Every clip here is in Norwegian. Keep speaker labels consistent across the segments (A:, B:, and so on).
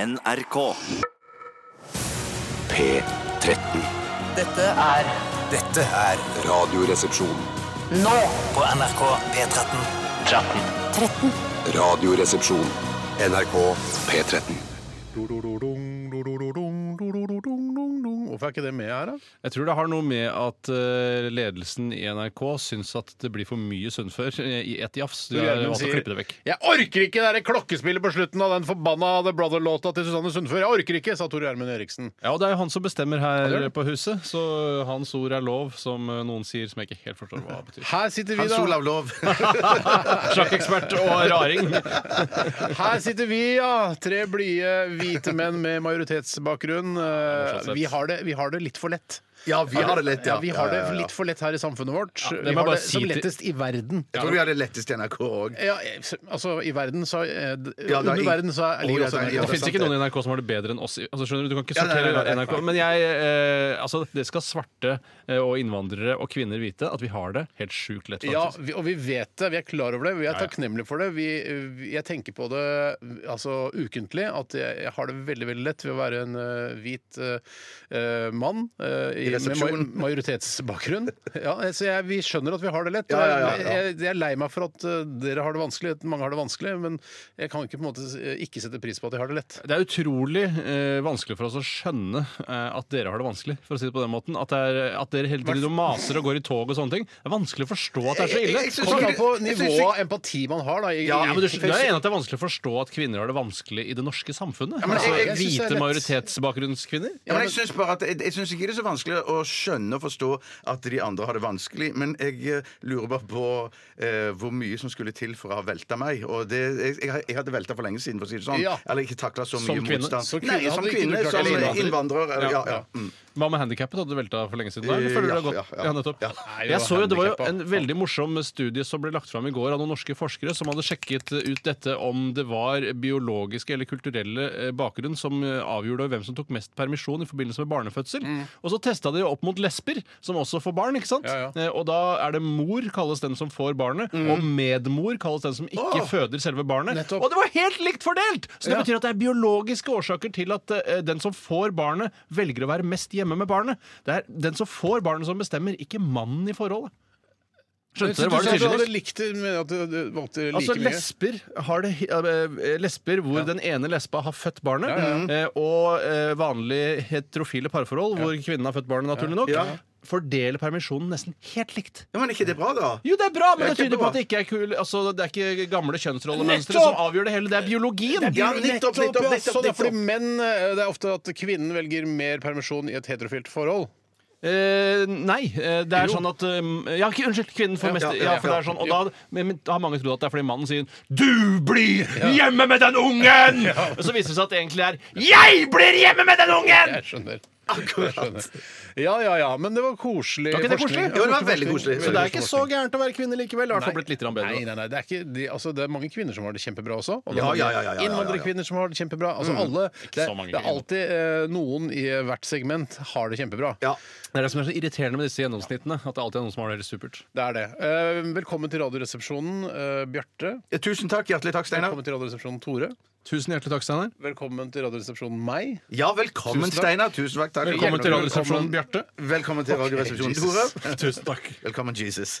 A: NRK.
B: P13.
C: Dette er
D: Dette er
B: Radioresepsjon.
C: nå
D: på NRK P13.
B: Radioresepsjon. NRK P13.
E: Do-do-do-dung, do-do-do-dung, do-do-do-dung-dung-dung. Hvorfor er ikke det med her, da?
F: Jeg tror det har noe med at eh, ledelsen i NRK syns at det blir for mye Sundfør eh, i ett jafs. De har
E: Gjermund
F: valgt å
E: sier,
F: klippe det vekk.
E: Jeg orker ikke det der klokkespillet på slutten av den forbanna The Brother-låta til Susanne Sundfør. Jeg orker ikke, sa Tor Gjermund Eriksen.
F: Ja, og Det er jo han som bestemmer
E: det er
F: her
E: det.
F: på huset, så hans ord er lov, som eh, noen sier, som jeg ikke helt forstår hva betyr.
E: Her sitter vi,
G: Hans
E: da.
G: Olav Lov.
F: Sjakkekspert og raring.
E: Her sitter vi, ja. Tre blide hvite menn med majoritetsbakgrunn. Eh,
F: sett.
E: Vi har det, vi har det litt for lett.
G: Ja, vi har det lett, ja.
E: vi har det
G: Ja, ja, ja.
E: litt for lett her i samfunnet vårt. vi
F: det må jeg
E: har
F: bare
E: det
F: si
E: som
F: til-
E: lettest i verden.
G: Jeg tror vi har det lettest i NRK òg.
E: Ja, eh, altså I verden så eh, d-
G: Ja, det er
E: Under
G: i-
E: verden så er, ligger
G: Å, ja,
E: også
G: det er-
E: NRK.
F: Det
G: ja, er
F: fins
G: sant,
F: ikke noen i NRK som har det bedre enn oss. i- Altså, skjønner Du du kan ikke
G: Ja, nei,
F: sortere
G: nei, nei, nei.
F: NRK. Men jeg, eh, altså, det skal svarte eh, og innvandrere og kvinner vite at vi har det helt sjukt lett.
E: Ja,
F: faktisk.
E: vi, og vi vet det. Vi er klar over det. Vi er
F: ja.
E: takknemlige for det. Vi, vi- jeg tenker på det altså, ukentlig, at jeg, jeg har det veldig veldig lett ved å være en eh, hvit eh, mann eh, i,
G: I
E: med ma
G: resepsjonen.
E: majoritetsbakgrunn. Ja, eh, så jeg, vi skjønner at vi har det lett.
G: Ja, ja, ja, ja.
E: Jeg, jeg, jeg er lei meg for at eh, dere har det vanskelig, at mange har det vanskelig, men jeg kan ikke på en måte s- eh, ikke sette pris på at de har det lett.
F: Det er utrolig eh, vanskelig for oss å skjønne eh, at dere har det vanskelig. for å si det på den måten. At, det er, at dere hele tiden maser og går i tog og sånne ting. Det er vanskelig å forstå at det er så
G: Jeg-
F: ille.
G: jeg- jeg synes
E: Kommer
G: ikke
E: an på
G: jeg synes
E: nivået
G: ikke-
E: av empati man har. da. i-
G: Ja,
F: Ja, men du, skjønner-
E: i-
F: jeg er enig at det er vanskelig å forstå at kvinner har det vanskelig i det norske samfunnet.
G: men jeg-
F: altså,
G: jeg-
E: jeg synes det er
F: hvite
E: lett.
F: majoritetsbakgrunnskvinner.
G: Ja, men jeg syns bare at jeg, jeg synes ikke det er så vanskelig å skjønne og forstå at de andre har det vanskelig, men jeg eh, lurer bare på eh, hvor mye som skulle til for å ha velta meg. Og det, jeg, jeg har- jeg hadde velta for lenge siden, for å si det sånn.
E: Ja.
G: Eller ikke takla så
F: Som
G: mye
F: kvinne?
G: motstand.
E: Som kvinne
G: Nei,
E: hadde
G: som
E: ikke du
G: kvinne,
E: klart
G: som
E: det, eller
G: innvandrer.
F: innvandrer.
G: eller- ja, ja. Mm.
F: Hva med handikappet? Hadde du velta for lenge siden? da, Eller
G: Eh,
F: føler du
G: ja,
F: deg godt?
G: ja, ja.
F: nettopp.
G: Ja.
E: Nei, det
F: Jeg
E: var
F: så jo, Det var jo
E: handikappa.
F: en veldig morsom studie som ble lagt fram i går av noen norske forskere som hadde sjekket ut dette om det var biologiske eller kulturelle eh, bakgrunn som eh, avgjorde hvem som tok mest permisjon i forbindelse med barnefødsel.
E: Mm.
F: Og så testa de opp mot lesber, som også får barn. ikke sant?
E: Ja,
F: Eh, Og da er det mor kalles den som får barnet,
G: Mm.
F: og medmor kalles den som ikke føder selve barnet.
E: Nettopp.
F: Og det var helt likt fordelt! Så det
E: Ja.
F: betyr at det er biologiske årsaker til at eh, den som får barnet, velger å være mest hjemme med barnet. Det er den som får barnet som bestemmer, ikke mannen i forholdet. Skjønte dere hva det
E: du sa du hadde
F: tydeligvis?
E: likt det, men at du- du valgte like
F: Altså
E: mye.
F: lesber, har det, hi- eh, lesber hvor den ene lesba har født barnet,
E: Ja,
F: eh, og eh, vanlige heterofile parforhold hvor kvinnen har født barnet, naturlig nok,
G: Ja.
F: fordeler permisjonen nesten helt likt.
G: Ja, men er ikke det bra, da?
F: Jo, det er bra, men
G: Det er
F: det tyder på
G: kjempebra.
F: at det ikke er kul altså, Det er ikke gamle kjønnsrollemønstre som avgjør det hele. Det er biologien.
G: Ja, nettopp,
E: Nettopp,
G: nettopp,
E: ja,
G: nettopp,
E: sånn, ja, fordi
G: nettopp.
E: menn, eh, Det er ofte at kvinnen velger mer permisjon i et heterofilt forhold.
F: Eh, nei, eh, det er
E: Jo.
F: sånn at eh, Ja, ikke- unnskyld, kvinnen får mest
G: ja,
F: ja,
G: ja,
F: for det
G: ja.
F: er sånn, og da, men, men, da har mange trodd at det er fordi mannen sier 'Du blir hjemme med den ungen!' Og så viser det seg at det egentlig er 'Jeg blir hjemme med den ungen!'
E: Jeg skjønner. Jeg skjønner. Ja, ja, ja. Men det var koselig.
F: Var ikke det koselig?
E: forskning.
G: Jo, det var veldig koselig.
F: Så det er ikke så gærent å være kvinne likevel. Det har i hvert fall blitt litt grann
E: Nei,
F: bedre.
E: nei, nei, det, er ikke, de, altså, det er mange kvinner som har det kjempebra også. Og det er
G: Ja,
E: mange
G: ja, ja, ja, ja, ja.
E: Innvandrerkvinner som har det kjempebra. Altså alle. Det,
F: så mange
E: det er alltid eh, noen i hvert segment har det kjempebra.
G: Ja.
F: Det er det som er så irriterende med disse gjennomsnittene. At det alltid er noen som har det helt supert.
E: Det er det. Eh, velkommen til Radioresepsjonen, eh, Bjarte.
G: Ja, Tusen takk. Hjertelig takk, Steinar.
E: Velkommen til Radioresepsjonen, Tore.
F: Tusen hjertelig takk, Steinar.
E: Velkommen til Radioresepsjonen, meg.
G: Ja, velkommen,
E: Tusen takk.
G: Steinar. Tusen takk. takk.
F: Velkommen til Radioresepsjonen,
E: Velkommen.
F: Bjarte.
G: Velkommen til Radioresepsjonen, Tore.
F: Tusen takk.
G: Velkommen, Jesus.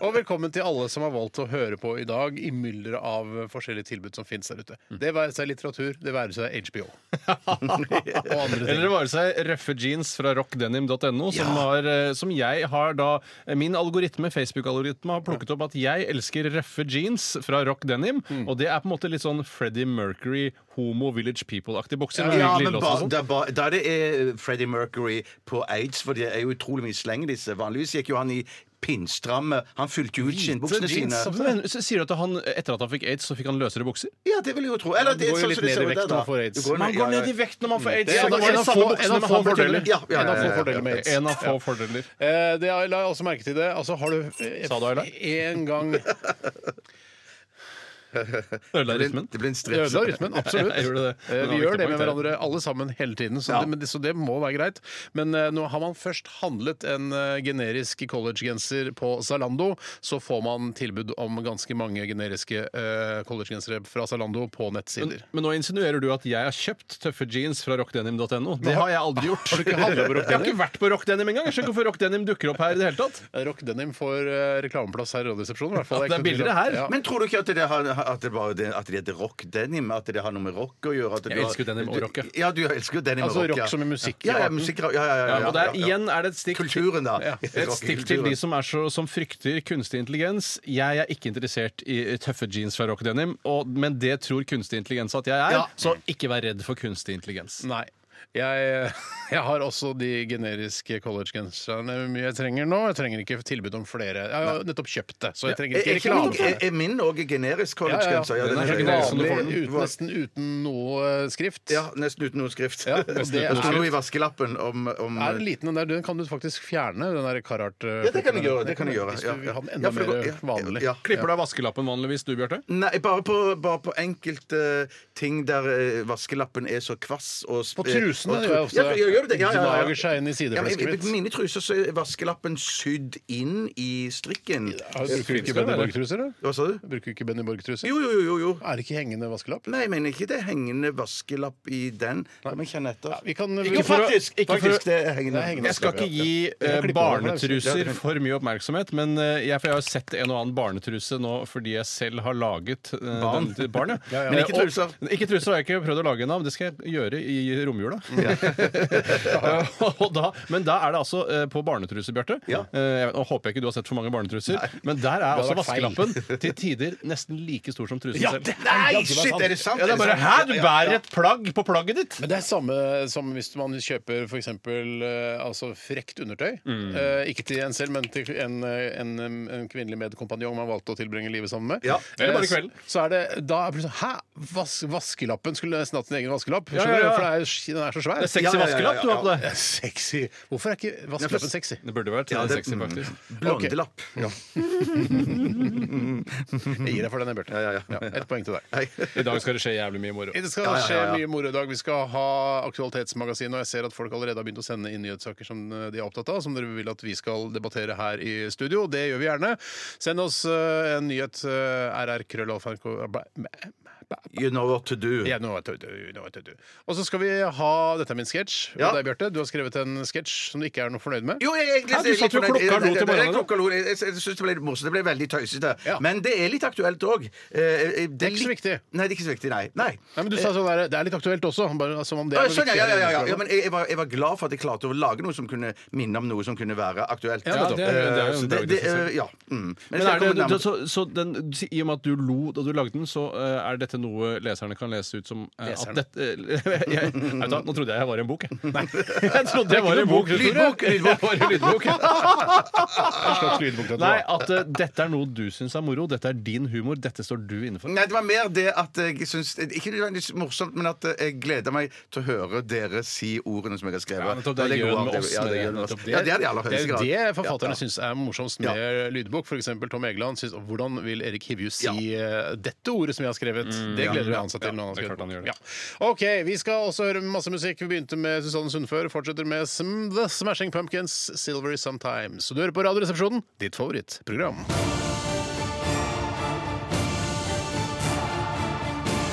E: Og velkommen til alle som har valgt å høre på i dag i mylderet av eh, forskjellige tilbud som fins der ute. Det være seg litteratur, det være seg HBO. Mm. og andre ting.
F: Eller det være seg røffe jeans fra rockdenim.no, som, har, eh, som jeg har da eh, Min algoritme, Facebook-algoritme, har plukket opp at jeg elsker røffe jeans fra rock denim.
G: Mm.
F: Og det er på en måte litt sånn Freddie Mercury, homo Village People-aktig bokser. med
G: Ja, men
F: glidelås og
G: ba,
F: sånt.
G: da, ba, da det er Freddie Mercury på aids, for det er jo utrolig mye sleng i disse. Vanligvis gikk jo han i pinnstramme. Han fylte jo ut skinnbuksene sine.
F: Men, så sier du at han, etter at han fikk aids, så fikk han løsere bukser?
G: Ja, det vil jeg jo tro. Eller, det,
E: går jo
G: sånn
E: litt
G: som det
E: ned i
G: ser ut
E: vekt
G: der,
E: når
G: da.
E: man får aids.
G: Du
F: Man
G: går ned- Mm.
F: går
G: ja, ja.
F: ned i vekt når man får aids.
E: Det er
F: så
E: en av-
F: man
E: en av
F: får
E: få-
F: buksene,
E: en av
F: men
E: få
F: han får
E: fordeler.
F: deler.
G: Ja, ja,
E: En av
G: ja,
E: få
G: ja, ja.
E: fordeler med aids.
F: En av få fordeler.
E: Eh, det jeg la jeg også merke til det. Altså, har du eh,
F: Sa du Ayla?
E: en gang
F: Ødela
G: Det ble en-
F: rytmen.
G: det ble en
E: Det
G: stretch.
E: ødela rytmen, absolutt.
F: Jeg gjorde det.
E: Eh, Vi
F: Men det var
E: gjør det
F: viktig
E: med
F: poeng,
E: hverandre alle sammen hele tiden, så,
G: Ja.
E: det, men det, så det må være greit. Men eh, nå har man først handlet en eh, generisk collegegenser på Zalando, så får man tilbud om ganske mange generiske eh, collegegensere fra Zalando på nettsider.
F: Men nå insinuerer du at jeg har kjøpt tøffe jeans fra rockdenim.no. Det har jeg aldri gjort.
E: Har du ikke handlet på Rock
F: Jeg har ikke vært på rockdenim engang. Jeg skjønner ikke hvorfor rockdenim dukker opp her i det hele tatt.
E: Rock Denim får eh, reklameplass her i Radioresepsjonen. i hvert fall.
F: Ja, det er billigere her.
E: Ja.
G: Men tror du ikke at det, har, at det bare det, at det heter rock denim? At det har noe med rock å gjøre? At
F: Jeg
G: du har-
F: elsker denim og rock, ja.
G: ja. du elsker jo denim
E: Altså
G: og rock.
E: rock
G: ja.
E: som i musikk-
G: Ja, ja, musikk, ja, ja, ja, ja,
F: Ja, og der,
G: ja, ja.
F: igjen er det et stikk
G: Kulturen, da.
F: Et stikk til de som, er så, som frykter kunstig intelligens. Jeg er ikke interessert i tøffe jeans fra Rock Denim, og, men det tror kunstig intelligens at jeg er.
E: Ja.
F: Så ikke vær redd for kunstig intelligens.
E: Nei. Jeg, eh, jeg har også de generiske collegegenserne mye jeg trenger nå. Jeg trenger ikke tilbud om flere. Jeg har nettopp kjøpt det, så jeg trenger
G: Er,
E: ikke
G: ikke
E: reklame.
G: min,
E: for
G: er,
E: det.
G: er min òg generisk
E: Ja, ja, ja.
G: collegegenser?
E: Den er så
F: ja, ja.
E: generisk som du får den.
G: Med-
E: Uten, nesten uten noe eh, skrift.
G: Ja, nesten uten noe skrift.
E: Ja, og
G: det
E: det er-
G: sto noe i vaskelappen om, om
E: Er den liten, den der? Den kan du faktisk fjerne, den der Carhartt.
G: Ja, det kan jeg gjøre. Det kan jeg gjøre.
E: Hvis
G: ja,
E: du vil ha den
G: ja,
E: enda
G: for det går-
E: mer
G: ja,
E: vanlig.
G: ja.
F: Klipper du av vaskelappen vanligvis, du, Bjarte?
G: Nei, bare på, bare på enkelte ting der eh, vaskelappen er så kvass og sp-
E: På trusene
G: og tru-
E: gjør jeg ofte
G: ja, for- gjør, gjør du det. Ja, ja, ja.
E: Gnager seg inn i
G: Ja, men,
E: sideflesket
G: i- i-
E: mitt.
G: mine truser så er vaskelappen sydd inn i strikken.
E: Har- Bruker du ikke
F: Skal det
E: Benny
F: være?
E: Borg-truser, da?
G: Hva sa du?
E: Bruker du ikke Benny Borg-truser?
G: Jo, jo, jo, jo. jo.
E: Er det ikke hengende vaskelapp?
G: Nei, jeg mener ikke det er hengende vaskelapp i den. La meg kjenne etter.
E: Ja, vi kan
G: Jo,
E: for å-
G: faktisk!
F: ikke for å-
G: faktisk det er hengende.
E: Det er hengende.
F: Jeg skal ikke gi eh, barnetruser for mye oppmerksomhet, men eh, jeg, for jeg har sett en og annen barnetruse nå fordi jeg selv har laget eh,
G: Barn.
F: den til barn. ja.
G: Ja, ja.
F: Eh,
G: Men ikke
F: og-
G: truser.
F: Ikke truser har jeg ikke prøvd å lage ennå, men det skal jeg gjøre i romjula. Og da, men da er det altså eh, på barnetruser, Bjarte.
G: Ja.
F: Eh, jeg vet- nå håper jeg ikke du har sett for mange barnetruser, men der er altså
E: vært feil.
F: vaskelappen til tider nesten like stor som trusen
G: Ja,
F: selv.
G: det, nei, shit! Er det sant?
F: Ja, det er bare
G: sant?
F: Hæ, du
G: Ja, ja,
F: bærer
G: ja.
F: et plagg på plagget ditt!
E: Men det er samme som hvis man kjøper f.eks. Altså frekt undertøy.
F: Mm.
E: Eh, ikke til en selv, men til en, eh, en, em, en kvinnelig medkompanjong man valgte å tilbringe livet sammen med.
G: Ja,
F: eller bare
E: Eh, så-
F: kvelden.
E: Så er det da er det plutselig, Hæ! Vas vaskelappen skulle nesten hatt sin egen vaskelapp.
F: Ja, ja,
E: Skjønner du?
F: ja.
E: For det er, jo sk- den er så svær.
F: Det er sexy
G: Ja, ja, ja, ja,
F: vaskelapp du har på
E: Ja,
F: deg.
E: Sexy. Hvorfor er ikke vaskelappen sexy?
F: Det burde vært
G: Ja, det-
F: sexy, faktisk.
G: Blondelapp. Ja.
E: Jeg gir deg for den, Bjarte.
G: Ja, ja, ja.
E: Ett poeng til deg.
G: Nei.
F: I dag skal det skje jævlig mye moro.
E: Det skal
G: Ja, ja,
E: skje
G: ja, ja.
E: mye moro i dag. Vi skal ha Aktualitetsmagasinet, og jeg ser at folk allerede har begynt å sende inn nyhetssaker som eh, de er opptatt av, som dere vil at vi skal debattere her i studio. Det gjør vi gjerne. Send oss eh, en nyhet uh, rrkrøllalfa.nrk.
G: You know what to do.
E: Ja, nå vet du, nå vet du. Og så skal vi ha Dette er min sketsj. Og
G: Ja.
E: deg, Bjarte, du har skrevet en sketsj som du ikke er noe fornøyd med.
G: Jo, jeg, jeg,
F: Hæ, du satt jo klokka lo til morgenen, da.
G: Klokka lo. Jeg, jeg, jeg syns det ble litt morsomt. Det ble veldig tøysete.
E: Ja.
G: Men det er litt aktuelt òg. Det
E: er ikke så
G: litt-
E: viktig.
G: Nei, det er ikke så viktig. Nei. nei.
E: Nei, men du sa sånn der, Det er litt aktuelt også. Bare, som om det
G: Eh.
E: er
G: Ja,
E: noe
G: sånn, ja, ja,
E: viktigere
G: ja, ja,
E: enn
G: ja, men jeg, jeg, var, jeg var glad for at jeg klarte å lage noe som kunne minne om noe som kunne være aktuelt.
F: Ja, det er- det er jo en
G: Eh, så
F: bragd i seg selv.
G: eh, ja. mm. Men
F: Men er
G: så kommer
F: det,
G: den andre-
F: så, så den, I og med at du lo da du lagde den, så eh, er dette noe leserne kan lese ut som eh,
E: Leserne.
F: at dette, eh, jeg, jeg, vet du hva, Nå trodde jeg jeg var i en bok, jeg. Jeg trodde jeg var i en bok. Tore.
G: Lydbok, lydbok.
F: Jeg var i en lydbok.
E: En slags lydbok, dette
F: Nei,
E: var.
F: at eh, dette er noe du syns er moro. Dette er din humor. Dette står du inne for.
G: Nei, det var mer det at jeg syns Ikke nødvendigvis morsomt, men at jeg gleder meg til å høre dere si ordene som jeg har skrevet.
F: Ja, nettopp, det
G: Og
F: gjør
G: gode
F: det med oss,
G: Ja, det
F: det
G: gjør det med
F: nettopp.
G: oss. Ja, det er det i aller
E: Det
G: høyeste
E: er jo
G: grad.
E: det forfatterne
G: Ja, ja.
E: syns er morsomst med lydbok. For eksempel Tom Egeland syns Hvordan vil Erik Hivju si eh, dette ordet som jeg har skrevet? det gleder vi han seg til. når han
F: Mm, det er
E: har
F: klart han gjør
E: skrevet bok.
F: det.
E: ja. OK, vi skal også høre masse musikk. Vi begynte med Susanne Sundfør, fortsetter med Sm The Smashing Pumpkins, Silvery Sometimes. Du hører på Radioresepsjonen, ditt favorittprogram.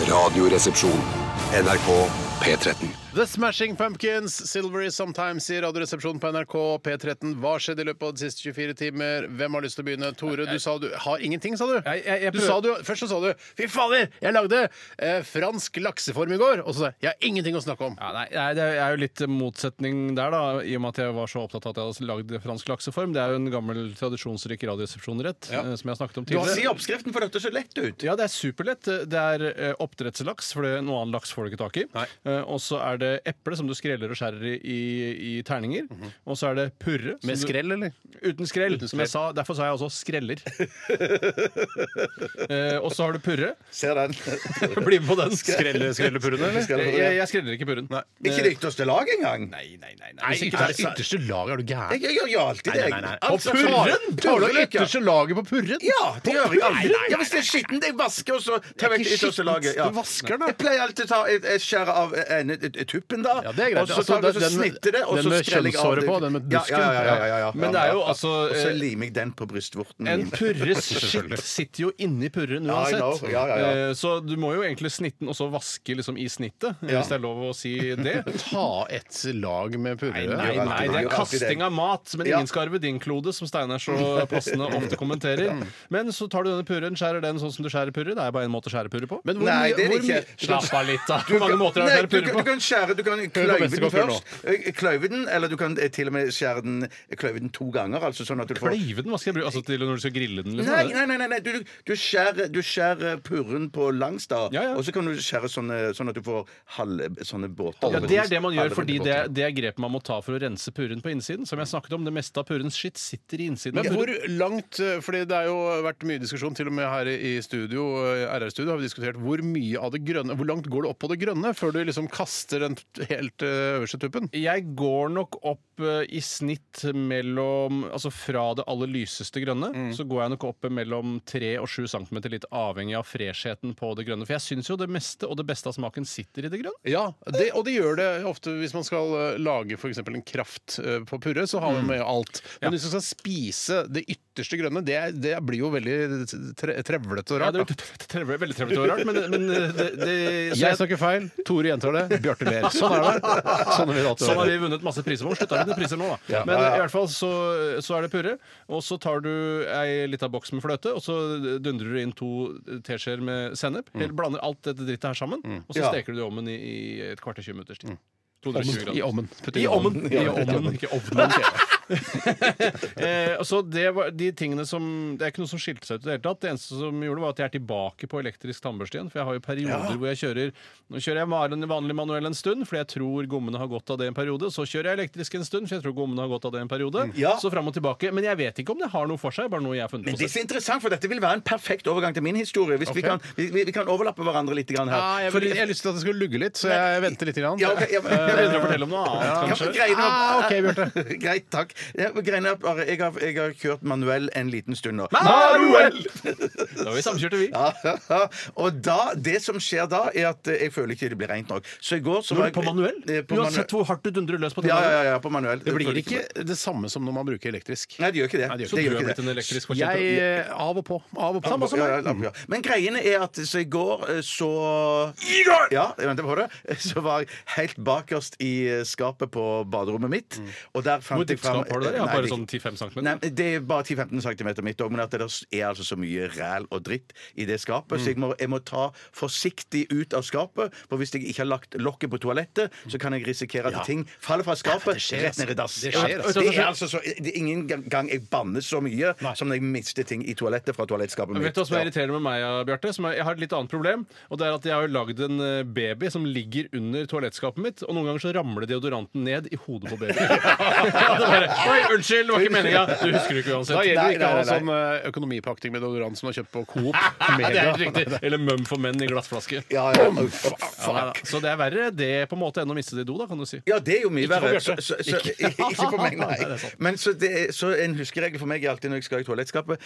B: Radioresepsjon. NRK P13.
E: The Smashing Pumpkins, Silvery Sometimes i Radioresepsjonen på NRK P13. Hva skjedde i løpet av de siste 24 timer? Hvem har lyst til å begynne? Tore, du sa du har ingenting, sa du.
F: Jeg- jeg- jeg
E: du
F: prøver-
E: sa du først så sa du 'Fy fader, jeg lagde eh, fransk lakseform i går', og så sa jeg 'Jeg har ingenting å snakke om'.
F: Ja, nei, nei, det er jo litt motsetning der, da, i og med at jeg var så opptatt av at jeg hadde lagd fransk lakseform. Det er jo en gammel tradisjonsrik radioresepsjonrett eh, som jeg har snakket om tidligere.
G: Si oppskriften, for dette så lett ut.
F: Ja, det er superlett. Det er eh, oppdrettslaks, for det- noe annen laks får du ikke tak i. Eh, Og så er det eple, som du skreller og skjærer i, i, i terninger. Og så er det purre. som
E: Med
F: du-
E: skrell, eller?
F: Uten skrell. Som jeg sa, derfor sa jeg også skreller. eh, og så har du purre.
G: Ser den.
F: Bli med på den.
E: Skrelle, skrellepurrene, eller?
G: Skal jeg-
F: Jeg, jeg skreller ikke purren. Eh, Nei.
G: Ikke det ytterste lag engang.
F: Nei, nei, nei.
E: Nei,
F: Hvis ikke
E: ikke
F: det er-
E: ytterste laget, er du
G: Jeg,
E: gæren?
G: jeg gjør jo alltid det.
E: nei, nei.
G: Alt
E: På
G: slags-
E: purren? Tar du
G: Purren, ja.
E: ytterste laget på purren?
G: Ja, det gjør jeg
E: Nei, nei,
G: alltid.
E: nei,
G: Ja, hvis det er skittent, jeg vasker, og så tar jeg
E: Det er
G: vekk
E: ikke
G: ytterste laget.
E: skittent.
G: Ja.
E: Du vasker den, da.
G: Jeg pleier alltid å ta jeg- jeg skjærer av eh, ene tuppen, da.
E: Ja, det er greit.
G: Og så
E: Altså,
G: tar jeg og så
E: den med-
G: snitter det, og
E: den
G: så
E: med
G: skreller jeg av
E: kjønnshåret
G: det.
E: på, den med
G: Ja, Ja, ja, ja, ja, ja, ja.
F: Men det er jo altså,
G: Og så
F: eh,
G: limer jeg den på brystvorten.
F: En
G: min.
F: purres skitt sitter jo inni purren
G: Ja, I
F: uansett.
G: know. Ja, ja, ja.
F: Eh, Så du må jo egentlig snitte den og så vaske liksom i snittet, hvis det er lov å si det.
E: Ta et lag med purre?
F: Nei, nei, nei,
G: alltid det.
F: det er
G: Gjør alltid det.
F: kasting av mat. Men
G: Ja.
F: ingen skal arve din klode, som Steinar så passende ofte kommenterer. Men så tar du denne purren, skjærer den sånn som du skjærer purre. Det er bare én måte å skjære purre på.
E: Men hvor
G: Nei,
E: mye-
G: det er
E: hvor
G: det ikke.
E: mye-
G: Du kan-
F: Slapp av litt, da. Hvor mange måter er det å
G: Nei,
F: skjære
G: du,
F: purre
G: kan- du
F: på?
G: kan skjære Du kan kløyve den
E: Vesterålen
G: først. Eh, Kløyve den, eller du kan eh, til og med skjære den kløyve den to ganger. Altså sånn at du får
F: Kløyve den? Hva skal jeg bruke altså, til når du skal grille den? Liksom,
G: Nei, nei, nei, nei, nei. Du, du, skjærer, du skjærer purren på langs, da.
F: Ja, ja.
G: Og så kan du skjære sånne, sånn at du får halve sånne båter.
F: Ja, Det er det man gjør,
G: Halve
F: fordi det,
G: båter.
F: det er grep man må ta for å rense purren på innsiden. Som jeg snakket om, Det meste av purrens skitt sitter i innsiden.
E: Men
F: av
E: hvor
F: purren.
E: langt eh, fordi det har jo vært mye diskusjon, til og med her i studio, eh, RR-studio, har vi diskutert hvor mye av det grønne Hvor langt går det opp på det grønne før du liksom kaster den t- helt eh, øverste tuppen?
F: Jeg går nok opp eh, i snitt mellom Altså fra det aller lyseste grønne,
E: Mm.
F: så går jeg nok opp mellom 3 og 7 cm, litt avhengig av fresheten på det grønne. For jeg syns jo det meste og det beste av smaken sitter i det grønne.
E: Ja, det, og det gjør det ofte hvis man skal eh, lage f.eks. en kraft eh, på purre, så har man med alt. Men hvis du skal spise det ytterste grønne, det, er- det blir jo veldig tre, trevlete og
F: Ja,
E: rart.
F: det
E: da.
F: er trevlig, veldig trevlig og rart, men, men eh, det, det så
E: jeg snakker feil, Tore gjentar det, Bjarte ler. Sånn er det. Sånn vil det alltid
F: Sånn har
E: være.
F: vi vunnet masse priser på. Slutta å vinne priser nå, da. Men eh, i hvert fall så, så er det purre. Og så tar du ei lita boks med fløte, og så dundrer du inn to teskjeer med sennep. Helt blander alt dette drittet her sammen, og så
G: Ja.
F: steker du det i ovnen i, i et kvarter 20 minutters tid. 220
E: Ommen. I
F: grader.
E: ommen. Putt
F: I ovnen! I ovnen,
E: ovnen.
F: ikke ovnen. eh, så det var de tingene som Det er ikke noe som skilte seg ut i det hele tatt. Det eneste som gjorde, det var at jeg er tilbake på elektrisk tannbørste igjen. For jeg har jo perioder hvor jeg kjører Nå kjører jeg vanlig, vanlig manuell en stund, fordi jeg tror gommene har godt av det en periode. Så kjører jeg elektrisk en stund, for jeg tror gommene har godt av det en periode.
G: Ja.
F: Så fram og tilbake. Men jeg vet ikke om det har noe for seg. Bare noe jeg har funnet
G: Men
F: på
G: det er så
F: selv.
G: interessant, for dette vil være en perfekt overgang til min historie. Hvis vi, kan, vi, vi- vi kan overlappe hverandre litt grann her.
F: Ah,
E: Ja, jeg, vil,
G: Fordi-
E: jeg har lyst til at det skal lugge litt, så jeg venter litt. Grann.
G: Ja, ok, ja, men-
F: Jeg begynner å fortelle om noe annet,
G: Ja, men
F: Eh, kanskje.
G: greiene-
E: Ah, ok, Bjarte.
G: Greit, takk. Ja, men greiene er bare, jeg, har, jeg har kjørt manuell en liten stund nå.
F: Da er vi samkjørte, vi.
G: Ja, og da, det som skjer da, er at eh, jeg føler ikke det blir rent nok. Så i går så
F: Når du
G: var
F: er på
G: jeg-
F: manuell?
G: eh, På manuell.
F: Uansett hvor hardt du dundrer løs på den
G: Ja, ja, ja, ja, på manuell.
E: Det blir
G: Føler
E: ikke det samme som når man bruker elektrisk.
G: Nei, det gjør ikke det.
E: Nei, det gjør
F: Så
G: Det
F: du
G: gjør
F: har
G: ikke
F: blitt
G: det.
F: en elektrisk forkjemper.
E: Jeg eh, Av og på. Av og på.
G: Ja, ja, ja, ja. Men greiene er at så i går eh, så Ja, jeg venter på det. Så var jeg helt bakerst i eh, skapet på baderommet mitt. Og der fant
F: Mm. Hvor dypt skap har du der? Jeg har
G: Nei,
F: bare
G: det-
F: sånn 10-5 cm.
G: Nei, det er bare 10-15 cm mitt òg, men at det er altså så mye ræl og dritt i det skapet.
F: Mm.
G: Så jeg må, jeg må ta forsiktig ut av skapet, for hvis jeg ikke har lagt lokket på toalettet, så kan jeg risikere at ting faller fra skapet
E: skjer,
G: rett ned i dass.
E: Det skjer,
F: altså.
G: Det er altså så, det er ingen gang jeg banner så mye som når jeg mister ting i toalettet fra toalettskapet mitt.
F: Vet du hva som er
G: Ja.
F: irriterende med meg, ja, Bjarte? Som er, jeg har et litt annet problem. Og det er at jeg har jo lagd en eh, baby som ligger under toalettskapet mitt, og noen ganger så ramler deodoranten ned i hodet på babyen. ja, det bare, Oi, unnskyld, det var ikke meninga! Du husker det ikke
E: Da
F: uansett.
E: gjelder det
G: Nei,
E: ikke å ha
G: nei, nei.
E: sånn eh, økonomipakting med deodorant som du har kjøpt på Coop.
F: Nei, det er
E: Mega.
F: helt riktig. Eller Mum for menn i glassflaske.
G: Ja, ja. Uff,
F: Ja, nei, da.
G: fuck.
F: så det er verre det på en måte enn å miste det i do, da, kan du si.
G: Ja, det er jo mye
F: Ikke for
G: verre.
F: Bjarte.
G: Så- så-
F: Ikke.
G: Ikke for meg, nei.
F: Nei, det er sant.
G: Men så, det, er- så en huskeregel for meg er alltid når jeg skal i toalettskapet,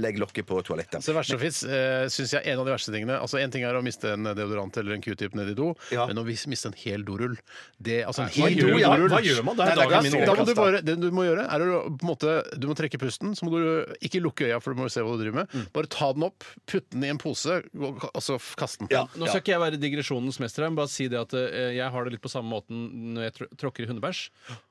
G: legg lokket på toalettet.
E: Så det verste som fins, eh, syns jeg er en av de verste tingene Altså, Én ting er å miste en deodorant eller en q-tip ned i do,
G: Ja.
E: men å vis- miste en hel dorull Det altså en
F: Hva
E: hel
F: gjør,
E: dorull-
F: man- hva gjør man? Det
G: Nei,
F: er
G: det er
F: dagen min
G: glass-
E: Da må du
F: overkastet.
E: bare, det du må gjøre, er å på en måte Du må trekke pusten, så må du ikke lukke øya, for du må jo se hva du driver med.
F: Mm.
E: Bare ta den opp, putte den i en pose, og og så kaste den.
G: Ja.
F: Nå skal ikke jeg være digresjonens mester, her, men bare si det at eh, jeg har det litt på samme måten når jeg tr tråkker i hundebæsj.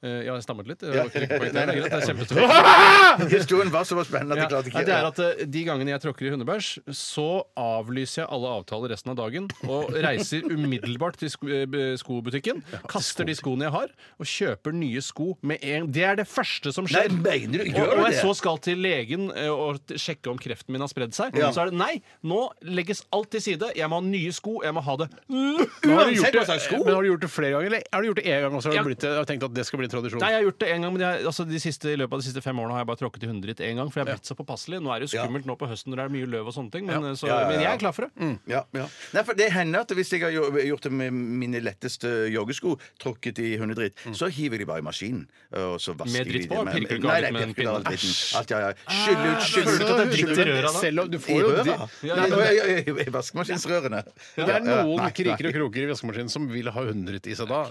F: Eh, ja, jeg stammet litt. Det var ikke riktig poeng. Det er greit, det er kjempestort.
G: Historien var såpass spennende at
F: Ja,
G: jeg klarte
F: nei,
G: ikke
F: det er at eh, De gangene jeg tråkker i hundebæsj, så avlyser jeg alle avtaler resten av dagen og reiser umiddelbart til sko eh, skobutikken, kaster de skoene jeg har, og kjøper nye sko med en Det er det første som
A: Nei,
F: skjer.
A: mener du
F: og,
A: Gjør
F: og
A: du
F: jeg
A: det?
F: så skal til legen eh, og t- sjekke om kreften min har spredd seg.
A: Ja.
F: Så er det nei, nå legges alt til side. Jeg må ha nye sko. Jeg må ha det
E: Men har,
A: Uansett
E: du gjort
A: hva
E: det,
A: slags altså. sko.
E: men har du gjort det flere ganger, eller har du gjort det én gang og så har
F: Ja.
E: du blitt, har tenkt at det skal bli en tradisjon?
F: Nei, jeg har gjort det en gang, men jeg, altså, de siste, i løpet av de siste fem årene har jeg bare tråkket i hundreditt én gang. For jeg har blitt så påpasselig. Nå er det jo skummelt nå på høsten når det er mye løv og sånne ting, men, eh, så,
G: Ja, Mm. ja, ja.
F: men jeg er klar for det.
G: Ja, ja. Nei, for det hender at hvis jeg har jo- gjort det med mine letteste joggesko, tråkket i hundedritt, så hiver de bare i maskinen. Og så vasker
F: Mm. Med dritt på,
G: de
F: pirker du
G: det
F: ikke
G: Nei,
F: av
G: nei,
F: litt med en
G: pirker du av
F: pinne?
G: dritten. Alt, ja, ja. Skyll ut, skyll
E: Så
G: ut.
F: Ah, Skjønner du at det er dritt i
E: hunder-
F: røra da?
E: Selv om du
G: I
E: får jo
G: røra?
E: de-
G: Ja,
E: Nei, men-
G: ja, ja, I vaskemaskinsrørene.
E: Det er
G: Ja, ja.
E: noen
G: Nei,
E: kriker
G: nei.
E: og kroker i vaskemaskinen som vil ha hundret i seg da.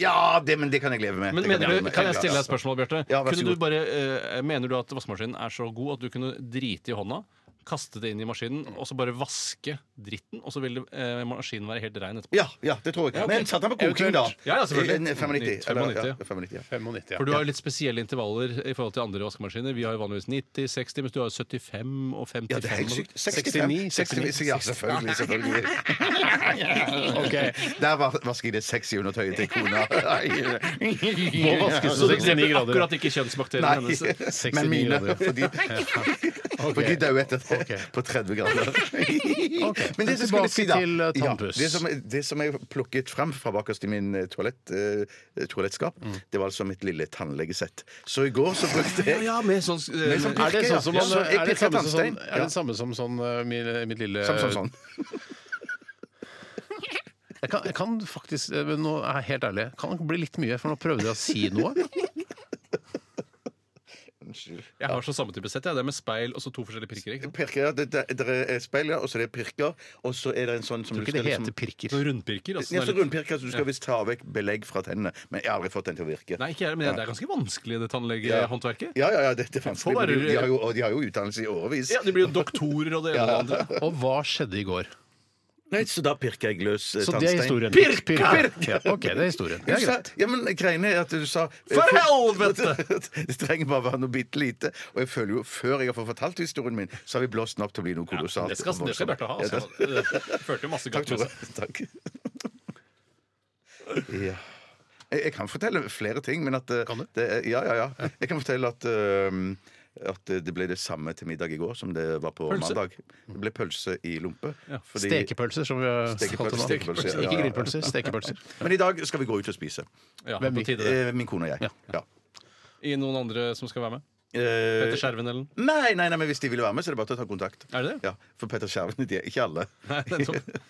G: Ja, det, men det kan jeg leve med.
F: Men
G: Det kan
F: mener
G: leve
F: du,
G: med.
F: Kan jeg stille deg et spørsmål, Bjarte?
G: Ja, vær så
F: Kunne du
G: god.
F: bare, eh, mener du at vaskemaskinen er så god at du kunne drite i hånda, kaste det inn i maskinen,
G: Mm.
F: og så bare vaske dritten, og så ville eh, maskinen være helt rein etterpå?
G: Ja, ja, det tror jeg. Men satte han på koking, da? Eh,
E: Eventuelt.
F: Ja, ja, selvfølgelig.
G: I- 95. eller-
F: 95, ja.
G: ja, 95 ja.
E: 95, ja.
F: For du har jo litt spesielle intervaller i forhold til andre vaskemaskiner. Vi har jo vanligvis 90, 60, mens du har 75 og 55.
G: Ja, det er helt sykt.
E: 69,
G: 65. 69, ja, selvfølgelig. selvfølgelig.
E: Ok.
G: Der vas- vasker jeg det sexy undertøyet til kona. Må
E: vaskes
F: Så
E: det
F: det
E: er
F: dreper
E: grader, ja.
F: akkurat ikke kjønnsbakteriene
G: Nei,
F: hennes.
G: men
E: 69
G: mine.
E: grader.
G: Fordi, for de dør etter det
E: Ok.
G: på 30 grader. Men det
E: Tilbake
G: som jeg skulle si da
E: til, eh, tannpuss.
G: ja, det, som, det som jeg plukket frem fra bakerst i min eh, toalett, eh, toalettskap,
E: Mm.
G: det var altså mitt lille tannlegesett. Så i går så brukte jeg
F: Ja, med sånn eh,
G: sånn
E: Er det sånn som man,
G: Ja, så jeg
E: er det
G: pirker
E: samme som sånn,
G: tannstein.
E: er det samme som sånn eh, min, mitt lille
G: Som sånn sånn.
E: Jeg kan, jeg kan faktisk eh, men Nå er jeg helt ærlig. Kan det bli litt mye, for nå prøvde jeg å si noe.
F: Jeg har så samme type sett. jeg. Det er med speil og så to forskjellige pirker. ikke sant?
G: Pirker, det, det, det er speil, ja, og så er det pirker, og så er det en sånn som
E: Tror
G: du
E: ikke det
G: skal liksom-
E: heter pirker.
F: Noen rundpirker. Altså, sånn
G: Ja, så
F: er litt-
G: rundpirker, så du skal visst ta vekk belegg fra tennene. Men jeg har aldri fått den til å virke.
F: Nei, ikke jeg, men det er ganske vanskelig, det tannlegehåndverket.
G: Ja, ja, ja, det, det er vanskelig.
F: Får bare-
G: men de, de, har jo, og de har jo utdannelse i årevis.
F: Ja, De blir jo doktorer og det ene og det andre.
E: Og hva skjedde i går?
G: Nei, så da pirker jeg løs eh,
E: Så det er
G: tannstein.
E: historien.
F: Pirka!
E: Ja, OK, det er historien.
G: Du
E: Det er
G: sa,
E: greit.
G: ja, men greiene er at du sa eh,
F: For helvete!
G: Det trenger bare være noe bitte lite. Og jeg føler jo, før jeg har fått fortalt historien min, så har vi blåst den opp til å bli noe kolossalt.
F: Det skal, det skal Bjarte ha.
G: Ja,
F: Altså.
G: det-
F: Det førte jo masse
G: Takk,
F: godt med
G: Tore.
F: seg.
G: Takk. Ja. Jeg, jeg kan fortelle flere ting, men at eh,
E: Kan du?
G: Det, er- ja, ja, ja. Jeg kan fortelle at eh, at det ble det samme til middag i går som det var på
F: Pølse?
G: mandag. Det ble pølse i lompe. fordi-
E: Stekepølser, som vi har kalt det nå.
G: Stekepølser, stekepølser, ja, ja, ja.
E: Ikke grillpølser. Stekepølser.
G: Men i dag skal vi gå ut og spise.
F: Ja,
E: Hvem
F: på
E: gikk?
F: tide det.
G: Eh, Min kone og jeg. Ja.
F: I noen andre som skal være med?
G: Eh,
F: Petter Skjerven eller noe?
G: Nei, nei, nei, men hvis de vil være med, så er det bare til å ta kontakt.
F: Er det det?
G: Ja, For Petter Skjerven de er ikke alle.
F: Nei, det er sånn.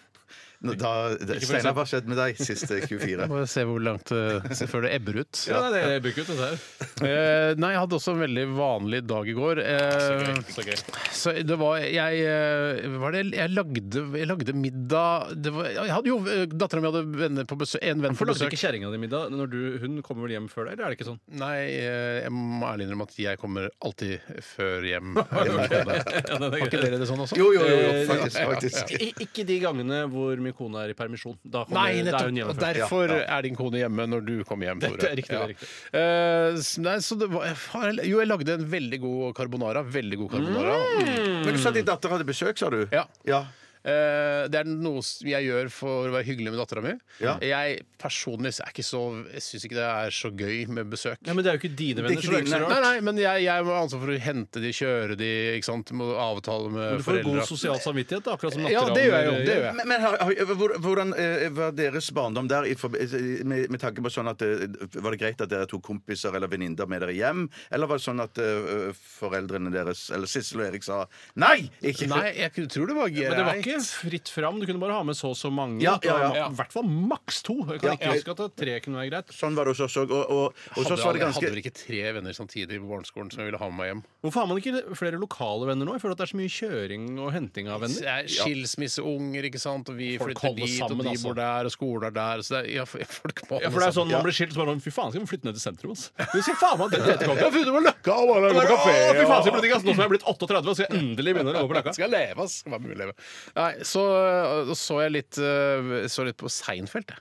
G: Nå, da,
F: for
G: Steinar,
F: eksempel.
G: hva skjedde med deg eh, siste 24?
E: Må se hvor langt eh, før det ebber ut.
F: Ja, nei, det bygger ut dette her.
E: Eh, nei, jeg hadde også en veldig vanlig dag i går. Eh,
F: Så gøy.
E: så det var Jeg, eh, hva var det, jeg, lagde, jeg lagde middag det var, Jeg hadde jo Dattera mi hadde venner på besøk, en venn på
F: For lagde
E: besøk.
F: ikke kjerringa di middag? Når du, hun kommer vel hjem før deg, eller er det ikke sånn?
E: Nei, eh, jeg må ærlig innrømme at jeg kommer alltid før hjem.
F: Ja, det er
E: Har ikke
F: greit.
E: dere det sånn også?
G: Jo, jo, jo,
F: Eh,
G: faktisk. faktisk.
F: I, ikke de gangene hvor min kone er i permisjon. Da kommer,
E: Nei,
F: da er hun
E: nettopp.
F: hjemme
E: Og
F: før.
E: derfor er din kone hjemme når du kommer hjem. Tore.
F: Det er riktig, det er riktig.
E: Eh, s- nei, så det var, faen, jo, jeg lagde en veldig god carbonara. Veldig god carbonara.
F: Mm.
E: Mm.
G: Men du sa din datter hadde besøk, sa du?
E: Ja.
G: ja.
E: Eh, det er noe s- jeg gjør for å være hyggelig med dattera mi.
G: Ja.
E: Jeg personlig så er ikke så, jeg syns ikke det er så gøy med besøk.
F: Ja, men det er jo ikke dine
G: er
F: venner, så
G: ikke
F: det er ikke så
G: dine.
F: rart.
E: Nei, nei, men jeg, jeg må ha ansvar for å hente de, kjøre de, ikke sant? Må avtale med
F: Du får jo god
E: foreldra.
F: sosial samvittighet, da, akkurat som
E: Ja, det gjør jeg jo. Det gjør jeg.
G: Men, men har, har, hvor- hvordan eh, var deres barndom der i, forbi- med, med tanke på sånn at eh, Var det greit at dere tok kompiser eller venninner med dere hjem? Eller var det sånn at eh, foreldrene deres, eller Sissel og Erik, sa nei? Ikke.
E: Nei, jeg kunne- tror det var greit.
F: Men det var ikke fritt fram. Du kunne bare ha med så og så mange.
G: Ja,
F: Det var
G: ja,
E: ja.
F: ma- I hvert fall maks to. Jeg kan
G: Ja,
F: ikke
G: ja.
F: huske at tre kunne være greit.
G: Sånn var det hos oss òg. Og, og, og
E: Hadde,
G: så var det
E: jeg hadde
G: ganske
E: vel ikke tre venner samtidig på barneskolen som jeg ville ha med meg hjem.
F: Hvorfor har man ikke flere lokale venner nå? Jeg føler at det er så mye kjøring og henting av
E: Så
F: venner.
E: jeg er Skilsmisseunger, ikke sant, og vi
F: Folk
E: flytter
F: holder
E: dit,
F: sammen,
E: og de
F: altså.
E: bor der, og skolen er der. Så det er, ja, f- folk må
F: Ja, for det er sånn,
E: holde
F: Man blir skilt, så bare sånn, fy faen, skal vi flytte ned til sentrum? ass? Vi skal faen meg dette etterpå.
E: sammen. Du må løkke av bare på
F: Bare, Å, fy faen, skal jeg
E: kafé.
F: flytte, ass. Nå som jeg er blitt 38, skal jeg endelig begynne å gå på løkka.
E: Skal jeg leve, ass? Skal være mulig å leve. Nei, så øh, så jeg litt, øh, så litt på Seinfeld, jeg.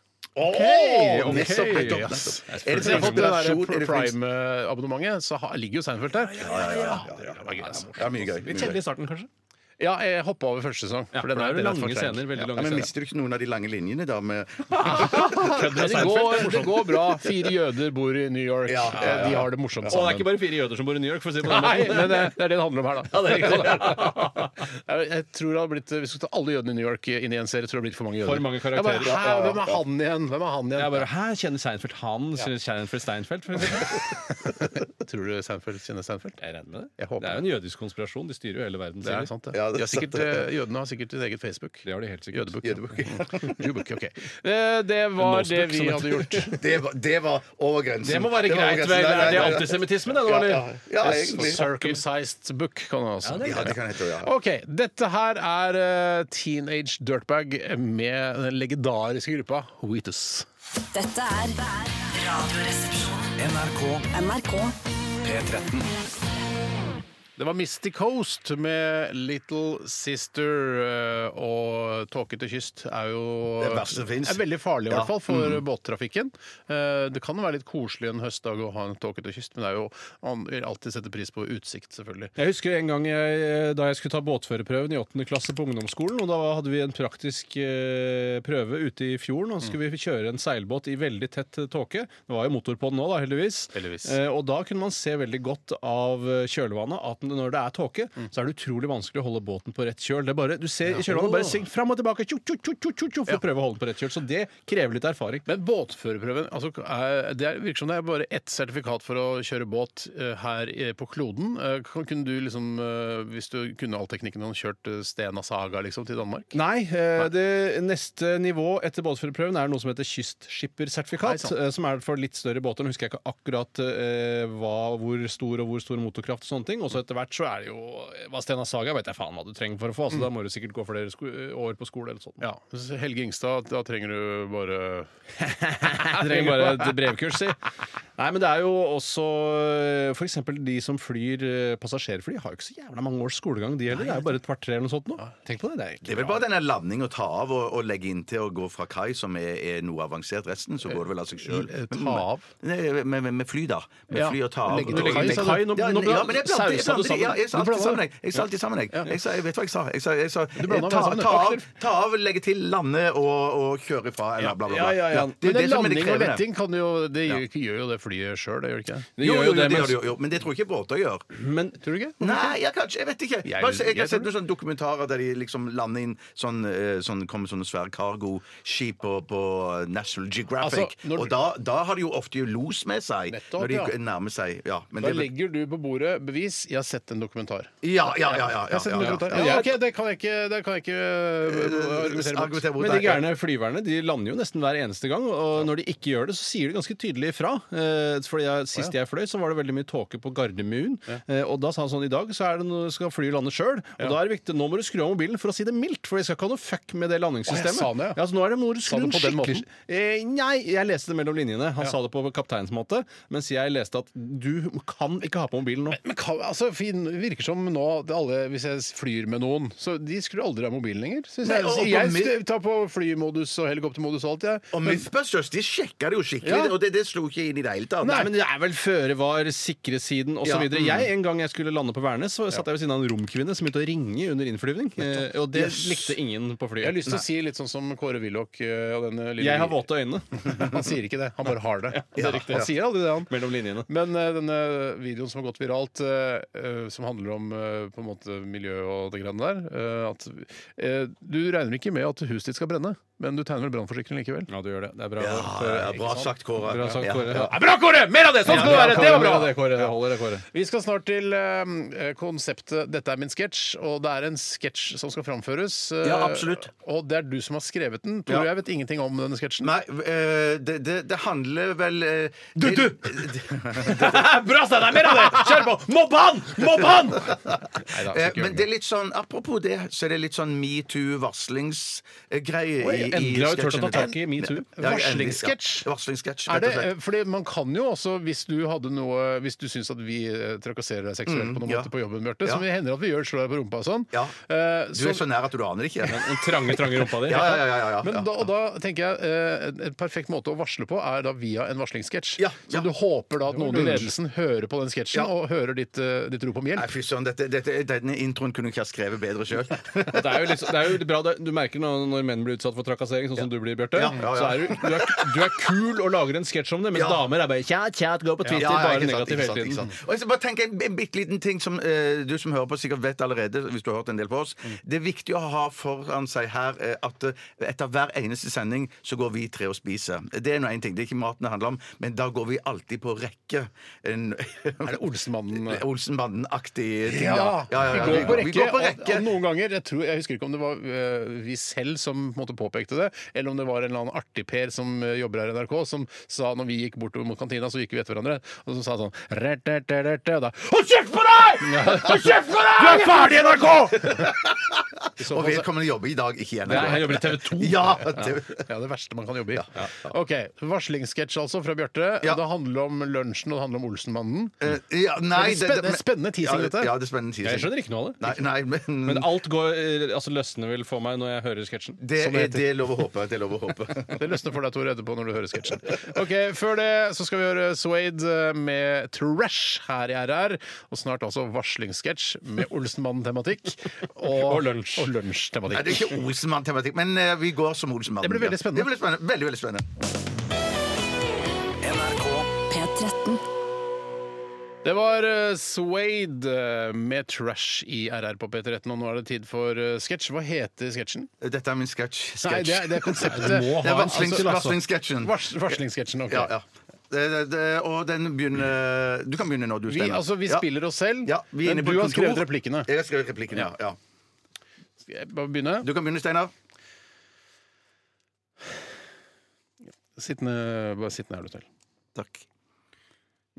F: Hey, ok,
G: Nettopp, nettopp,
F: ass.
G: nettopp.
F: Jeg
G: Er det
E: Så jeg har fått
G: for
E: det
G: inspirasjon? Er
E: der
G: det for ins-
E: Prime-abonnementet, så har- ligger jo Seinfeld der. Ja, ja, ja.
G: Ja, mye gøy.
F: Litt
G: mye gøy.
F: kjedelig i starten, kanskje?
E: altså. Ja, jeg hoppa over første sesong.
F: Ja, for
E: den
F: det er jo
E: den
F: lange
E: for klein.
F: scener. Veldig
E: Ja.
F: lange
G: Ja, men
F: scener.
G: mister du ikke noen av de lange linjene, da? Med
E: Nei, det, går, det går bra. Fire jøder bor i New York.
G: Ja, ja, ja.
E: Eh, De har det morsomt
F: Og det er ikke
E: sammen.
F: bare fire jøder som bor i New York, for å si det på den
E: Nei,
F: måten.
E: men eh, det er det det handler om her, da.
F: Ja, det er riktig.
E: Jeg jeg tror det hadde blitt Hvis vi skulle ta alle jødene i New York inn i en serie, tror jeg det hadde blitt for mange jøder.
F: For mange
E: Jeg bare,
F: karakterer.
E: Hæ, hvem er han igjen? Hvem er han
F: Jeg
E: igjen?
F: bare, Hæ, kjenner Seinfeld han? Kjenner Seinfeld Steinfeld? For eksempel?
E: Tror du Seinfeld kjenner Seinfeld?
F: jeg regner med det.
E: Jeg håper
F: Det er jo en jødisk konspirasjon. De styrer jo hele verden.
E: Det
F: sier de.
E: er sant, det.
G: Ja,
E: De
G: det er
E: har sikkert,
G: sant, det.
E: eh, jødene har sikkert sitt eget Facebook.
F: Det har de helt sikkert.
E: Jødebukk.
G: Jødebukk.
E: Jødebukk, ok. Eh, Det var det
F: Nosebukk,
E: vi
F: som
E: hadde gjort.
G: det, var, det var over grensen.
F: Det må være
G: var over
F: greit,
G: grensen.
F: vel?
G: Nei,
F: Er
G: nei,
F: det
G: nei, nei.
F: antisemittisme, det, nå,
G: Ja, ja,
F: eller?
G: ja, egentlig.
E: Circumcised book kan det også.
G: Ja, det kan hete det, ja.
E: Ok, dette her er eh, Teenage Dirtbag med den legendariske gruppa Wheatus.
A: Dette er Radioresepsjonen.
D: NRK
A: NRK.
D: P13.
E: Det var Misty Coast med Little Sister eh, og tåkete kyst er jo
G: Det verste som finnes.
E: er veldig farlig i
G: Ja. Mm.
E: hvert fall for båttrafikken. Eh, Det kan være litt koselig en høstdag å ha en tåkete kyst, men det er jo man vil alltid sette pris på utsikt, selvfølgelig.
F: Jeg husker en gang jeg, eh, da jeg skulle ta båtførerprøven i 8. klasse på ungdomsskolen. og Da hadde vi en praktisk eh, prøve ute i fjorden. og Så
E: Mm.
F: skulle vi kjøre en seilbåt i veldig tett eh, tåke. Det var jo motor på den nå, da, heldigvis.
E: Heldigvis.
F: Eh, og da kunne man se veldig godt av eh, kjølvannet at når det er tåke,
E: Mm.
F: så er det utrolig vanskelig å holde båten på rett kjøl. Det er bare, du ser i kjølvannet bare sving fram og tilbake tjo, tjo, tjo, tjo, tjo, tjo, for å prøve å holde den på rett kjøl. Så det krever litt erfaring.
E: Men båtførerprøven altså, er, Det er- virker som det er bare ett sertifikat for å kjøre båt eh, her i- på kloden. Eh, kan- Kunne du liksom, eh, hvis du kunne all teknikken, hadde kjørt eh, Stena Saga liksom, til Danmark?
F: Nei. eh, Det neste nivå etter båtførerprøven er noe som heter
E: Nei,
F: kystskippersertifikat.
E: sant.
F: eh, Som er for litt større båter. Nå husker jeg ikke akkurat eh, hva, hvor stor og hvor stor motorkraft og sånne ting. Og så etter hvert så er det jo eh, Hva Stena Saga vet jeg faen hva du trenger for å få. Altså, Da må du sikkert gå flere sko eh, år på skole eller sånt.
E: Mm. Ja. så Helge Ingstad, da trenger du bare
F: Jeg trenger bare et brevkurs, si. Nei, men det er jo også f.eks. de som flyr eh, passasjerfly, har jo ikke så jævla mange års skolegang, de heller. Det er jo bare et par-tre eller noe sånt nå. Tenk på det. Det er,
G: Det
F: ikke
G: er vel bare denne landing å ta av og, og legge inntil og gå fra kai som er, er noe avansert. Resten så går det vel av seg sjøl.
E: Eh, ta av?
G: Med, med, med fly, da. Med
E: Ja.
G: fly og ta av.
E: Legge
G: og-
E: til kai,
G: og-
E: sa du?
G: Ja,
F: Nå-
G: ja,
F: nå
G: men
F: blandet-
G: jeg blander- jeg
F: sausa du
G: blander-
F: sammen?
G: ja, jeg sa
E: Du blander
G: alltid sammen. jeg. Jeg sa alltid sammen, jeg. Jeg sa- Jeg vet hva jeg sa. Jeg sa, jeg sa
E: blander
G: eh,
E: meg
G: ta,
E: sammen,
G: ta,
E: ja.
G: av, ta av, legge til, lande og, og kjøre fra, eller bla, bla,
F: Ja,
G: bla.
F: ja, ja.
G: Det er jo
E: Men
G: det som er det
E: landing og
G: krevende.
E: letting kan jo, det gjør, gjør jo det flyet sjøl, det gjør det ikke?
F: Det
G: Jo,
F: gjør
G: jo, jo, det
F: men-
G: gjør det jo, jo. Men det tror jeg ikke båter gjør.
F: Men
E: Tror du ikke?
G: Nei, jeg, kanskje, jeg vet ikke.
E: Jeg-
G: Bare, se- jeg,
E: jeg
G: har sett
E: tror
G: noen sånne dokumentarer der de liksom lander inn sånn, eh, sånn kommer sånne svære cargoskip på, på National Geographic.
E: Altså, når du-
G: Og da, da har de jo ofte jo los med seg
E: Nettopp,
G: når de
E: ja.
G: nærmer seg. Ja, men
E: Da
G: det, er vel-
E: legger du på bordet bevis. Jeg har sett en dokumentar.
G: ja, ja, ja. ja,
E: Jeg har sett en
G: ja, ja,
E: dokumentar.
G: ja. Eh,
E: Ja, ok, det kan jeg ikke, det kan jeg ikke øh, argumentere mot.
G: Argumentere mot
F: Men de
G: det.
F: gærne flyverne de lander jo nesten hver eneste gang, og når de ikke gjør det, så sier de ganske tydelig ifra. Eh, Fordi jeg, Sist jeg fløy, så var det veldig mye tåke på Gardermoen, Eh, og da sa han sånn I dag så er det noe, skal flyet lande sjøl, og da er det viktig Nå må du skru av mobilen for å si det mildt, for vi skal ikke ha noe fuck med
E: Å,
F: det
E: jeg
F: landingssystemet.
E: sa det, ja.
F: så nå er det, må du
E: Sa du
F: skru den
E: på den
F: skikkelig
E: måten?
F: eh, Nei, jeg leste det mellom linjene. Han sa det på kapteinsmåte, mens jeg leste at du kan ikke ha på mobilen nå.
E: Men kan, altså, fin, virker som nå at alle, Hvis jeg flyr med noen Så De skrur aldri av mobilen lenger. Synes
G: Nei,
E: jeg
G: og- og på
E: jeg
G: mi-
E: sk- tar på flymodus og helikoptermodus og alt, jeg.
G: Og Mythbusters de sjekka det jo skikkelig,
E: Ja.
G: og det, det slo ikke inn i det hele tatt.
F: Nei, men det er vel føre var, sikre siden osv.
G: Ja,
F: videre
G: mm.
F: Jeg, En gang jeg skulle lande på Værnes, så satt jeg ved siden av en romkvinne som begynte å ringe under innflyvning. eh, Og det
G: Yes.
F: likte ingen på
E: Jeg har
F: flyet.
E: lyst til å si litt sånn som Kåre Willoch øh, og denne lille
F: Jeg har våte øyne
E: Han sier ikke det. Han bare har det.
G: er riktig.
E: Han sier aldri det, han.
F: mellom linjene.
E: Men eh, denne videoen som har gått viralt, eh, eh, som handler om eh, på en måte miljø og det greiene der eh, at, eh, Du regner ikke med at huset ditt skal brenne, men du tegner vel brannforsikring likevel?
F: Ja, du gjør det. Det er bra.
G: Ja, ja, bra sagt, Kåre.
F: Bra sagt,
G: Ja,
F: Kåre.
G: ja.
F: Ja,
E: Bra, Kåre! Mer av det! Sånn skal det være! Det var bra!
F: Det, Kåre. Det holder, det, Kåre.
E: Vi skal snart til eh, konseptet 'Dette er min sketsj', og det er en sketsj som skal framføres. eh,
G: Ja, absolutt.
E: Og det er du som har skrevet den. Tore,
G: Ja.
E: jeg vet ingenting om denne sketsjen.
G: Nei, eh, det, det, det handler vel eh,
E: Du,
G: det-
E: du!
F: Bra, Steinar! Mer av det! Kjør på! Mobb han! Mobb han!
E: Nei da,
G: Eh, men det er litt sånn, apropos det, så er det litt sånn metoo-varslingsgreie i, i
F: Endelig har vi tørt å ta
G: sketsjen
F: tak i metoo.
G: Ja, jeg er enig.
E: Varslingssketsj.
G: Ja, Varslingssketsj,
E: Er
G: rett
E: det, eh,
G: og
F: eh,
G: slett.
E: fordi man kan jo også, hvis du hadde noe Hvis du syns at vi eh, trakasserer deg seksuelt på noen
G: Mm, ja.
E: måte på jobben, Bjarte,
G: Ja.
E: som det hender at vi gjør, slår deg på rumpa og sånn
G: Ja.
E: eh,
G: Du er så nær at du aner det ikke.
F: Den trange, trange rumpa di.
G: Ja, ja, ja, ja, ja,
E: Men
G: ja.
E: da, og da tenker jeg eh, en- En perfekt måte å varsle på er da via en varslingssketsj.
G: Ja, ja.
E: Så du håper da at noen i ledelsen hører på den sketsjen og hører ditt, eh, ditt rop om
G: Nei,
E: hjelp.
G: fy søren, dette, dette, denne introen kunne jeg ikke ha skrevet bedre sjøl.
F: Og Det er jo, litt, det er jo bra, det- Du merker når, når menn blir utsatt for trakassering, sånn som du blir, Bjarte.
G: Ja, ja, ja.
F: Så er du, du, er, du er kul og lager en sketsj om det, mens
G: Ja.
F: damer er bare tja, tja, gå på Twitter, bare negativ hele tiden.
G: Og jeg skal bare tenke en, en bitte liten ting som eh, du som hører på, sikkert vet allerede. hvis du har hørt en del på oss.
E: Mm.
G: Det er viktig å ha foran seg her eh, at eh, etter hver eneste sending så går vi tre og spiser. Det er nå én ting. Det er ikke maten det handler om, men da går vi alltid på rekke. En,
E: Er det Olsenmannen?
G: Olsenbanden-aktig ting,
E: Ja,
G: da.
E: Vi går på rekke.
G: Vi går på
E: Og,
G: rekke.
E: og noen ganger, jeg, tror, jeg husker ikke om det var eh, vi selv som på en måte påpekte det, eller om det var en eller annen artig-Per som eh, jobber her i NRK, som sa når vi gikk bortover mot kantina, så gikk vi etter hverandre, og som sa sånn «Rett-rett-rett-rett», og da, Hold kjeft på deg! Hold kjeft på deg! Du er ferdig i NRK! I så
G: Og
E: fall så-
G: vedkommende jobber i dag ikke igjen.
F: Ja, jeg jobber i TV 2.
G: Ja, det,
E: Ja, det verste man kan jobbe i. Ok, Varslingssketsj altså fra Bjarte.
G: Ja.
E: Det handler om lunsjen og det handler om Olsenmannen.
G: Eh, ja, nei,
E: Det er spennende- spennende teasing,
G: ja,
E: dette.
G: Ja, det er spennende teasing.
F: Jeg skjønner ikke noe av det.
G: Nei, nei, men,
F: Men alt går, eh, altså løsner vel for meg når jeg hører sketsjen.
G: det,
E: som
G: er,
E: det heter.
G: det er lov å håpe. Det er lov å håpe.
E: Det løsner for deg, Tore, etterpå når du hører sketsjen. Ok, Før det så skal vi gjøre Swade med Trash her i RR. Og snart altså varslingssketsj med Olsenmannen-tematikk.
F: Og lunsj.
E: Og
G: Nei, det
E: lunsjtematikk.
G: er ikke Olsenmann-tematikk, men eh, vi går som Olsenmann.
E: Det blir veldig
G: Ja.
E: spennende.
G: Det blir spennende. Veldig, veldig spennende.
D: NRK
A: P13.
E: Det var eh, Swade eh, med Trash i RR på P13, og nå er det tid for eh, sketsj. Hva heter sketsjen?
G: Dette er min sketsj.
E: Nei,
G: Sketsj.
E: det er, det er konseptet.
F: Nei, du må
G: Det er
F: ha en
G: varslings,
E: altså-
G: varslingssketsjen.
E: Vars, varslingssketsjen, ok.
G: Ja, ja. Det, det, det, og den begynner Du kan begynne når du
E: Vi,
G: stemmer.
E: altså, vi spiller oss selv,
G: ja, vi er
E: men
G: inne på
E: du har
G: kontor.
E: skrevet replikkene.
G: Jeg har skrevet replikkene, ja. ja.
E: Skal jeg bare begynne?
G: Du kan begynne, Steinar.
E: Sittende, bare sittende er du til.
G: Takk.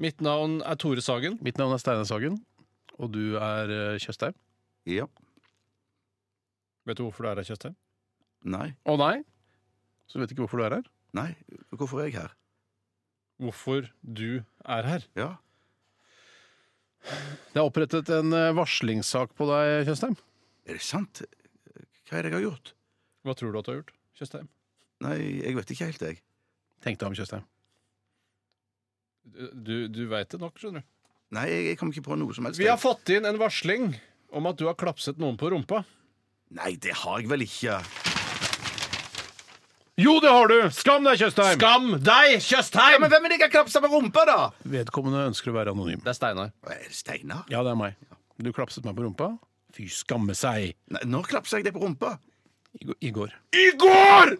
F: Mitt navn er Tore Sagen.
E: Mitt navn er Steinar Sagen, og du er eh, Tjøstheim.
G: Ja.
F: Vet du hvorfor du er her, Tjøstheim?
G: Nei.
E: Å nei? Så du vet ikke hvorfor du er her?
G: Nei. Hvorfor er jeg her?
F: Hvorfor du er her?
G: Ja.
E: Det er opprettet en eh, varslingssak på deg, Tjøstheim.
G: Er det sant? Hva er det jeg har gjort?
F: Hva tror du at du har gjort, Tjøstheim?
G: Nei, jeg vet ikke helt, jeg.
E: Tenk deg om, Tjøstheim.
F: Du, du veit det nok, skjønner du.
G: Nei, jeg, jeg kom ikke på noe som helst.
F: Vi har fått inn en varsling om at du har klapset noen på rumpa.
G: Nei, det har jeg vel ikke.
E: Jo, det har du! Skam deg, Tjøstheim!
F: Skam deg, Tjøstheim!
G: Men hvem er det jeg har klapsa med rumpa, da?
E: Vedkommende ønsker å være anonym.
F: Det er Steinar.
G: Er det Steinar?
E: Ja, det er meg. Du klapset meg på rumpa. Fy skamme seg!
G: Nei, Når klapsa jeg deg på rumpa?
E: I, går- i går.
G: I går!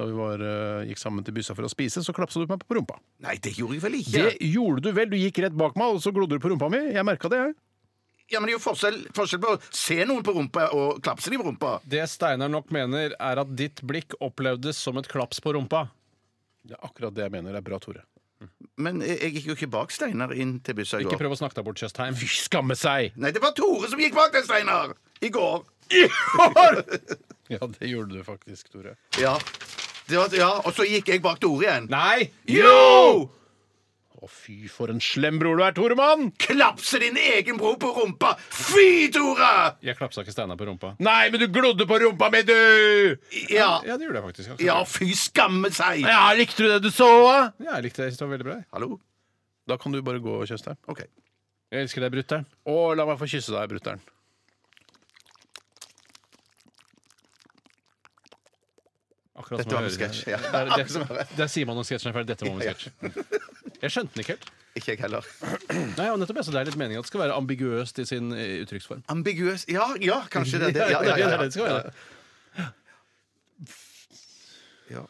E: Da vi var, eh, gikk sammen til byssa for å spise, så klapset du meg på rumpa.
G: Nei, det gjorde jeg vel ikke.
E: Det gjorde du vel. Du gikk rett bak meg, og så glodde du på rumpa mi. Jeg merka det, jeg.
G: Ja, men det er jo forskjell, forskjell på å se noen på rumpa og klapse dem på rumpa.
F: Det Steinar nok mener, er at ditt blikk opplevdes som et klaps på rumpa.
E: Det er akkurat det jeg mener. Det er bra, Tore.
G: Men jeg, jeg gikk jo ikke bak Steinar inn til byssa i
F: Ikke
G: går.
F: prøv å snakke deg bort, Tjøstheim.
E: Fy, skamme seg!
G: Nei, det var Tore som gikk bak deg, Steinar! I går.
E: Ja, det gjorde du faktisk, Tore.
G: Ja. Det var, ja, Og så gikk jeg bak Tore igjen.
F: Nei!
G: Jo!
E: Å, fy, for en slem bror du er, Toremann!
G: Klapse din egen bror på rumpa! Fy, Tore!
F: Jeg klapsa ikke Steinar på rumpa.
E: Nei, men du glodde på rumpa mi, du!
G: Ja,
F: Ja, det gjorde jeg faktisk. akkurat.
G: ja fy skamme seg!
E: Ja, likte du det du så?
F: Ja, jeg likte det. Jeg synes det var veldig bra. jeg.
G: Hallo?
E: Da kan du bare gå, Tjøstheim.
G: OK.
F: Jeg elsker deg, brutter'n.
E: Og la meg få kysse deg, brutter'n.
F: Akkurat
G: Dette var en
F: jeg hører-
G: sketsj. Ja.
F: Der, der, der sier man når sketsjen er ferdig. Dette var en sketsj. Jeg skjønte den ikke helt.
G: Ikke jeg heller.
F: Nei, og nettopp, jeg, så Det er litt meningen at det skal være ambiguøst i sin eh, uttrykksform.
G: Ambiguøs Ja, ja, kanskje det er det. Ja,
F: Det
G: ja,
F: er
G: ja,
F: det det skal være.
G: ja.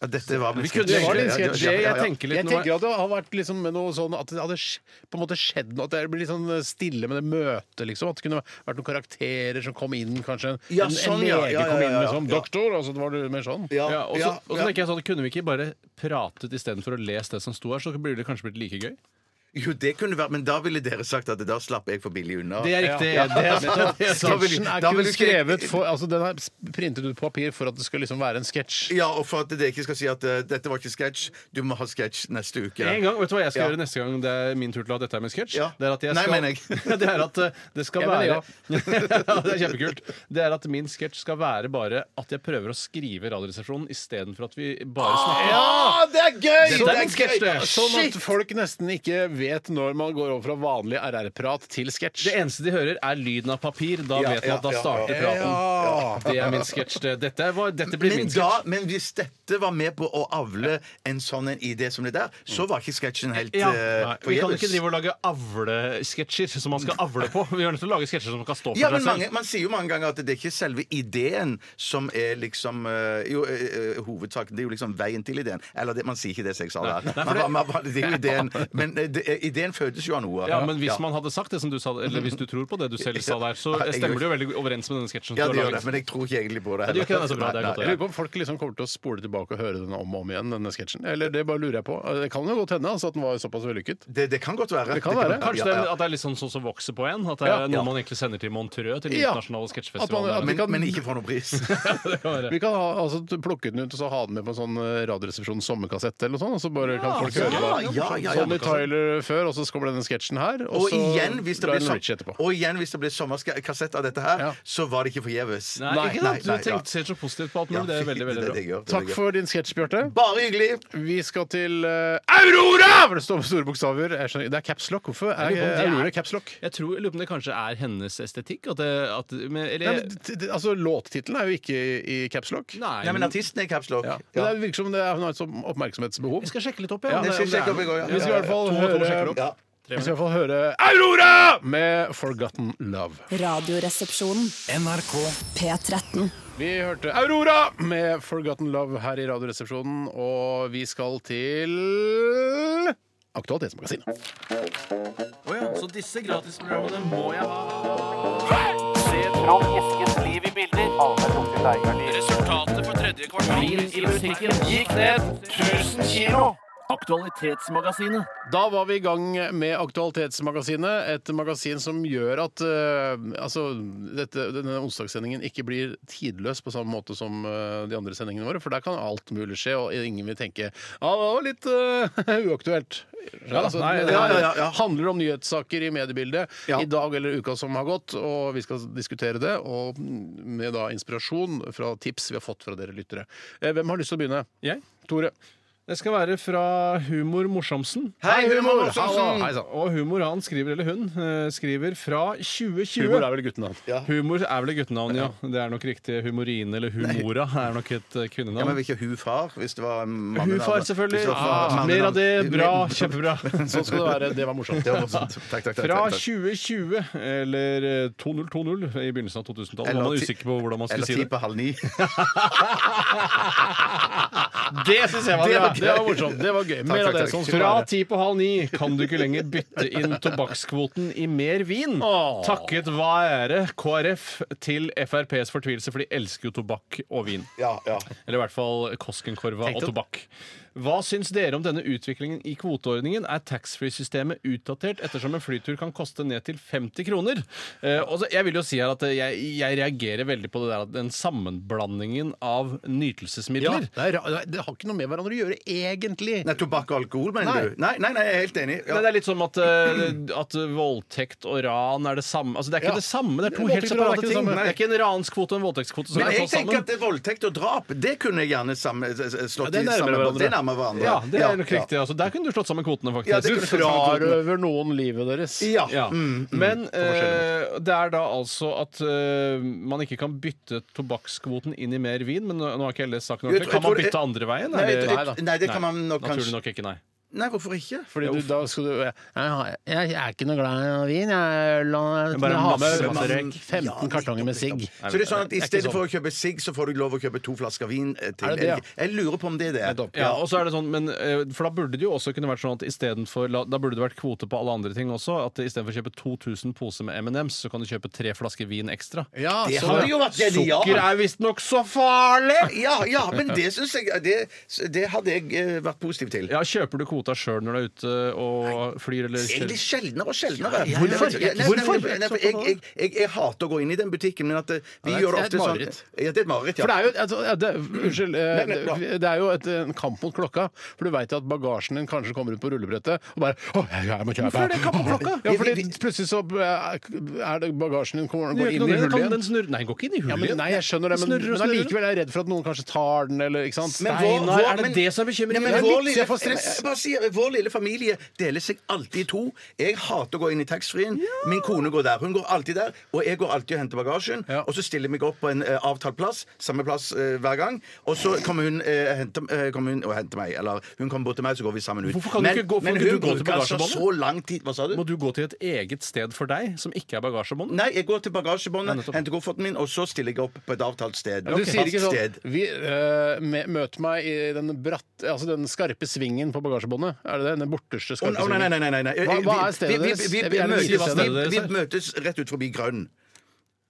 G: Ja, Dette var min
F: Vi kunne- det var din sketsj.
G: Ja, ja, ja,
F: Jeg
G: ja.
F: tenker litt
E: Jeg
F: nå
E: tenker at det har vært liksom med noe sånn At det hadde sk- på en måte skjedd noe. At det blir litt sånn stille med det møtet, liksom. At det kunne vært noen karakterer som kom inn, kanskje. En,
G: Ja, sånn,
E: en
G: ja,
E: lege
G: ja, ja,
E: kom inn
G: ja, ja.
E: liksom, doktor, og så var det mer sånn.
G: Ja,
F: Ja, og så
G: ja,
F: og så
G: ja.
F: tenker jeg sånn, Kunne vi ikke bare pratet istedenfor å lese det som sto her? Så blir det kanskje blitt like gøy?
G: Jo, det kunne vært, men da ville dere sagt at da slapp jeg for billig unna.
F: Det er riktig.
E: Ja.
F: Det er sant.
E: Men Sketsjen er
G: da vil
E: kun
G: ikke-
E: skrevet for Altså, den er printet ut på papir for at det skal liksom være en sketsj.
G: Ja, og for at dere ikke skal si at eh, dette var ikke sketsj, du må ha sketsj neste uke.
F: En gang, vet du hva jeg skal
G: Ja.
F: gjøre neste gang det er min tur til å ha dette her med sketsj?
G: Ja.
F: Det er at jeg
G: Nei,
F: skal,
G: mener jeg.
F: det er at eh, det skal
E: Jeg
F: være
E: mener
F: ja, Det er kjempekult. Det er at min sketsj skal være bare at jeg prøver å skrive Radioresepsjonen istedenfor at vi bare snakker.
G: Ah!
E: Ja, det er gøy!
F: Dette Ah, er en sketsj, det.
E: Sånn at folk nesten ikke vet når man går over fra vanlig RR-prat til
F: Det
E: sketsj.
F: eneste de hører, er lyden av papir. Da
G: Ja,
F: vet man at da
G: ja, ja,
F: starter
G: ja.
F: praten. Det er min sketsj. det. Dette, var, dette blir
G: Men,
F: min sketsj.
G: da, men hvis dette var med på å avle en sånn en idé som det der, så var ikke sketsjen helt
F: Ja.
G: eh,
F: Nei, vi kan
G: forgjeves.
F: ikke drive og lage avlesketsjer som man skal avle på. Vi er nødt til å lage sketsjer som kan stå for
G: Ja, men
F: seg selv.
G: mange, Man sier jo mange ganger at det er ikke selve ideen som er liksom eh, Jo, eh, eh, hovedsaken. Det er jo liksom veien til ideen. Eller det, man sier ikke det, som jeg sa der. Man, man, man, det er jo ideen. Men eh, det, eh, ideen fødes jo av noe.
F: Ja, men hvis man hadde sagt det som du sa, eller hvis du tror på det du selv sa der, så
G: Nei, jeg
F: stemmer
G: gjør
F: det jo veldig overens med denne sketsjen.
G: Ja,
F: som
G: det
F: du har
G: gjør det,
F: laget.
G: men jeg tror ikke egentlig på det.
F: det gjør ikke det, det
G: heller.
F: er så bra, det er
G: Nei,
F: godt å
G: nei.
E: Jeg lurer på om folk liksom kommer til å spole tilbake og høre den om og om igjen. denne sketsjen Eller det bare lurer jeg på. Det kan jo godt hende altså, at den var såpass vellykket.
G: Det, det kan godt være.
E: Det kan være.
F: Kanskje
G: Ja,
F: det
G: ja.
F: er, at det er litt sånn sånn som vokser på en? At det
E: Ja.
F: er noe man egentlig sender til Montreux, til den
E: Ja. At
F: internasjonale
E: man-
F: sketsjfestivalen.
E: at
F: der.
G: Men, men ikke for noen pris.
F: Det kan være.
E: Vi kan ha, altså, plukke den ut og så ha den med på en sånn eh, Radioresepsjonens sommerkassett eller noe sånt. Og så bare kan folk høre hva
G: ja, ja, ja.
E: Sonny Tyler før, og så kommer denne sketsjen her.
G: Og,
E: så
G: igjen, hvis det blir sånn-
E: Lionel
G: som-
E: Richie etterpå.
G: og igjen hvis det blir sommerkassett av dette her,
E: Ja.
G: så var det ikke forgjeves.
F: Nei, ikke sant? Du tenkte ser så positivt på alt mulig. Det er veldig, veldig bra.
E: Takk for din sketsj, Bjarte.
G: Bare hyggelig!
E: Vi skal til eh, Aurora! For det står med store bokstaver. Jeg skjønner, ikke- det er caps lock. Hvorfor er
F: lurer på om
E: eh,
F: det er-
E: Aurora caps lock?
F: Jeg tror jeg lurer på om det kanskje er hennes estetikk. At det, at, men,
E: Nei,
F: eller,
E: men, t- t- altså, Låttittelen er jo ikke i, i caps lock.
G: Nei,
F: Mm.
G: men artisten er i caps lock.
E: Ja.
G: Ja.
E: Men det virker som det er, hun har et sånt oppmerksomhetsbehov.
F: Vi skal sjekke litt opp,
E: Ja,
F: ja. om
G: Jeg skal
F: om
G: sjekke
F: er
G: opp i går, ja.
E: Vi skal i hvert fall
F: To og to sjekker
E: høre
F: opp.
G: Ja.
E: vi skal i hvert fall høre Aurora med 'Forgotten Love'.
A: Radioresepsjonen.
D: NRK
A: P13.
E: Vi hørte Aurora med 'Forgotten Love' her i Radioresepsjonen, og vi skal til Aktualitetsmagasinet.
C: Så disse gratisprogrammene må jeg ha. Resultatet for tredje kvartal i musikken gikk ned 1000 kilo. Aktualitetsmagasinet.
E: Da var vi i gang med Aktualitetsmagasinet, et magasin som gjør at eh, altså, dette, denne onsdagssendingen ikke blir tidløs på samme måte som eh, de andre sendingene våre, for der kan alt mulig skje, og ingen vil tenke ja, det var litt eh, uaktuelt. Altså,
F: nei,
E: det
G: ja, ja, ja.
E: handler om nyhetssaker i mediebildet
G: Ja.
E: i dag eller uka som har gått, og vi skal diskutere det, og med da inspirasjon fra tips vi har fått fra dere lyttere. Eh, Hvem har lyst til å begynne?
F: Jeg?
E: Tore.
F: Det skal være fra Humor Morsamsen.
G: Hei, humor!
E: Hallo.
G: Mortensen!
E: Hei sann.
F: Og Humor han skriver, eller hun, eh, skriver fra 2020.
E: Humor er vel guttenavn?
F: Humor er vel et guttenavn, ja. Det er nok riktig. Humorine eller Humora er nok et eh,
G: Ja, men
F: kvinnenavn.
G: ikke hufar, hvis det var mannenavn.
F: Hufar, selvfølgelig.
G: Hvis det var
F: Ah,
G: mannenavn.
F: mer av det. Bra. Kjempebra.
E: Sånn skal det være. Det var morsomt.
G: Det var morsomt. Takk, takk, takk, takk,
F: Fra
G: takk.
F: 2020, eller eh, 2020 i begynnelsen av 2000-tallet, var
G: Eller
F: man
G: ti-
F: usikker på hvordan man skulle
G: Eller
F: si
G: ti
F: det.
G: på halv ni.
F: Det syns jeg
E: Det var,
F: bra.
E: det var morsomt. Det var gøy. Mer
G: takk,
E: av det.
G: takk.
E: Sånn skal det
F: Fra
E: være.
F: ti på halv ni kan du ikke lenger bytte inn tobakkskvoten i mer vin.
E: Åh.
F: Takket være KrF til FrPs fortvilelse, for de elsker jo tobakk og vin.
G: Ja, ja.
F: Eller i hvert fall Koskenkorva og
E: Tenkte-
F: tobakk. Hva syns dere om denne utviklingen i kvoteordningen? Er taxfree-systemet utdatert ettersom en flytur kan koste ned til 50 kroner? Eh, og så, jeg vil jo si her at eh, jeg, jeg reagerer veldig på det der at den sammenblandingen av
E: Ja,
F: nytelsesmidler.
E: det, er, ra- det har ikke noe med hverandre å gjøre, egentlig.
G: Nei, tobakk og alkohol, mener
E: Nei.
G: du? Nei, nei, nei, jeg er helt enig. Ja.
F: Nei, det er litt som at, eh, at voldtekt og ran er det samme. Altså, det er ikke
E: Ja.
F: det samme. Det er to
E: Voldtekt
F: helt
E: og ran er ikke
F: separate
E: det
F: ting.
E: samme.
F: Det er ikke en ranskvote og en voldtektskvote som
G: Men
F: er
G: jeg
F: slått
G: tenker
F: sammen.
G: at det er voldtekt og drap det kunne jeg gjerne sammen, s- s- slått
E: det er
G: i
E: nærmere
G: sammen.
E: hverandre.
G: Det er nærmere hverandre.
F: Ja, det
G: Ja,
F: er nok
G: ja.
F: riktig. Altså, der kunne du slått sammen kvotene, faktisk.
G: Ja, det
E: Du
G: kunne
E: frarøver noen livet deres.
G: Ja. Mm.
F: Ja. Men eh, det er da altså at eh, man ikke kan bytte tobakkskvoten inn i mer vin. Men nå nå har ikke jeg lest saken
G: Jeg
F: ordentlig.
G: tror-
F: Kan man
G: jeg tror-
F: bytte andre veien?
G: Nei,
F: eller?
G: jeg- jeg- nei, det kan man nok
F: Naturlig
G: kanskje-
F: nok ikke, nei.
G: Nei, hvorfor ikke?
E: Fordi du, da skal du jeg, har- jeg er ikke noe glad i vin. Jeg, la, jeg
F: Bare
E: har
F: masse-
E: med
F: masse røyk.
E: 15 kartonger med sigg.
G: Så det er sånn at I
E: ikke
G: stedet
E: sånn.
G: for å kjøpe sigg, så får du lov å kjøpe to flasker vin eh, til.
E: Er det det, ja?
G: Jeg- Jeg lurer på om det er det.
E: Nettopp.
F: Ja, og så er det sånn, men, eh, for Da burde det jo også kunne vært sånn at i stedet for, la- da burde det vært kvote på alle andre ting også. At Istedenfor å kjøpe 2000 poser med M&M's, så kan du kjøpe tre flasker vin ekstra.
E: Ja,
G: Det
E: så,
G: hadde jo vært genialt!
F: Sukker er visstnok så farlig!
G: Ja, ja, men det syns jeg det, det hadde jeg eh, vært positiv til.
F: Ja, Kjøper du kvota sjøl når du er ute og flyr eller kjører?
G: Egentlig sjeldnere og sjeldnere.
F: ja, ja.
G: Nei, nei, nei,
F: Hvorfor?
G: nei, nei, for Jeg, jeg, jeg, jeg hater å gå inn i den butikken, men at eh, vi
E: Ja, det er-
G: gjør
E: det er et
G: ofte sånn
E: mareritt.
G: Ja, det er et mareritt.
E: For det
G: Ja.
E: er jo, altså, ja, det, unnskyld, eh,
G: Nei, nei, bra.
E: det- det er jo et, en kamp mot klokka. For du veit at bagasjen din kanskje kommer ut på rullebrettet og bare Å, jeg må kjøpe.
F: Hvorfor er det kamp mot klokka?
E: Ja, fordi
G: Vi- vi-
E: plutselig så eh, er det bagasjen din kommer,
F: Den
E: går
F: gjør ikke
E: inn
F: noe
E: i
F: med det. Kan
E: hullet
F: Den
E: igjen.
F: snurre? Nei, den går ikke inn i
E: Ja,
F: hullet.
E: men, nei, jeg skjønner det, men,
F: Den snurrer og
E: men
F: snurrer.
E: allikevel er jeg redd for at noen kanskje tar den, eller ikke sant?
G: Men
E: Nei,
G: vår-
F: Nei,
G: vår-
F: er det
G: men-
F: det som er
G: Nei,
F: bekymringen?
G: men
E: Det er
G: vår
E: litt-
G: lille-
E: jeg får stress.
G: Jeg- jeg bare sier, Vår lille familie deler seg alltid i to. Jeg hater å gå inn i taxfree-en. Min kone går der. Hun går alltid der. Og jeg går alltid og henter bagasjen.
E: Ja.
G: Og så stiller jeg meg opp på en eh, avtalt plass, samme plass eh, hver gang. Og så kommer hun, eh, henter, eh, kommer hun og henter meg. Eller hun kommer bort til meg, så går vi sammen ut.
F: Hvorfor kan du ikke gå-
G: men
F: hvorfor kan du
G: hun
F: gå til
G: bruker altså
F: bagasjebåndet?
G: så lang tid Hva sa du?
F: Må du gå til et eget sted for deg, som ikke er bagasjebånd?
G: Nei, jeg går til
F: Ja,
G: bagasjebåndet,
F: nettopp.
G: henter kofferten min, og så stiller jeg opp på et avtalt sted.
E: Du sier ikke
G: Fast
E: sånn
G: sted.
E: vi, eh, me- Møt meg i den, bratt, altså den skarpe svingen på bagasjebåndet. Er det det? Den borteste
G: Å,
E: skarpe
G: å, nei, nei,
E: svingen?
G: nei, nei, nei.
E: Hva- hva er stedet
G: Vi- vi-
E: deres?
G: Vi, vi,
E: Jeg
G: vi,
E: vil gjerne
G: møtes,
E: vite
G: vi,
E: hva stedet
G: vi,
F: deres er.
G: møtes rett ut forbi grønn.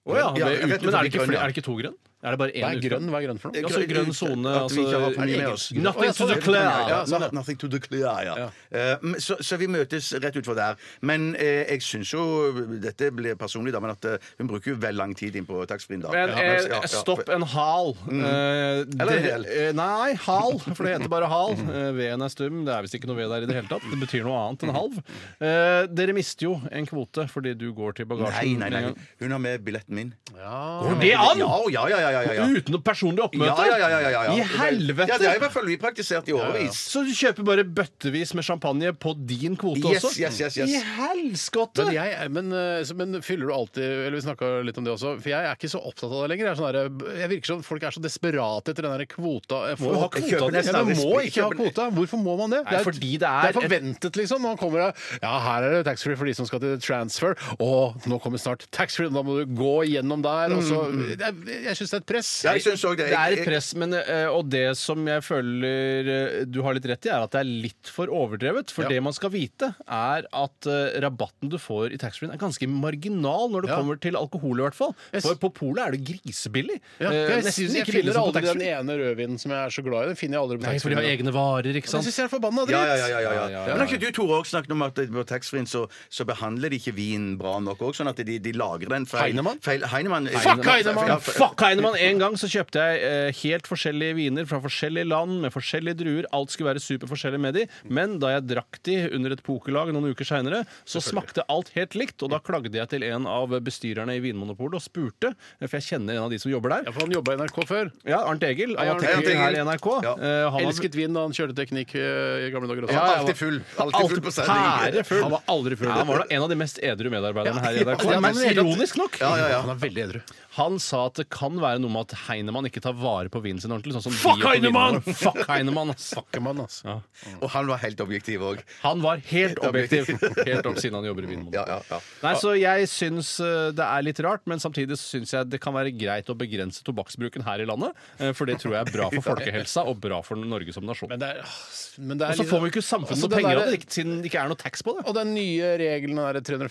F: Å ja,
G: Ja,
F: det er
G: rett
F: ut, men er det, ikke
G: utenfor
F: flere,
G: grønn, ja.
F: er det ikke to grønn? Er det bare
E: Hva
F: én
E: er
F: utgrønn?
E: grønn? Hva er grønn for noe?
F: Ja, altså grønn sone
G: At vi
F: altså,
G: ikke har for mye med oss.
F: Nothing to
E: Å, ja, sånn,
F: declare!
E: ja,
G: Ja,
E: sånn,
G: no- nothing to declare, ja. Eh, men så, så vi møtes rett utfor der. Men eh, jeg syns jo Dette blir personlig, da, men at eh, hun bruker jo vel lang tid inn på taxfree-en. da.
F: Men
G: Ja,
F: eh,
G: ja, ja.
F: stopp en hal. Eh, det-
G: Eller en hel. Mm.
F: eh, nei, hal, for det heter bare hal. Eh, Veden er stum. Det er visst ikke noe ved der i det hele tatt. Det betyr noe annet
G: Mm.
F: enn halv. Eh, dere mister jo en kvote fordi du går til
G: Nei,
F: bagasjen.
G: nei,
F: med
G: nei.
F: en gang.
G: Hun har med billetten min.
F: Går det an?!
G: Ja, ja, ja, ja, ja, ja.
F: Uten noe personlig oppmøte?
G: Ja, ja, ja, ja, ja, ja.
F: I helvete!
G: Ja, det har i hvert fall vi praktisert i årevis.
F: Så du kjøper bare bøttevis med champagne på din kvote
G: Yes,
F: også?
G: yes, yes, yes.
F: I helskotte!
E: Men, jeg, men, eh, så- men fyller du alltid Eller vi snakka litt om det også, for jeg er ikke så opptatt av det lenger. Jeg, er sånn der, jeg virker som folk er så desperate etter den der kvota. eh, Jeg
F: jo
E: jeg
F: ha kvota.
E: kjøper nesten
F: Ja, men
E: aldri
G: må
E: sprit.
G: ikke ha
E: Jeg kjøper- Hvorfor må man det?
F: Nei, fordi det er
E: det er forventet, liksom. Når man kommer og Ja, her er det taxfree for de som skal til transfer. Og nå kommer snart taxfree, og da må du gå gjennom der. Og så,
F: Mm.
E: jeg jeg syns det er et press.
G: Ja, jeg synes også det.
F: Det er
G: Jeg-
F: et press, men, eh, og det som jeg føler eh, du har litt rett i, er at det er litt for overdrevet. For
E: Ja.
F: det man skal vite, er at eh, rabatten du får i taxfree-en, er ganske marginal når det
E: Ja.
F: kommer til alkohol, i hvert fall.
E: Jeg s-
F: For på polet er det grisebillig.
E: Ja,
F: Eh,
E: for jeg,
F: nesten
E: synes, jeg
F: like
E: finner
F: billig som på
E: aldri den
F: taxfree.
E: ene rødvinen som jeg er så glad i. Den finner jeg aldri på
F: Nei, for
E: taxfree.
F: de har egne varer, ikke
E: Det
F: sant?
E: syns jeg er forbanna dritt.
G: Ja, ja, ja, ja, ja.
F: Ja, ja, ja.
G: Men har ikke du Tore, også snakket om at på taxfree-en så, så behandler de ikke vin bra nok òg? Sånn at de, de lagrer den feil.
E: Heinemann?
G: Feil, Heinemann
E: Fuck Heinemann!
G: Ja, fe-
F: Fuck Heinemann! En gang så kjøpte jeg eh, helt forskjellige viner fra forskjellige land med forskjellige druer. Alt skulle være superforskjellig med de, men da jeg drakk de under et pokerlag noen uker seinere, så smakte alt helt likt. Og da klagde jeg til en av bestyrerne i Vinmonopolet og spurte, eh, for jeg kjenner en av de som jobber
E: Ja,
F: der.
E: for han jobba i NRK før.
F: Ja, Arnt Egil. Han var
E: Hei, Arnt
F: tekniker her i
G: Egil.
F: NRK.
G: Ja.
F: Eh, han var-
E: Elsket vin da han kjørte teknikk eh, i gamle dager også.
F: Ja, ja,
G: Alltid full. Alltid full på sending.
F: pære full.
E: Han var aldri full.
F: Ja, han var da en av de mest edru medarbeiderne her i NRK.
E: det er
F: Men
E: man-
F: ironisk nok.
G: Ja, ja, ja.
E: Han er veldig edru.
F: Han sa at det kan være noe med at Heinemann ikke tar vare på vinen sin ordentlig. Sånn som
E: Fuck
F: vi gjør på
E: Heinemann!
F: vinen vår. Fuck Heinemann! ass.
E: Fuckermann, altså.
F: Ja.
G: Og han var helt objektiv òg.
F: Han var helt objektiv.
G: objektiv.
F: Helt opp siden han jobber i Vinmonopolet.
G: Ja, ja, ja.
F: Nei, så jeg syns eh, det er litt rart, men samtidig syns jeg det kan være greit å begrense tobakksbruken her i landet. eh, For det tror jeg er bra for folkehelsa og bra for Norge som nasjon.
E: Men det er, ah, men det er
F: Og så
E: litt-
F: får vi jo ikke samfunnet
E: Altså,
F: noe
E: det
F: penger
E: der-
F: av det, ikke- siden det ikke er noe tax på det.
E: Og den nye regelen,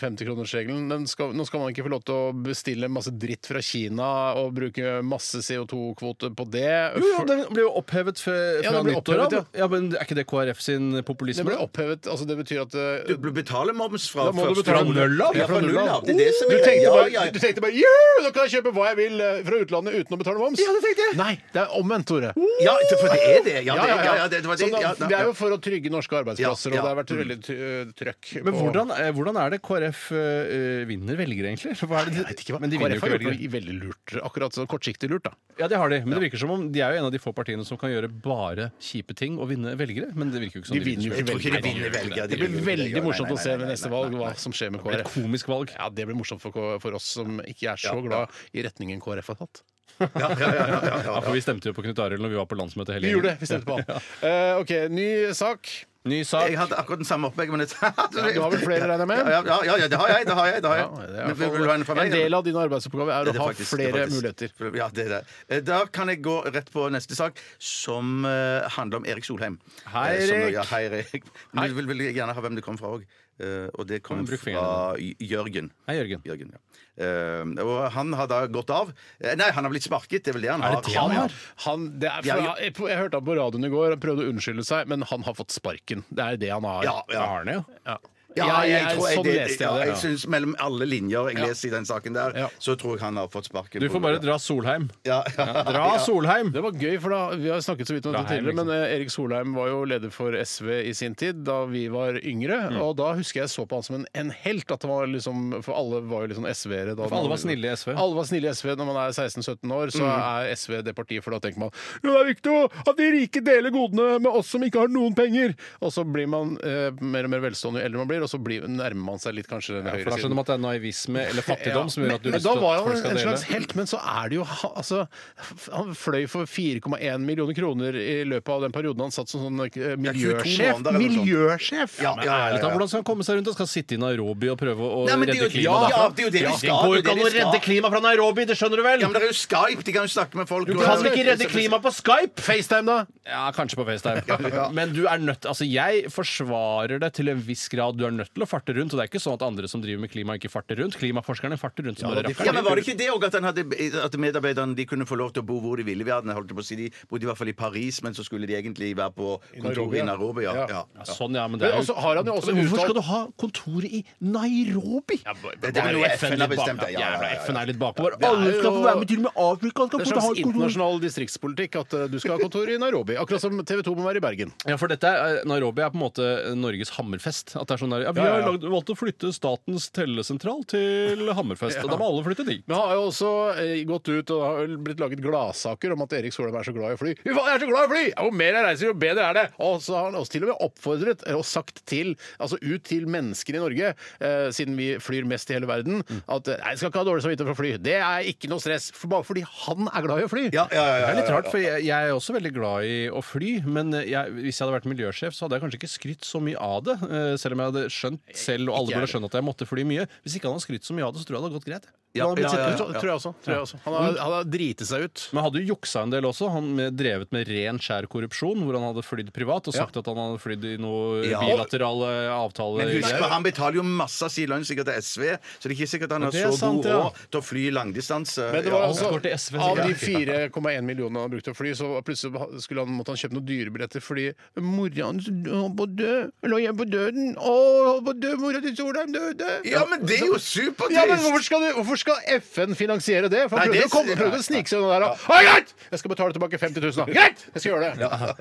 E: den 350-kronersregelen den skal- Nå skal man ikke få lov til å bestille masse dritt fra Kina og bruke masse CO2-kvote på det.
F: Jo, jo,
E: For-
F: den ble jo opphevet fra,
E: Ja,
F: fra
E: den ble
F: nyttår av.
E: opphevet,
F: Ja, men er ikke det KrF sin populisme?
E: det ble opphevet. altså Det betyr at eh,
G: Du bl- betaler moms fra
E: Da må du
G: første
E: betale
G: dag.
F: null av.
G: Ja, fra null av. Det er det som
E: Du
G: er
E: tenkte
G: ja,
E: bare,
G: ja,
E: du tenkte bare «Yeah, Nå kan jeg kjøpe hva jeg vil eh, fra utlandet uten å betale moms!
F: Ja, det tenkte jeg.
E: Nei, det er omvendt, Tore.
G: ja, for det er det. Ja, det, ja, ja, det, var
E: Så
G: det.
E: Sånn da-
G: Ja,
E: det er jo for å trygge norske arbeidsplasser,
G: Ja,
E: og det
G: ja.
E: har vært veldig t- øh, trøkk.
F: Men
E: på-
F: hvordan, eh, hvordan er det KrF eh, vinner velgere, egentlig? Hva er det de-
E: Jeg vet ikke hva.
F: Men de vinner
E: KrF
F: jo ikke
E: har gjort
F: velgere.
E: noe veldig lurt. Akkurat sånn kortsiktig lurt, da.
F: Ja, det har de. Men det virker som om de er jo en av de få partiene som kan gjøre bare kjipe ting og vinne velgere. Men det virker jo ikke som
E: De vinner jo
F: så
E: ikke
F: mye.
E: velgere.
F: Nei, de gjør ikke
G: velgere.
E: Det
G: gjør
E: blir
G: jo ikke
E: veldig
G: Ja, nei,
E: morsomt
G: nei,
E: å se ved
G: nei,
E: neste
G: nei,
E: valg
G: nei, nei.
E: hva som skjer med
F: Et
E: KrF.
F: komisk valg.
E: Ja, det blir morsomt for, K- for oss som ikke er så
G: Ja, ja.
E: glad i retningen KrF har tatt.
G: Ja, ja, ja, ja,
F: Ja,
G: ja, ja.
F: for vi stemte jo på Knut Arild når vi var på landsmøtet hele
E: Vi gjorde det, vi
F: gjengen.
E: stemte på han. Eh, OK, ny sak.
F: Ny
G: Jeg
F: sak.
G: hadde akkurat den samme opplegget, men jeg-
E: du har vel flere, regner jeg med?
G: Ja, ja, ja, ja, det har jeg. det har jeg, det har jeg.
E: Ja, det er i hvert
G: Men
E: fall-
G: vil du ha en fra meg,
E: en
G: eller?
E: del av dine arbeidsoppgaver er
G: Det
E: å
G: er
E: ha
G: faktisk- det
E: flere
G: er faktisk-
E: muligheter.
G: Ja, det er det. Eh, Da kan jeg gå rett på neste sak, som eh, handler om Erik Solheim.
F: Hei,
G: Eh, som-
F: Erik.
G: Ja, hei, Erik. Men du vil veldig gjerne ha hvem det kom fra òg. og det kom
F: Men bruk
G: fra J- Jørgen.
F: Hei, Jørgen.
G: Jørgen, ja. Eh, og han har da gått av. Eh, nei, han har blitt sparket. Det er vel det han
F: Er
G: har.
F: det det han
G: Ja, ja.
F: har?
E: Han, det er,
G: Ja,
E: jeg, jeg hørte ham på radioen i går, han prøvde å unnskylde seg, men han har fått sparken. statistikken. Det er det han har.
G: Ja, ja.
E: Har han det, ja?
G: Ja, jeg, tror jeg,
E: sånn
G: det,
E: leste
G: ja,
E: jeg det.
G: jeg
E: ja.
G: synes Mellom alle linjer jeg leser i den saken der,
E: Ja.
G: så tror jeg han har fått sparken.
F: Du
G: på
F: får bare
G: hodet.
F: dra Solheim.
G: Ja, ja.
F: Dra Solheim!
E: Det var gøy, for da, Vi har snakket så vidt om dette
F: Solheim,
E: tidligere, men eh, Erik Solheim var jo leder for SV i sin tid, da vi var yngre.
F: Mm.
E: Og da husker jeg så på han som en, en helt. At det var liksom, for alle var jo liksom SV-ere. da.
F: For alle var snille i Mm. SV.
E: Alle var snille i SV når man er 16-17 år, så er SV det partiet, for da tenker man jo, det er viktig å- at de rike deler godene med oss som ikke har noen penger! Og så blir man eh, mer og mer velstående jo eldre man blir, og så blir, nærmer man seg litt kanskje den
F: For da skjønner
E: høyresiden.
F: man at det er naivisme eller fattigdom som gjør at du
E: men
F: har lyst
E: da
F: til
E: var
F: at folk
E: han
F: skal
E: en
F: dele.
E: slags helt, men så er det jo ha- altså, f- Han fløy for 4,1 millioner kroner i løpet av den perioden han satt som sånn eh, miljøsjef.
G: måneder eller noe sånt.
E: Miljøsjef!
G: Ja,
F: Men
G: ja, ja,
F: ærlig
G: ja.
F: talt, hvordan skal han komme seg rundt? Han skal sitte i Nairobi og prøve å
G: Nei, men det er
F: redde
G: jo-
F: klimaet
G: ja, det er jo det de
F: derfra?
G: skal, det er jo det de skal.
F: klimaet fra Nairobi, det skjønner du vel?
G: Ja, men det er jo Skype! De kan jo snakke med folk.
F: Du
G: og-
F: kan ikke redde klimaet på Skype!
E: FaceTime, da!
F: Ja, kanskje på FaceTime. Men du er nødt Altså, jeg forsvarer det til en viss grad. Du er nødt til å farte rundt. Og det er ikke sånn at andre som driver med klima, ikke farter rundt. Klimaforskerne farter rundt som bare
G: Ja,
F: rakkeren.
G: men Var det ikke det òg at, han hadde- at medarbeiderne de kunne få lov til å bo hvor de ville i verden? Jeg Holdt på å si, de bodde i hvert fall i Paris, men så skulle de egentlig være på kontoret i Nairobi. Ja. Ja.
F: Ja, sånn, ja, men
E: Men
F: det er jo
E: også har han jo også
F: Men Hvorfor
E: uttalt-
F: skal du ha kontoret i Nairobi? Ja,
G: det er jo FN har bestemt det. Ja, ja, ja, ja.
F: FN er litt bakpå.
E: er
F: Alle skal få
E: jo-
F: være med til og med Afrika. Skal
E: Det
F: få
E: er en
F: ha
E: slags
F: et kontor.
E: internasjonal distriktspolitikk at eh, du skal ha kontor i Nairobi. Akkurat som TV 2 må være i Bergen.
F: Ja, for dette, er- eh, Nairobi er på en måte eh, Norges Hammerfest. At det er sånn der, ja, vi
E: Ja, ja,
F: har
E: ja.
F: lagd, valgt å flytte Statens tellesentral til Hammerfest. Og da må alle flytte dit.
E: Men han har jo også eh, gått ut og har blitt laget gladsaker om at Erik Solheim er så glad i fly. Fy faen, jeg er så glad i fly! Jo mer jeg reiser, jo bedre er det! Og så har han også til og med oppfordret eh, og sagt til, altså ut til mennesker i Norge, eh, siden vi flyr mest i hele verden,
G: Mm.
E: at eh, nei, jeg skal ikke ha dårlig samvittighet for fly. Det er ikke noe stress, for bare fordi han er glad i å fly.
G: Ja, ja, ja, ja,
F: Det er
G: ja,
F: litt
G: ja.
F: rart, for jeg, jeg er også veldig glad i å fly. Men jeg, hvis jeg hadde vært miljøsjef, så hadde jeg kanskje ikke skrytt så mye av det. eh, Selv om jeg hadde skjønt selv, og alle
E: Ikke jeg
F: burde skjønne at jeg måtte fly mye. Hvis ikke han hadde skrytt så mye av det, så tror jeg det hadde gått greit.
G: Ja,
F: Men han hadde blitt
G: ja,
F: sittende.
G: ja, ja. Mm.
E: Tror, tror jeg også. Tror jeg også. Han, har, han har driti seg ut.
F: Men han hadde jo juksa en del også. Han med, drevet med ren, skjær korrupsjon, hvor han hadde flydd privat og sagt at han hadde flydd i noen
G: Ja.
F: bilaterale avtaler.
G: Men husk, på, han betaler jo masse av sin lønn sikkert til SV, så det er ikke sikkert han har
F: det er
G: så
F: sant,
G: god
F: ja.
G: råd til å fly langdistanse.
E: Men det var
G: Ja.
E: altså,
F: går til SV,
E: Av
F: sikkert.
E: de 4,1 millionene han brukte å fly, så plutselig skulle han, måtte han kjøpe noen dyre billetter fordi mora hans holdt på å dø. Lå hjemme på døden. Å, holdt på å dø! Mora til Solheim døde!
G: ja, men det er jo supertrist!
E: Ja, men hvorfor skal, du, hvorfor skal FN finansiere det? For han
G: Nei,
E: prøvde,
G: det
E: å, komme,
G: sier-
E: prøvde å snike seg unna der. Og, «Å, greit! Jeg skal betale tilbake 50 000, da. Greit! Jeg skal gjøre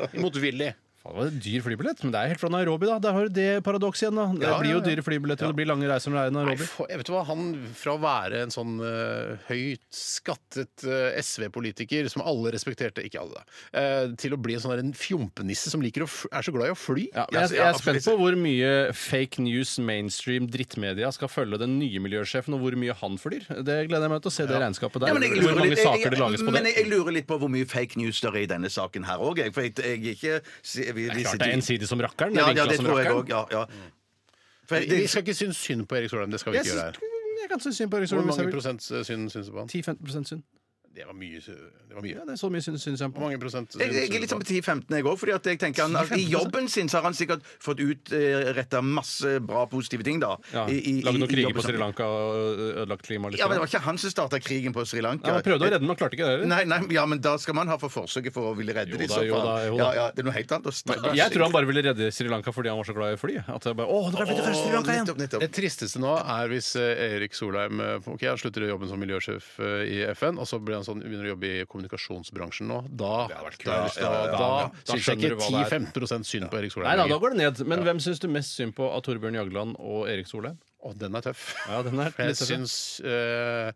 E: det. Motvillig.
F: Faen, det var en dyr flybillett, men det er helt fra Nairobi, da. Der har du det paradokset igjen, da. Det
E: Ja, ja,
F: blir jo
E: ja.
F: dyre flybilletter, og det blir lange reiser når det er i
E: Nei,
F: Nairobi.
E: for, vet du hva, han Fra å være en sånn eh, høyt skattet eh, SV-politiker som alle respekterte, ikke alle, da, eh, til å bli en sånn der en fjompenisse som liker å f er så glad i å fly.
F: Ja, men
G: altså,
F: jeg, jeg er spent på hvor mye fake news, mainstream, drittmedia skal følge den nye miljøsjefen, og hvor mye han flyr. Det gleder jeg meg til å se det regnskapet der.
G: Ja, men jeg
F: hvor
G: lurer,
F: mange
G: litt, jeg,
F: saker det lages på
G: men
F: det.
G: jeg, jeg lurer litt på hvor mye fake news det er i denne saken her òg. Jeg, for jeg, jeg er ikke si- vi-
F: Det
G: vi
F: er klart
G: sitter-
F: det er ensidig som rakkeren.
G: Ja,
F: det er
G: ja,
F: vinklet
G: det
F: som
G: tror jeg
F: rakkeren.
G: òg. Ja, ja. For jeg-
E: Vi skal ikke synes synd på Erik Solheim. det skal vi
F: Jeg
E: ikke gjøre
F: syns-
E: her.
F: Jeg kan synes synd på
E: Hvor
F: Erik Solheim. hvis jeg
E: mange
F: vil.
E: prosent eh, synd syns du på han?
F: 10-15 synd.
E: Det var mye. sy- Det var mye.
F: Ja, det er så mye synd, syns jeg
E: Hvor
F: på.
E: mange prosent
G: Jeg, jeg er litt sånn på 10-15 jeg òg, fordi at jeg tenker han, at i jobben sin så har han sikkert fått utretta masse bra positive ting, da.
F: Ja,
G: I- i-
F: Lagd
G: i-
F: noen
G: i
F: kriger
G: jobben
F: på
G: sin.
F: Sri Lanka og ødelagt klimaet litt.
G: Ja, men det var ikke han som starta krigen på Sri Lanka.
F: Ja, han prøvde å redde den, men klarte ikke det. eller?
G: Nei, nei, ja, men da skal man ha for forsøket for å ville redde
F: Jo
G: dem.
F: da,
G: så
F: jo
G: faen.
F: da, jo da.
G: Ja, ja, det er noe helt annet å snakke
F: Jeg tror han bare ville redde Sri Lanka fordi han var så glad i fly. At jeg bare, Åh, nå er jeg Sri Lanka igjen
G: Nettopp, nettopp.
E: Det tristeste nå er hvis eh, Erik Solheim eh, ok, han slutter i jobben som miljøsjef eh, i FN, og så blir han sånn, begynner å jobbe i kommunikasjonsbransjen nå. Da, da,
G: kult. Ja, ja, ja,
E: da,
F: ja. Da
E: syns jeg
F: skjønner du
E: ikke
F: hva det er.
E: 10-15 synd på Erik
F: Nei
E: Solheim.
F: da, da
E: lenger.
F: går det ned. Men hvem syns du mest synd på av Torbjørn Jagland og Erik Solheim?
E: Å, den er tøff.
F: Ja, den er
E: For jeg
F: litt tøff, ja.
E: syns eh,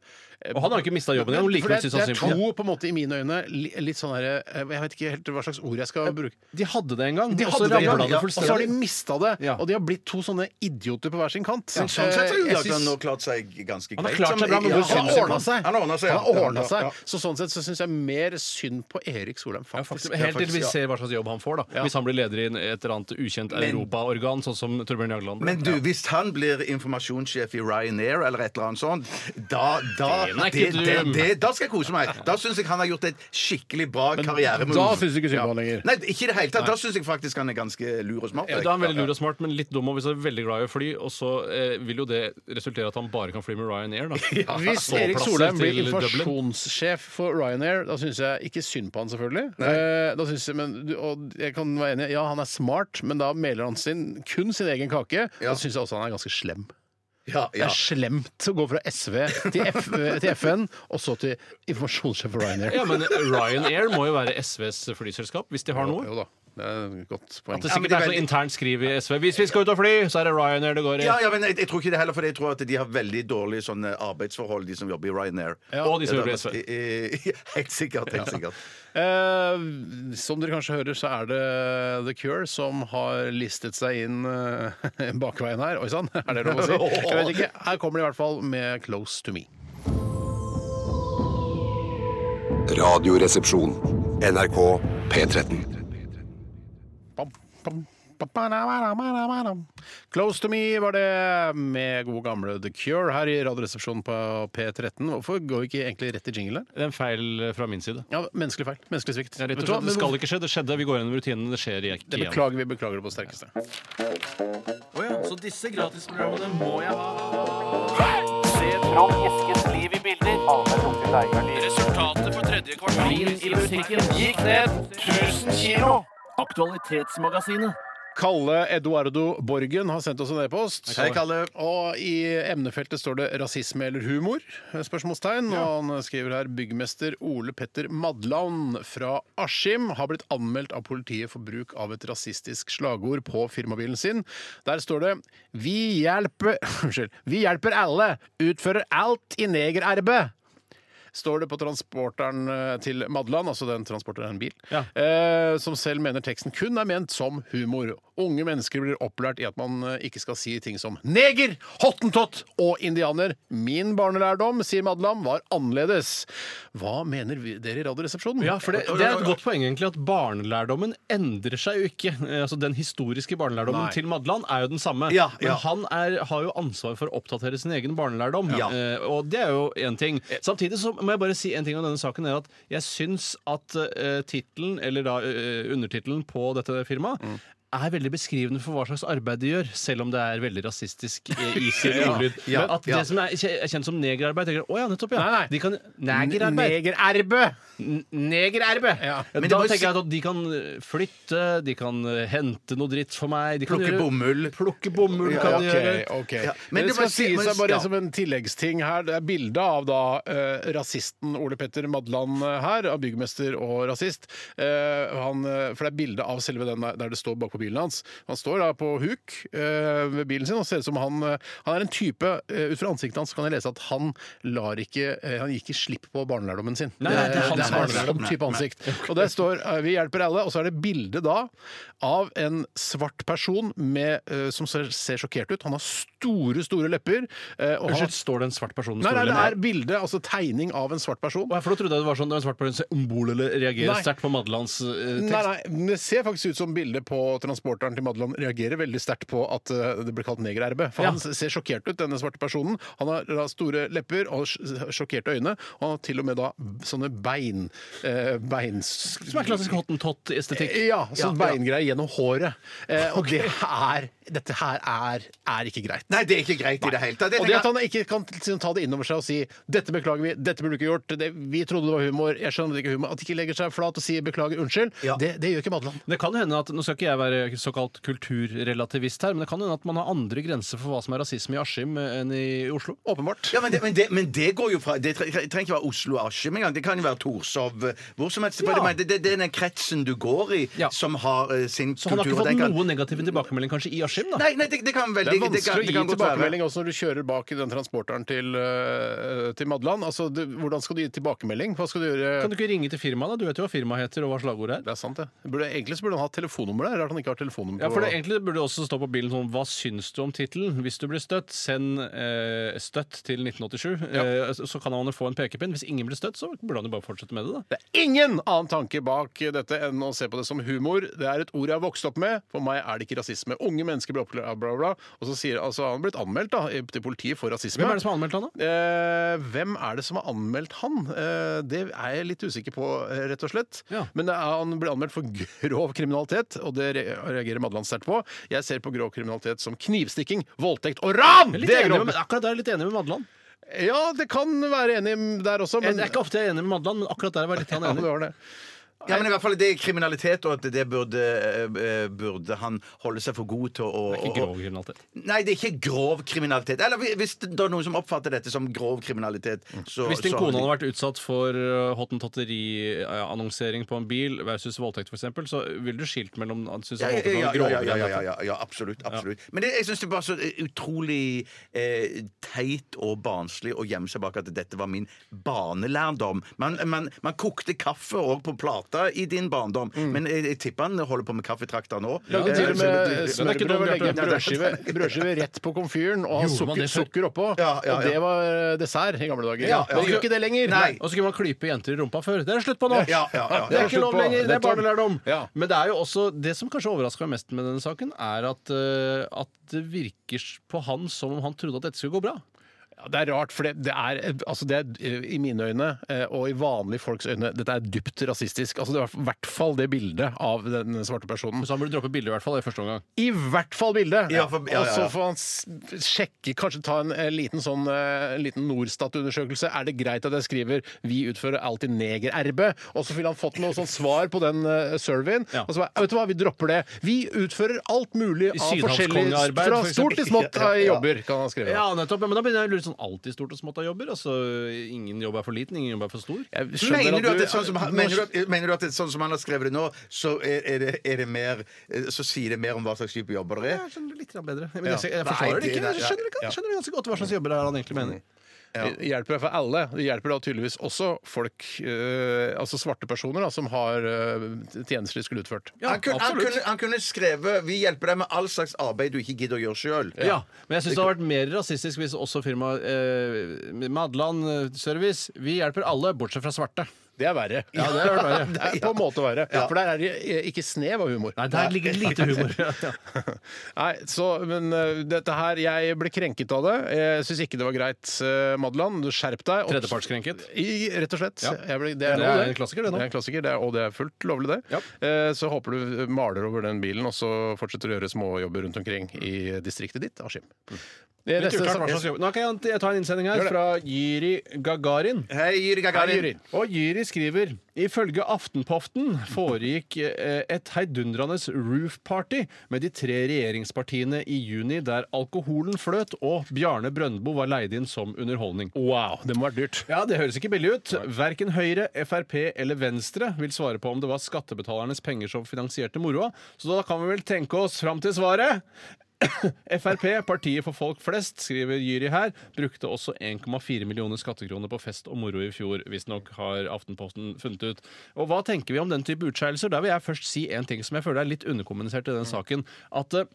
F: Og han har jo ikke mista jobben igjen. og
E: For
F: likevel
E: det,
F: synes han
E: det er
F: synd på ham.
E: to på en måte i mine øyne li- litt sånn her, eh, Jeg vet ikke helt hva slags ord jeg skal bruke.
F: De hadde det en gang,
E: De
F: og
E: hadde
F: så
E: det, ja,
F: ramla
E: ja.
F: det
E: og så har de
F: fullstendig.
E: mista det.
F: Ja.
E: Og de har blitt to sånne idioter på hver sin kant.
G: Men sånn sett så har jo
E: Eh, jeg syns-
G: Jagland nå klart seg ganske greit.
F: har klart seg bra, men
G: Ja,
F: hvor
E: han
F: synd
E: har
F: synd
E: ordna seg.
G: Han har ordnet seg, ja.
E: Han har ordnet
G: Ja.
E: seg. Så sånn sett så syns jeg mer synd på Erik Solheim,
F: Ja,
E: faktisk.
F: faktisk, helt til vi
G: ja.
F: ser hva slags jobb han får, da. Hvis han blir leder i en- et eller annet ukjent europaorgan, sånn som Torbjørn Jagland ble.
G: Men du, hvis han blir informasjonssjef i Ryanair eller et eller annet sånt, da, da,
F: nei,
G: det,
F: ikke
G: det,
F: du.
G: det, da skal jeg kose meg. Da syns jeg han har gjort et skikkelig bra karrieremove.
E: da synes du ikke synd på han lenger.
G: Nei, ikke i det hele tatt. Da syns jeg faktisk han er ganske lur og smart.
F: Ja, Da er han veldig lur og smart, men litt dum. Og hvis han er veldig glad i å fly, og så eh, vil jo det resultere i at han bare kan fly med Ryanair, da.
E: Hvis
F: Så
E: Erik
F: plasser
E: Solheim
F: til
E: blir
F: Dublin.
E: informasjonssjef for Ryanair, da syns jeg ikke synd på han, selvfølgelig. Eh, Da synes jeg, men, du- og jeg kan være enig, ja, han er smart, men da meler han sin, kun sin egen kake. Da syns jeg også han er ganske slem.
G: Ja,
E: Det
G: ja.
E: er slemt å gå fra SV til, F til FN, og så til informasjonssjef for Ryanair.
F: Ja, men Ryanair må jo være SVs flyselskap, hvis de har noe.
E: Jo da, det er et godt poeng.
F: At det
G: Ja,
F: sikkert er
G: men det er
F: sånn
G: veldig-
F: internt skriv i SV. Hvis vi skal ut og fly, så er det Ryanair det går i.
G: Ja, ja, men jeg, jeg tror ikke det heller, for jeg tror at de har veldig dårlige sånne arbeidsforhold, de som jobber i Ryanair.
F: Og de som jobber i SV.
G: I- i- i- Helt sikkert. Helt sikkert.
E: Eh, som dere kanskje hører, så er det The Cure som har listet seg inn eh, bakveien her. Oi sann, er det lov å si? Jeg vet ikke. Her kommer de i hvert fall med 'Close to Me'.
B: Radioresepsjon. NRK P13.
E: Bam, bam, ba, ba, da, ba, da, ba, da, ba, da. Close to me var det med gode gamle The Cure her i Radioresepsjonen på P13. Hvorfor går vi ikke egentlig rett i jingle her?
F: Det er en feil eh, fra min side.
E: Ja, Menneskelig feil. Menneskelig svikt.
F: Ja, rett
E: Vet
F: og
E: du hva?
F: slett,
E: Men
F: det skal
E: hvorfor-
F: ikke skje. Det skjedde. Vi går gjennom rutinene. Det skjer ikke
E: det
F: igjen.
E: beklager vi. Beklager det på det sterkeste.
C: Så disse gratisprogrammene må jeg ha. Se Trond Eskens liv i bilder. Resultatet for tredje kvartal i musikken gikk ned 1000 kilo. Aktualitetsmagasinet.
E: Kalle Eduardo Borgen har sendt oss en e-post.
G: Hei, Kalle.
E: Og i emnefeltet står det 'rasisme eller humor?' spørsmålstegn. Og han skriver her 'Byggmester Ole Petter Madland fra Askim har blitt anmeldt av politiet for bruk av et rasistisk slagord på firmabilen sin. Der står det 'Vi hjelper Unnskyld. Vi hjelper alle! Utfører alt i negerarbeid!' står det på transporteren eh, til Madland, altså den transporteren er en bil,
F: Ja.
E: eh, som selv mener teksten kun er ment som humor. Unge mennesker blir opplært i at man eh, ikke skal si ting som neger, hottentott og indianer. Min barnelærdom, sier Madland, var annerledes. Hva mener vi, dere i Radioresepsjonen?
F: Ja, for det, det er et godt poeng egentlig at barnelærdommen endrer seg jo ikke. Eh, Altså, Den historiske barnelærdommen
E: Nei.
F: til Madland er jo den samme.
G: Ja, ja.
F: Men han er, har jo ansvar for å oppdatere sin egen barnelærdom.
G: Ja.
F: Eh, og det er jo én ting. Samtidig så må jeg bare si en ting om denne saken. er at Jeg syns at eh, tittelen, eller da eh, undertittelen på dette firmaet
G: Mm.
F: er veldig beskrivende for hva slags arbeid de gjør, selv om det er veldig rasistisk eh, i sin ordlyd.
G: ja,
F: Men At
G: ja.
F: det som er kje- er kjent som negerarbeid tenker jeg, Å ja, nettopp, ja.
E: Nei, nei.
F: De kan, negerarbeid.
E: Negererbe!
F: N- Negererbe!
E: Ja.
F: Men
G: Men
F: da
G: det må jo
F: tenker
G: si-
F: jeg at de kan eh, flytte, de kan eh, hente noe dritt for meg de kan
G: Plukke
F: gjøre-
G: bomull.
F: Plukke bomull kan de gjøre.
E: Ok, ok.
G: Ja, men
E: Men det
G: det
E: skal
G: må si-
E: sies
G: men-
E: her bare
G: ja.
E: som en tilleggsting her. Det er bilde av da eh, rasisten Ole Petter Madland eh, her, av byggmester og rasist. Eh, han, eh, for det er bilde av selve den der, der det står bakpå bilen hans. Han står da på huk eh, ved bilen sin og ser ut som han eh, Han er en type eh, Ut fra ansiktet hans kan jeg lese at han lar ikke eh, Han gir ikke slipp på barnelærdommen sin.
F: Nei, nei, det er hans
E: det er
F: barnelærdom.
E: sånn type ansikt. Og der står eh, 'Vi hjelper alle', og så er det bilde da av en svart person med, eh, som ser, ser sjokkert ut. Han har store, store lepper. eh, og han-
F: Unnskyld, står det en svart person med
E: Nei, nei,
F: store
E: det er
F: lemmer?
E: bilde, altså tegning av en svart person.
F: Å, jeg- For da trodde jeg det var sånn det var en svart person som ombole reagerer
E: Nei.
F: sterkt på Madelands eh, tekst.
E: Nei, nei, men Det ser faktisk ut som bildet på transporteren til Madeland reagerer veldig sterkt på at eh, det ble kalt negererbe. For
F: Ja.
E: han ser sjokkert ut, denne svarte personen. Han har da store lepper og sj- sjokkerte øyne. Og han har til og med da sånne bein... Eh, beins...
F: Som er klassisk hottentott-estetikk.
E: Ja, sånn beingreier gjennom håret. Eh, og det her, dette her er, er ikke greit.
G: Nei, det er ikke greit i det hele tatt. Jeg
E: Og det
G: tenker-
E: at
F: sånn-
E: han ikke kan liksom ta det innover seg og si 'dette beklager vi, dette burde du ikke gjort', det, 'vi trodde det var humor', jeg skjønner det ikke er humor At de ikke legger seg flat og sier 'beklager, unnskyld',
G: Ja.
E: det, det gjør ikke Madeland.
F: Det kan hende at, Nå skal ikke jeg være såkalt kulturrelativist her, men det kan hende at man har andre grenser for hva som er rasisme i Askim eh, enn i Oslo.
E: Åpenbart.
G: Ja, men det, men, det, men det går jo fra Det tre- trenger ikke være Oslo og Askim engang. Det kan jo være Torshov. eh, Hvor som helst. For det- men Det, det, det er den kretsen du går i,
F: Ja.
G: som har eh, sin
F: Så han har
G: kultur.
F: ikke
G: og den
F: fått
G: kan-
F: noe negativ tilbakemelding kanskje i Askim, da?
G: Nei, nei, det, det kan vel
E: Det er
G: det kan-
E: vanskelig
G: det
E: å
G: kan
E: gi
G: godt være.
E: tilbakemelding også når du kjører bak i den transporteren til, eh, til Madeland. Altså, det, hvordan skal du gi tilbakemelding? Hva skal du gjøre?
F: Kan du ikke ringe til firmaet? da? Du vet jo hva firmaet heter, og hva slagordet er.
E: Det er sant, det. Burde, egentlig så burde han hatt telefonnummer der. Rart han ikke har telefonnummeret
F: Ja, for det, Egentlig burde det også stå på bilen sånn Hva syns du om tittelen? Hvis du blir støtt, send eh, støtt til 1987. Eh, så- så kan han jo få en pekepinn. Hvis ingen blir støtt, så burde han jo bare fortsette med det. da
E: Det er ingen annen tanke bak dette enn å se på det som humor. Det er et ord jeg har vokst opp med. For meg er det ikke rasisme. Unge mennesker blir oppklart, bla, bla, bla. Og så sier, altså, han har blitt anmeldt da, til politiet for rasisme.
F: Hvem er det som har anmeldt han, da?
E: Eh, hvem er det som har anmeldt han? Eh, det er jeg litt usikker på, eh, rett og slett.
F: Ja.
E: Men det er, han ble anmeldt for grov kriminalitet, og det re- reagerer Madland sterkt på. Jeg ser på grov kriminalitet som knivstikking, voldtekt og ran!
F: Jeg er
E: Det
F: litt
E: er
F: enig
E: grov!
F: med, akkurat der er jeg litt enig med Madland.
E: Ja, det kan være enig der også,
F: Jeg,
E: men
F: det er ikke ofte jeg er enig med Madland, men akkurat der var jeg litt
E: ja,
F: enig.
E: det var det.
G: Ja, men i hvert fall Det er kriminalitet, og at det burde, eh, eh, burde han holde seg for god til å
F: Ikke grov kriminalitet.
G: Nei, det er ikke grov kriminalitet. Eller hvis det er noen som oppfatter dette som grov kriminalitet,
F: Mm.
G: så
F: Hvis din
G: så-
F: kone hadde vært utsatt for eh, hottentotteri-annonsering på en bil versus voldtekt, f.eks., så ville du skilt mellom synes
G: ja,
F: jeg, voldtekt var
G: ja, ja,
F: en
G: ja,
F: grovere
G: ja, ja, ja,
F: enn dette.
G: ja, ja, absolutt. absolutt. Men det, jeg syns det var så utrolig eh, teit og barnslig å gjemme seg bak at dette var min barnelærdom. Man, man, man kokte kaffe òg på plata i din barndom, men jeg, jeg tipper han holder på med kaffetrakter nå.
E: Lagde
G: Eh,
E: til og
G: så
E: med
F: Men
G: det-
F: det er ikke
E: smørbrød ved å
F: dumt,
E: legge en
F: Bjarte.
E: brødskive, brødskive rett på komfyren og ha
F: Gjorde man
E: sukker,
F: det før?
E: sukker oppå.
G: Ja, ja,
E: Og
G: ja.
E: det var eh, dessert i gamle dager.
G: Ja, ja,
E: Men
G: ja.
E: gjør ikke det lenger.
G: Nei.
F: Og så kunne man klype jenter i rumpa før. Det er det slutt på nå!
G: Ja, ja, ja, ja.
F: Det er ikke lov lenger. Det er
E: Nettopp.
F: barnelærdom.
E: Ja.
F: Men det er jo også Det som kanskje overrasker meg mest med denne saken, er at, eh, at det virker på han som om han trodde at dette skulle gå bra.
E: Ja, Det er rart, for det, det er altså det er, eh, i mine øyne eh, og i vanlige folks øyne dette er dypt rasistisk. Altså det er I hvert fall det bildet av den svarte personen.
F: Så han burde droppe bildet i hvert fall i første omgang.
E: I hvert fall bildet!
G: Ja, for- ja, ja, ja.
E: Og så får han s- sjekke, kanskje ta en, eh, liten sånn eh, en liten Norstat-undersøkelse. Er det greit at jeg skriver 'Vi utfører alltid negererbe'? Og så ville han fått noe sånn svar på den eh, surveyen.
F: Ja.
E: Og så bare, vet du hva, vi dropper det. Vi utfører alt mulig
F: I
E: av forskjellig
F: sydhavskongearbeid,
E: Fra
F: for
E: stort til
F: eksempel.
E: smått eh, jobber, kan han skrive.
F: Ja, nettopp. Ja, Men da begynner jeg å lure sånn alltid stort og smått av jobber. Altså, ingen jobb er for liten, ingen jobb er for stor.
E: Jeg skjønner
G: Mener du, at det er
E: du-
G: sånn som, han- mener, du at, mener du at det er sånn som han har skrevet det nå, så, er, er det, er det mer, eh, så sier det mer om hva slags type jobber det er?
F: Jeg skjønner det litt grann bedre. Men
E: Ja.
F: jeg, jeg, jeg
G: Nei,
F: forstår det
G: det-
F: ikke. Jeg
G: ja.
F: skjønner, ikke- jeg skjønner ganske godt hva slags jobber det er han egentlig mener.
E: Det hjelper for alle. Det hjelper da tydeligvis også folk, eh, altså svarte personer, da, som har eh, tjenester de skulle utført.
F: Ja,
G: han, kunne, han,
F: absolutt.
G: kunne, han kunne skrevet 'Vi hjelper deg med all slags arbeid du ikke gidder å gjøre sjøl'.
F: Ja, Men jeg syns det hadde vært mer rasistisk hvis også firmaet eh, Madland eh, Service Vi hjelper alle, bortsett fra svarte.
E: Det er verre.
F: Ja, det er verre.
E: Det er på en måte verre. For der er det eh, ikke snev av humor.
F: Nei, der ligger det lite humor.
E: Nei, så, men eh, dette her Jeg ble krenket av det. Jeg syns ikke det var greit, eh, Madeland. Skjerp deg. Opp-
F: Tredjepartskrenket.
E: I, rett og slett.
F: Ja.
E: Jeg ble, det, er
F: Det
E: lov,
F: er en klassiker, det nå.
E: Det er en klassiker, det er, og det er fullt lovlig, det.
F: Ja.
E: Eh, så håper du maler over den bilen, og så fortsetter du å gjøre småjobber rundt omkring i distriktet ditt, Askim. Det
F: Litt
E: neste
F: uklart
E: sak-
F: hva slags jobb- Nå kan jeg, jeg ta en innsending her
E: Gjør det.
F: fra Jyri Gagarin.
G: Hei, Yuri
E: Hei,
G: Gagarin.
E: Yuri.
F: Og Jyri skriver Ifølge Aftenpoften foregikk eh, et heidundrende roof-party med de tre regjeringspartiene i juni, der alkoholen fløt og Bjarne Brøndbo var leid inn som underholdning.
E: Wow, det må ha vært dyrt.
F: Ja, Det høres ikke billig ut. Verken Høyre, Frp eller Venstre vil svare på om det var skattebetalernes penger som finansierte moroa, så da kan vi vel tenke oss fram til svaret. Frp, partiet for folk flest, skriver Jyri her, brukte også 1,4 millioner skattekroner på fest og moro i fjor, visstnok har Aftenposten funnet ut. Og hva tenker vi om den type utskeielser? Der vil jeg først si en ting som jeg føler er litt underkommunisert i den saken. At eh,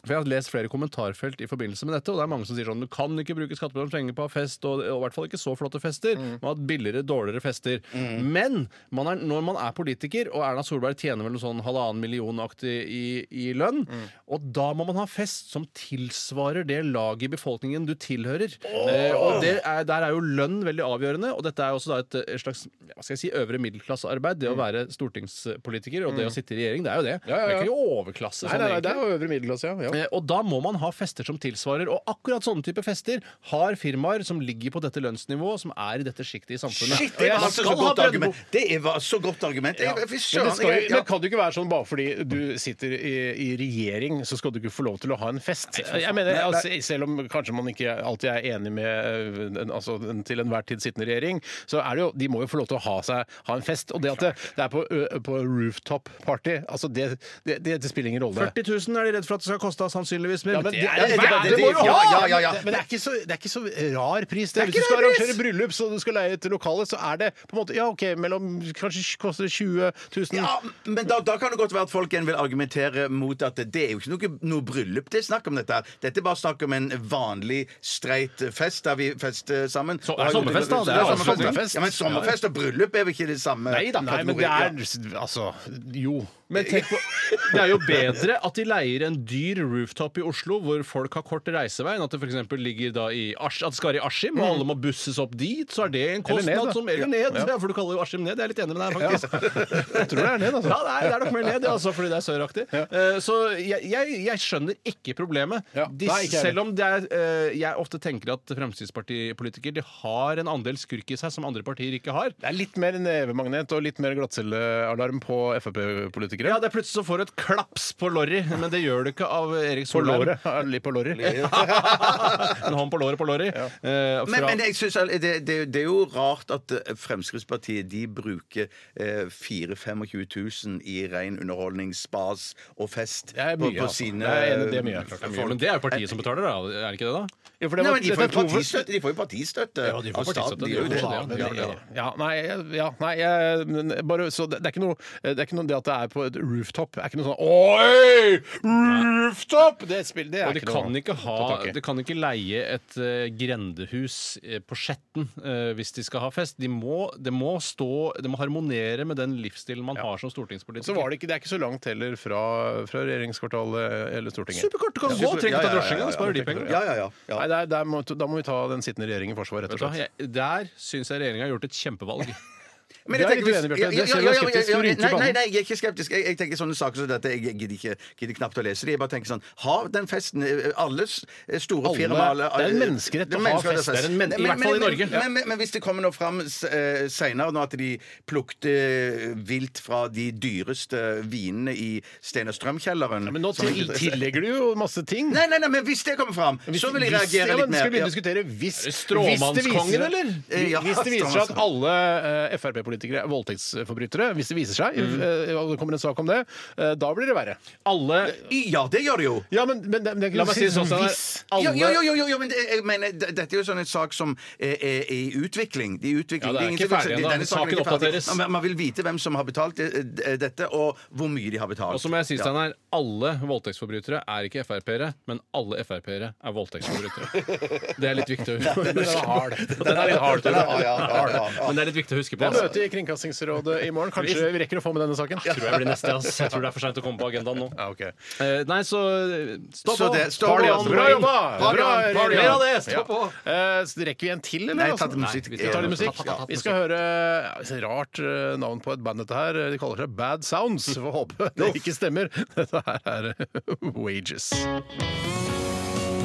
F: for Jeg har lest flere kommentarfelt i forbindelse med dette, og det er mange som sier sånn du kan ikke bruke skattebetalernes penger på fest, og, og i hvert fall ikke så flotte fester. Man har hatt billigere, dårligere fester.
E: Mm.
F: Men man er, når man er politiker, og Erna Solberg tjener vel noe sånn halvannen million-aktig i, i lønn,
E: Mm.
F: og da må man ha fest som tilsvarer det laget i befolkningen du tilhører. Eh, og det er, der er jo lønn veldig avgjørende, og dette er jo også da et, eh, slags hva skal jeg si, øvre middelklassearbeid. Det å være stortingspolitiker og det å sitte i regjering, det er jo det.
E: Mm. Ja, ja,
F: Det
E: ja.
F: er ikke overklasse.
E: Nei,
F: sånn
E: nei, nei,
F: egentlig.
E: det er jo øvre middelklasse, ja. ja.
F: Eh, Og da må man ha fester som tilsvarer. Og akkurat sånne type fester har firmaer som ligger på dette lønnsnivået, som er i dette sjiktet i samfunnet.
G: Shit, det
F: Og
G: var
F: jeg
G: så
F: skal ha
G: godt
F: Brøndbo.
G: argument. Det var så godt argument. Jeg, fy
E: Men, det
G: søren,
E: skal,
G: jeg-
E: jo- men kan du ikke være sånn bare fordi du sitter i, i regjering, så skal du ikke få lov til å ha en fest? Jeg mener, altså, Selv om kanskje man ikke alltid er enig med eh, den, altså, den til enhver tid sittende regjering, så er det jo, de må jo få lov til å ha, seg, ha en fest. Og det at det, det er på, ø, på rooftop party, altså det, det, det, det spiller ingen rolle.
F: 40 000 er de redd for at det skal koste da, sannsynligvis. Men,
E: Ja, men
F: det
E: det
F: er
E: er-
F: en verdi
E: det-
F: du må jo ha!
G: Ja, ja, ja, ja.
E: Men det er ikke så, det er ikke så rar pris. Det.
F: Det er
E: Hvis du
F: ikke
E: skal
F: rar pris!
E: arrangere bryllup så du skal leie et lokale, så er det på en måte Ja, OK, mellom Kanskje koster det 20 000.
G: Ja, men da, da kan det godt være at folk igjen vil argumentere mot at det er jo ikke noe, noe bryllup det er snakk om dette. her. Dette er bare snakk om en vanlig streit fest der vi fester sammen.
F: Så- det er sommerfest, da. Det er
G: sommerfest.
E: sommerfest.
G: Ja, men sommerfest og bryllup er vel ikke det samme?
E: Nei da, nei, men det
G: kategori?
E: er Altså, jo.
F: Men tenk på, Det er jo bedre at de leier en dyr rooftop i Oslo hvor folk har kort reisevei, enn at det for eksempel ligger da i Asch, at det skal være i Askim, og alle må busses opp dit. Så er det en
E: Mm. Eller ned,
F: kostnad
E: da.
F: som Eller ned, ja. for du kaller jo Askim ned. Jeg er litt enig med deg, faktisk.
E: Jeg tror det er ned, altså.
F: Ja, det er, det er nok mer ned, ja, altså, fordi det er søraktig. Eh, Så jeg, jeg, jeg skjønner ikke problemet.
E: Ja,
F: De,
E: nei, ikke jeg
F: selv om det er, eh, jeg ofte tenker at Fremskrittspartipolitikere de har en andel skurk i seg som andre partier ikke har.
E: Det er litt mer nevemagnet og litt mer glattcellealarm på Frp-politikere.
F: Ja, det er Plutselig så får du et klaps på lorry, men det gjør du ikke av Erik
E: på
F: Solheim.
E: låret. Ja, Litt på låret.
F: en hånd på låret på lorry. Eh, fra-
G: Men, men jeg synes, all- det, det, det er jo rart at eh, Fremskrittspartiet de bruker eh, 4 25 000 i ren underholdning, spas og fest
E: Det er mye,
G: på, på
E: altså.
G: sine
E: Det er enig, det er mye, klart det er
F: Folk- Men det er jo partiet som betaler, da. Er det ikke det, da?
E: Ja, for det
G: Nei,
E: var-
G: men de
E: dette
G: får
E: er
G: jo
E: to-
G: partistøtte! De får jo partistøtte
F: Ja, de får
G: av staten,
F: partistøtte,
G: de gjør jo det.
E: Ja, men
F: Ja,
E: det-
F: ja, ja.
E: Ja, nei, jeg- ja, nei jeg, bare, så det, det er ikke noe Det er ikke noe det at det er på et rooftop. Det er ikke noe sånn Oi! Rooftop! Det, spill, det er
F: Og de
E: ikke noe
F: kan ikke,
E: å ta
F: ha,
E: tak i.
F: de kan ikke leie et eh, grendehus eh, på Skjetten eh, hvis de skal ha fest. De må, det må stå, det må harmonere med den livsstilen man har som stortingspolitiker.
E: Så var det ikke Det er ikke så langt heller fra, fra regjeringskvartalet eller Stortinget.
F: Superkort! Du kan
G: Ja,
F: gå og trekke
G: ja,
F: deg
G: ja,
F: drosjinga,
G: ja,
F: det sparer
E: ja,
F: de penger.
G: Ja, ja, ja. ja.
E: Nei, der, der må, da må vi ta den sittende regjeringen i forsvar, rett og
F: Vet du hva,
E: slett.
F: jeg- Der syns jeg regjeringa har gjort et kjempevalg.
G: Men
E: Du
G: jeg
E: er litt
G: tenker hvis-
E: uenig, Bjarte.
G: Ja,
E: Du
G: ja,
E: ser du
G: ja,
E: er
G: ja,
E: skeptisk.
G: ja,
E: Du
G: ja,
E: rynker
G: Nei,
E: på
G: nei,
E: den.
G: nei, jeg er ikke skeptisk. Jeg, jeg tenker sånn, sånne saker som dette. Jeg gidder, ikke, gidder knapt å lese det. Jeg bare tenker sånn Ha den festen. eh, Alle s- store
E: Alle-
G: firmaer alle-
E: det er en menneskerett å
G: Det er
E: ha
G: menneskerett
E: fest. Det er en
F: men- i
G: Men-
F: hvert fall i
G: men-
F: Norge.
G: Men, men, men, men hvis det kommer nå fram uh, seinere nå at de plukte eh, vilt fra de dyreste eh, vinene i Stein og Strøm-kjelleren
E: Men nå
G: som
E: til,
G: ikke-
E: tillegger du jo masse ting.
G: Nei, nei, nei, men hvis det kommer fram,
E: Hvis-
G: så vil jeg
E: hvis- ja,
G: reagere litt
E: men
G: mer.
E: Skal vi
G: Ja.
E: begynne å diskutere hvis
F: Stråmannskongen,
E: hvis det viser-
F: eller?
E: Vi-
G: Ja,
E: Hvis det viser seg at
G: stråmannskongen.
E: alle eh, Frp-politikere er voldtektsforbrytere, hvis det viser seg,
G: Mm.
E: eh, og det kommer en sak om det, eh, da blir det verre.
F: Alle
G: Ja, det gjør det jo.
E: Ja, men, men det, det,
F: La meg si det sånn,
E: sånn,
F: Steinar.
E: hvis-
F: Alle
G: Jo, jo, jo, jo, jo men det, jeg mener, d- dette er jo sånn en sak som er, er, er i utvikling. De er i utvikling.
F: Ja, det er
G: ingen
F: ikke
G: som-
F: ferdig ennå.
G: denne saken er
F: Saken
G: ikke ferdig.
F: oppdateres.
G: Ja, men Man vil vite hvem som har betalt eh, d- dette, og hvor mye de har betalt.
F: Og som jeg sier,
G: Ja.
F: Steinar, alle voldtektsforbrytere er ikke Frp-ere, men alle Frp-ere er voldtektsforbrytere. Det er litt viktig å huske
E: Den er hard. Den er litt hard.
G: Ja, ja, ja, ja, ja, ja.
F: Men det er litt viktig å huske på.
E: Det er
F: Altså.
E: møte i Kringkastingsrådet i morgen. Kanskje vi rekker å få med denne saken?
F: Tror jeg blir neste, ass. Jeg tror det er for seint å komme på agendaen nå.
E: Ja, ok.
F: Eh, nei, så eh, Stå
G: Så
F: på!
G: det- stå
F: Party
G: på.
F: on,
E: Bra
F: bring.
E: jobba!
F: Party
E: Bra,
F: on, party on.
E: Rina.
F: Mer av det! Stå
E: Ja.
F: på!
E: Eh, så rekker vi en til, eller?
G: Nei, jeg tar
E: altså?
G: til musikk.
F: Nei, vi
E: Vi tar litt
F: Tatt,
E: musikk.
F: tatt, tatt,
E: Vi skal høre ja, et rart eh, navn på et band, dette her. De kaller seg Bad Sounds. Vi får håpe det ikke stemmer. Dette her er eh, Wages.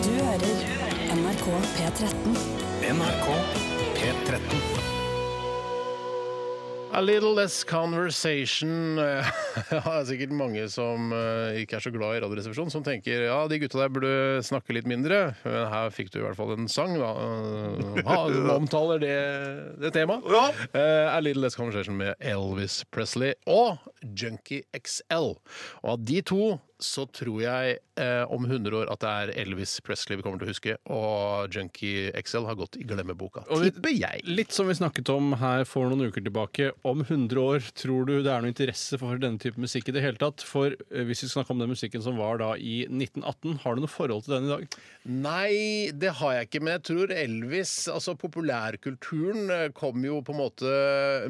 A: Du hører NRK P13.
D: NRK P13.
E: A little less conversation. Eh, Det er sikkert mange som eh, ikke er så glad i Radioresepsjonen, som tenker ja, de gutta der burde snakke litt mindre. Men her fikk du i hvert fall en sang, da. eh, Ha, som omtaler det, det temaet.
G: Ja.
E: Eh, A little less conversation med Elvis Presley og Junkie XL. Og av de to så tror jeg eh, om 100 år at det er Elvis Presley vi kommer til å huske, og Junkie XL har gått i glemmeboka.
F: Og vi-
E: Tipper jeg.
F: Litt som vi snakket om her for noen uker tilbake. Om 100 år, tror du det er noe interesse for denne type musikk i det hele tatt? For eh, hvis vi snakker om den musikken som var da i 1918, har du noe forhold til den i dag?
E: Nei, det har jeg ikke, men jeg tror Elvis Altså populærkulturen eh, kom jo på en måte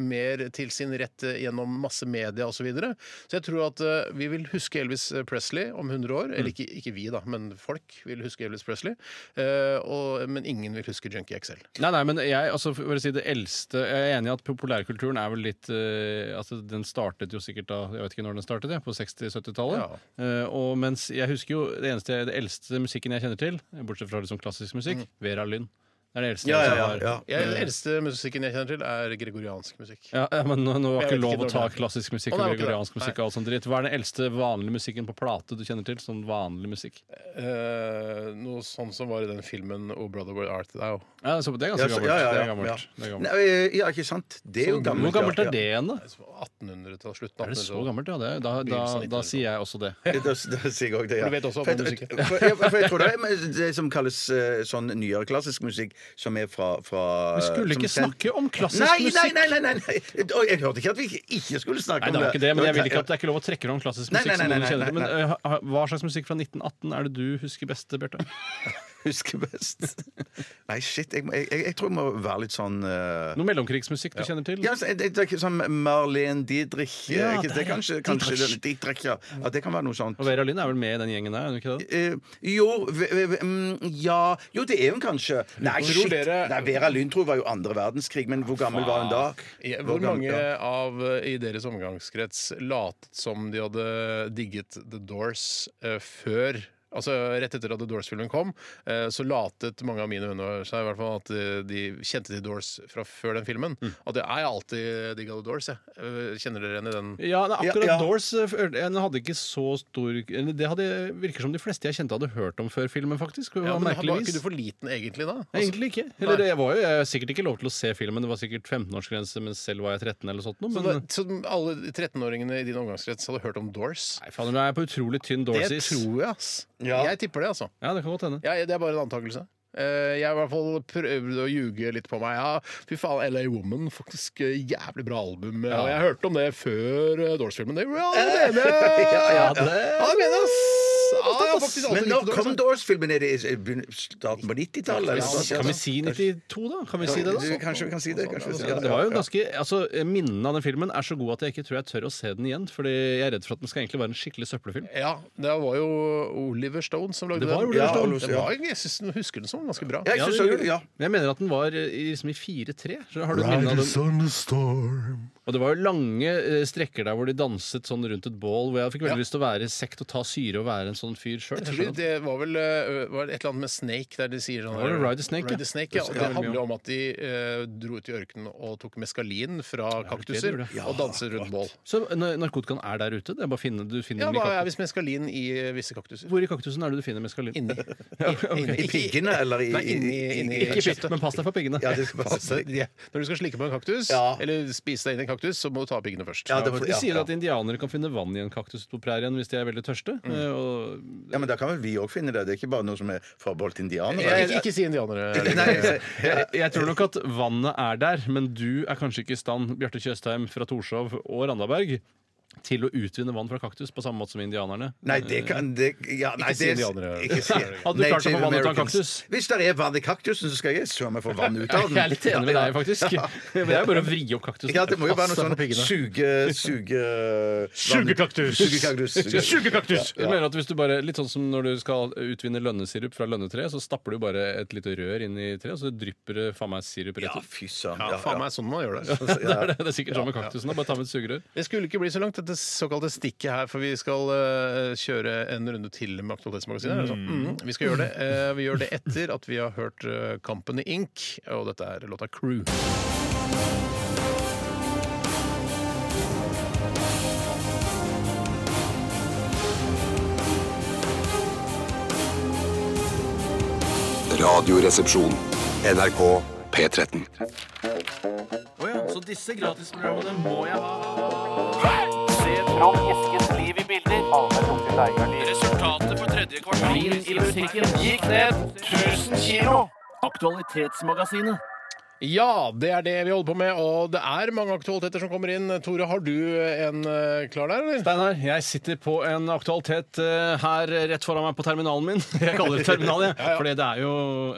E: mer til sin rett eh, gjennom masse media osv. Så, videre. så jeg tror at eh, vi vil huske Elvis eh, Presley om 100 år. Eller
F: Mm.
E: ikke, ikke vi, da, men folk vil huske Elvis Presley. Eh, og, men ingen vil huske Junkie XL.
F: Nei, nei, men jeg, altså, for å si det eldste Jeg er enig i at populærkulturen er vel litt eh, altså, Den startet jo sikkert da Jeg vet ikke når den startet, jeg, på 60-70-tallet.
E: Ja.
F: Eh, og mens jeg husker jo det eneste, det eldste musikken jeg kjenner til, bortsett fra liksom klassisk musikk, sånn Vera Lynn. Det er det eldste
G: Mm. Ja,
F: jeg
G: ja, ja,
F: har.
G: ja.
E: Jeg,
F: Mm.
E: den eldste musikken jeg kjenner til, er gregoriansk musikk.
F: Ja, ja, men nå, nå var
E: Jeg
F: ikke
E: vet
F: lov
E: ikke
F: å ta
E: når det er.
F: klassisk musikk
E: Å,
F: og
E: nei, det var ikke
F: gregoriansk
E: det.
F: musikk og all sånn dritt. Hva er den eldste vanlige musikken på plate du kjenner til? Sånn vanlig musikk.
E: Eh, noe sånn som var i den filmen Oh Brother Where Art Thou.
F: Ja, så det er
G: Ja,
F: ganske
G: så-
F: gammelt.
G: ja, ja,
F: Det
G: ja,
F: er gammelt.
G: ja.
F: Det er gammelt.
G: Nei, eh, ja, ikke sant? Det er jo gammelt.
F: Hvor gammelt
G: ja.
F: er det igjen, da?
E: 1800-tallet, slutten av
F: Er det så gammelt? Ja, det, er- da, da,
E: Begynnelsen av
F: da sier jeg også det.
G: Ja, Da, da sier jeg også det, ja.
E: For du vet også om
G: For jeg-
E: musikken.
G: For, ja, for jeg tror det er men det som kalles eh, sånn nyere klassisk musikk, som er fra, fra
F: Vi skulle
G: Eh, som
F: ikke
G: sendt-
F: snakke om klassisk
G: nei,
F: musikk!
G: Nei, nei, nei! nei, nei. Oi, Jeg hørte ikke at vi ikke, ikke skulle snakke
F: Nei,
G: om
F: det
G: det.
F: var ikke det, men jeg vil ikke at det er ikke lov å trekke fram klassisk
G: Nei,
F: musikk.
G: nei,
F: som
G: nei,
F: noen
G: nei,
F: kjenner til,
G: nei,
F: men eh, ha- Hva slags musikk fra 1918 er det du husker best, Bjarte?
G: Husker best. Nei, shit. Jeg, må- jeg, jeg, jeg tror jeg må være litt sånn eh,
F: Noe mellomkrigsmusikk du kjenner til?
G: ja, så det, det er ikke sånn Marlene Dietrich eh,
F: Ja,
G: ikke,
F: der,
G: det,
F: ja.
G: Kanskje, kanskje
F: Dietrich. Mm.
G: det- Dietrich, ja. ja. Det kan være noe sånt.
F: Og Vera Lynn er vel med i den gjengen der? er hun ikke det?
G: Eh, jo v, v, v, mm, Ja Jo, det er hun kanskje. Nei,
E: Tror
G: shit.
E: dere-
G: Nei, Vera Lynn tror jeg var jo andre verdenskrig, men hvor gammel var hun da?
E: Ja,
G: Hvor
E: Hvor
G: gammel-
E: mange
G: ja.
E: av eh, i deres omgangskrets latet som de hadde digget The Doors eh, før Altså Rett etter at The Doors-filmen kom, eh, så latet mange av mine venner seg i hvert fall at eh, de kjente til Doors fra før den filmen.
F: Mm.
E: At jeg har alltid digga The Doors. Jeg. Eh, Kjenner dere igjen i den?
F: Ja, det er akkurat
G: Ja, ja.
F: Doors eh, følte jeg- den hadde ikke så stor eller Det hadde, virker som de fleste jeg kjente hadde hørt om før filmen, faktisk.
E: Ja,
F: Ja,
E: men Var ikke
F: merkeligvis.
E: du for liten egentlig da? Altså,
F: Nei, Egentlig ikke. Eller det var jo jeg har sikkert ikke lov til å se filmen. Det var sikkert 15-årsgrense, men selv var jeg 13 eller sånt noe.
E: Så,
F: Men eh,
E: da, så alle 13-åringene i din omgangskrets hadde hørt om Doors?
F: nei, faen, nå er jeg på utrolig tynn
E: Det
F: Dorsis.
E: tror jeg, ass.
G: Ja.
E: Jeg tipper det, altså.
F: Ja, det kan godt hende.
E: Jeg, det er bare en antakelse. Eh, jeg har i hvert fall prøvd å ljuge litt på meg. Ja, fy faen, LA Woman, faktisk eh, jævlig bra album. Ja. Jeg hørte om det før eh, Doors-filmen. Det var ja, det mener jeg!
G: Ja, ja,
E: det mener jeg, ass! Ja, jeg har faktisk alltid
G: Men
E: likt
G: når
E: Doors.
G: kom
E: jeg.
G: Doors-filmen? Er det i begyn- starten på 90-tallet? eller noe sånt?
F: Kan vi si 92, da? Kan vi si det, da?
G: Du, Kanskje vi kan si det. Kanskje vi kan si
F: Ja, det var jo ganske, altså Minnene av den filmen er så gode at jeg ikke tror jeg tør å se den igjen. Fordi jeg er redd for at den skal egentlig være en skikkelig søppelfilm.
E: Ja, det var jo Oliver Stone som lagde
F: Det var
E: den.
F: Oliver
E: Ja,
G: Stone.
E: Det var, jeg synes, den- husker den som ganske bra.
G: Ja, jeg
F: Ja,
G: synes
F: det gjør
G: også-
F: det.
G: ja.
F: Men jeg mener at den var i, liksom i 4-3. Så Har du et minne av den? Og det var jo lange eh, strekker der hvor de danset sånn rundt et bål. Hvor jeg fikk veldig lyst til å være i sekt og ta syre og være en sånn fyr sjøl.
E: Jeg tror det var vel eh, var det et eller annet med Snake der de sier sånn
F: Var det Ride the Snake, ja?
E: Ride the Snake, ja.
F: Det
E: Og
F: husker
E: det
F: jeg veldig
E: handler om at de eh, dro ut i ørkenen og tok meskalin fra kaktuser
F: gjorde det.
E: og danset rundt bål.
F: Så nar- narkotikaen er der ute? Det er bare å finne, du finner
E: Ja,
F: den i
E: hva er
F: kaktusen.
E: visst meskalin i visse kaktuser?
F: Hvor i kaktusen er det du finner meskalin?
E: Inni.
G: I piggene eller i
E: Nei, inni, inni
F: Ikke i fitt, men pass deg for piggene.
G: Ja, det skal passe.
E: De- Når du skal slikke på en kaktus,
G: Ja.
E: eller spise deg inn i en kaktus, så må du ta piggene først.
G: Ja, det var-
F: De sier
G: ja.
F: at indianere kan finne vann i en kaktus på prærien hvis de er veldig tørste.
G: Mm.
F: eh, Og
G: Ja, men da kan vel vi òg finne det? Det er ikke bare noe som er forbeholdt indianere?
E: Ikke, ikke si indianere.
G: Nei,
F: jeg, jeg tror nok at vannet er der, men du er kanskje ikke i stand, Bjarte Tjøstheim fra Torshov og Randaberg, til å utvinne vann fra kaktus på samme måte som indianerne.
G: Nei, det kan det, ja, nei,
E: Ikke si
G: det-
E: de andre.
G: ikke si-
F: Hadde du klart å få vann
G: Native
F: ut av en
G: Americans.
F: kaktus?
G: Hvis det er vann i kaktusen, så skal jeg søren meg få vann ut av den.
F: Jeg er litt enig med deg, faktisk. Det er jo bare å vri opp kaktusen.
G: Ja, det må jo være noe
E: Passe på
G: sånn
E: piggene.
G: suge... suge
E: Sugekaktus.
G: Sugekaktus.
E: Sugekaktus!
F: Du mener at hvis du bare, Litt sånn som når du skal utvinne lønnesirup fra lønnetreet, så stapper du bare et lite rør inn i treet, og så drypper det faen meg sirup rett
G: Ja,
F: ut.
G: fy søren.
E: Ja, faen meg sånn man gjør det.
F: Det er, det. det er sikkert sånn med kaktusen. da. Bare ta med et sugerør.
E: Det skulle ikke bli så langt, dette såkalte stikket her, for vi skal eh, kjøre en runde til med Aktualitetsmagasinet. er det sånn? Mm. Vi skal gjøre det. Eh, vi gjør det etter at vi har hørt eh, Company Inc., og dette er låta Crew.
B: Radioresepsjon. NRK P13.
C: Å ja, så disse gratisprogrammene må jeg ha. Se Trond Eskens liv i bilder. Resultatet for tredje kvartal i musikken gikk ned 1000 kilo. Aktualitetsmagasinet.
E: Ja, det er det vi holder på med, og det er mange aktualiteter som kommer inn. Tore, har du en eh, klar der, eller?
F: Steinar, jeg sitter på en aktualitet eh, her rett foran meg på terminalen min. Jeg kaller det terminal, jeg, fordi det er jo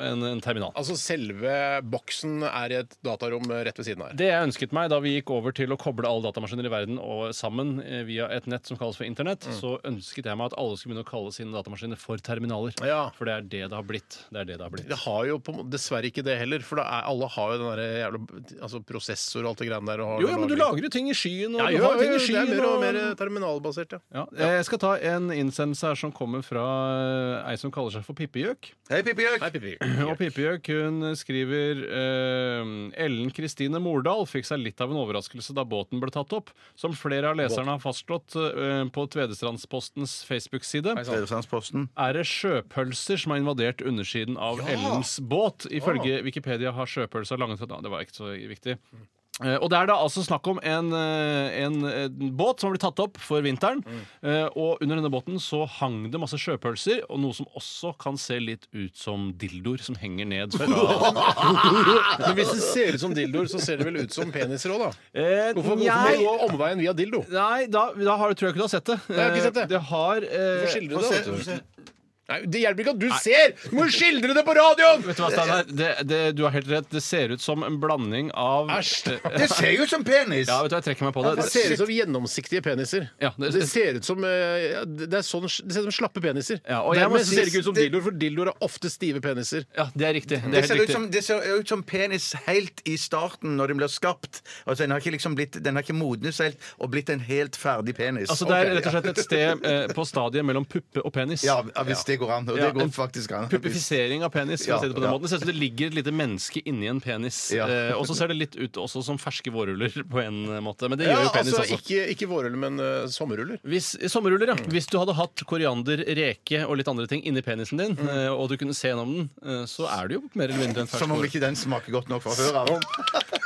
F: en, en terminal.
E: Altså selve boksen er i et datarom eh, rett ved siden her.
F: Det jeg ønsket meg da vi gikk over til å koble alle datamaskiner i verden og sammen eh, via et nett som kalles for
E: Mm.
F: internett, så ønsket jeg meg at alle skulle begynne å kalle sine datamaskiner for terminaler.
E: Ja.
F: For det er det det har blitt. Det er det det har blitt.
E: Det har jo på, en måte- dessverre ikke det heller, for da er, alle har jo den der jævla altså prosessor og alt det greiene der. Og har-
F: Jo, ja, men du lager jo ting i skyen. Og
E: ja,
F: du
E: jo,
F: har
E: jo,
F: ting i
E: jo, det
F: skyen
E: er mer og
F: og-
E: mer terminalbasert, ja.
F: Ja, Eh, jeg skal ta en innsendelse her som kommer fra eh, ei som kaller seg for Pippegjøk.
G: Hei, Pippi Gjøk!
E: Nei, Pippi.
F: Og Pippegjøk hun skriver eh, Ellen Kristine Mordal fikk seg litt av en overraskelse da båten ble tatt opp. Som flere av leserne har fastslått eh, på Tvedestrandspostens Facebook-side,
G: Tvedesandsposten.
F: er det sjøpølser som har invadert undersiden av Ellens båt. Ifølge Wikipedia har sjøpølsa lange tråd- Det var ikke så viktig. Eh, Og det er da altså snakk om en, eh, en, eh, båt som har blitt tatt opp for vinteren.
E: Mm.
F: Eh, Og under denne båten så hang det masse sjøpølser, og noe som også kan se litt ut som dildoer som henger ned fra
E: Men hvis det ser ut som dildoer, så ser det vel ut som peniser òg, da? Hvorfor,
F: Eh,
E: hvorfor må
F: nei.
E: du gå omveien via dildo?
F: Nei, da, da har, tror jeg ikke du har sett det.
E: jeg har ikke sett det.
F: Eh, det har, eh,
E: Hvorfor skildrer
G: Få
E: du
G: se,
E: det?
G: få
E: vet du?
G: se.
E: Nei, det hjelper ikke at du ser! Du må jo skildre det på radioen!
F: Vet du hva, Steinar? Det, det, du har helt rett. Det ser ut som en blanding av
E: Æsj!
G: Det ser jo ut som penis!
F: Ja, vet du, hva, jeg trekker meg på
E: Det
F: det.
E: ser ut som gjennomsiktige peniser.
F: Ja, det-
E: det, ser ut som eh, ja, det det er sånn, det ser ut som slappe peniser.
F: Ja, og jeg må
E: Dermed
F: si-
E: så ser det ikke ut som dildoer, for dildoer er ofte stive peniser.
F: Ja, det er riktig. Det
G: Det
F: er
G: ser,
F: helt
G: ut
F: riktig.
G: som, det ser ut som penis helt i starten, når den blir skapt. Altså, den, har ikke liksom blitt, den har ikke modnes helt og blitt en helt ferdig penis.
F: Altså, det er
G: Ok,
F: rett og slett et sted eh, på stadiet mellom puppe og penis.
G: Ja, ja, hvis det går an. Og
F: Ja,
G: det går
F: en
G: faktisk an.
F: Puppifisering av penis. for å
G: Ja,
F: si det på den
G: ja.
F: måten. Det ser ut som det ligger et lite menneske inni en penis.
G: Ja.
F: Eh, og så ser det litt ut også som ferske vårruller på en måte. Men det
E: Ja,
F: gjør jo penis
E: altså,
F: også.
E: Ikke, ikke vårruller, men eh, sommerruller.
F: Hvis, sommerruller, ja. Hvis du hadde hatt koriander, reke og litt andre ting inni penisen din,
G: Mm.
F: eh, og du kunne se gjennom den, eh, så er det jo mer eller mindre en fersk
G: Som om
F: vårrull.
G: ikke den smaker godt nok fra før av.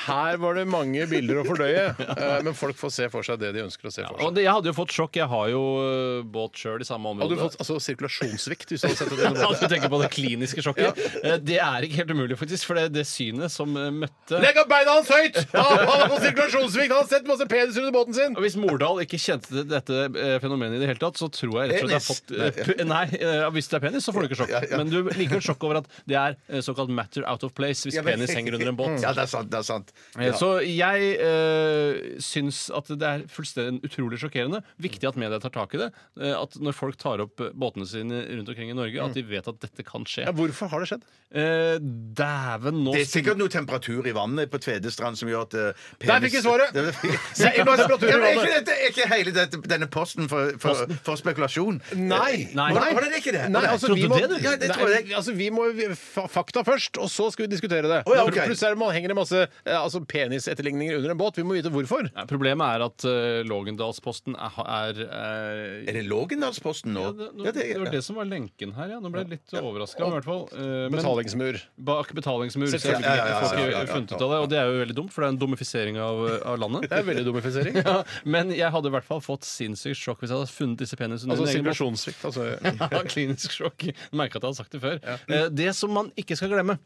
E: Her var det mange bilder å fordøye, eh, men folk får se for seg det de ønsker å se for
F: Og
E: seg.
F: det, jeg hadde jo fått sjokk. Jeg har jo eh, båt sjøl i samme område.
E: Hadde du fått altså, sirkulasjonssvikt hvis du hadde sett det?
F: Ja, du tenker på det kliniske sjokket. Eh, Det er ikke helt umulig, faktisk. For det, det synet som eh, møtte
E: Legg opp beina hans høyt! Ja, han har fått sirkulasjonssvikt! Han har sett masse penis under båten sin!
F: Og Hvis Mordal ikke kjente til dette eh, fenomenet i det hele tatt, så tror jeg rett og slett jeg har fått eh, pu- Nei, eh, hvis det er penis, så får du ikke sjokk. Men du liker sjokk over at det er eh, såkalt matter out of place hvis
G: Ja, men-
F: penis henger under en båt.
G: Ja, det er sant. det er sant
F: Eh, Så jeg eh, syns at det er fullstendig utrolig sjokkerende. Viktig at media tar tak i det. eh, at når folk tar opp eh, båtene sine rundt omkring i Norge,
G: Mm.
F: at de vet at dette kan skje.
E: Ja, hvorfor har det skjedd?
F: Eh, Dæven, nå
G: Det er sikkert noe temperatur i vannet på Tvedestrand som gjør at eh, penis
E: Der fikk vi svaret!
G: Det- det-
E: Sikkert noe temperatur i
G: Ja, men er
E: vannet.
G: ikke dette- Er ikke hele dette, denne posten for, for, for spekulasjon? Eh,
E: Nei.
F: Nei.
G: Var det- var det ikke det?
E: Nei, altså,
F: Trodde
E: vi må,
F: det, du?
G: Ja, det tror jeg.
E: Nei, altså, vi må fa- fakta først, og så skal vi diskutere det.
G: Å, ja, ok.
E: Pluss er det man henger det masse eh, altså, penisetterligninger under en båt. Vi må vite hvorfor.
F: Nei, Problemet er at eh, Lågendalsposten er, er, eh,
G: Er det Lågendalsposten nå?
F: ja, det, nå,
G: Ja,
F: det var
G: det-
F: det som var lenken her, ja. Nå ble jeg litt overraska, i hvert fall. Eh, men
E: Betalingsmur.
F: bak betalingsmur. Så jeg
G: Selvfølgelig. Ja, ja, ja,
F: får
G: ja, ja,
F: ikke
G: ja.
F: funnet ut av det, og det er jo veldig dumt, for det er en dumifisering av, av landet.
E: Det er veldig dumifisering.
F: Ja, men jeg hadde i hvert fall fått sinnssykt sjokk hvis jeg hadde funnet disse penisene
E: Altså
F: under min egen båt.
E: sirkulasjonssvikt. Altså.
F: Ja, klinisk sjokk. Merka at jeg hadde sagt det før. Eh, Det som man ikke skal glemme,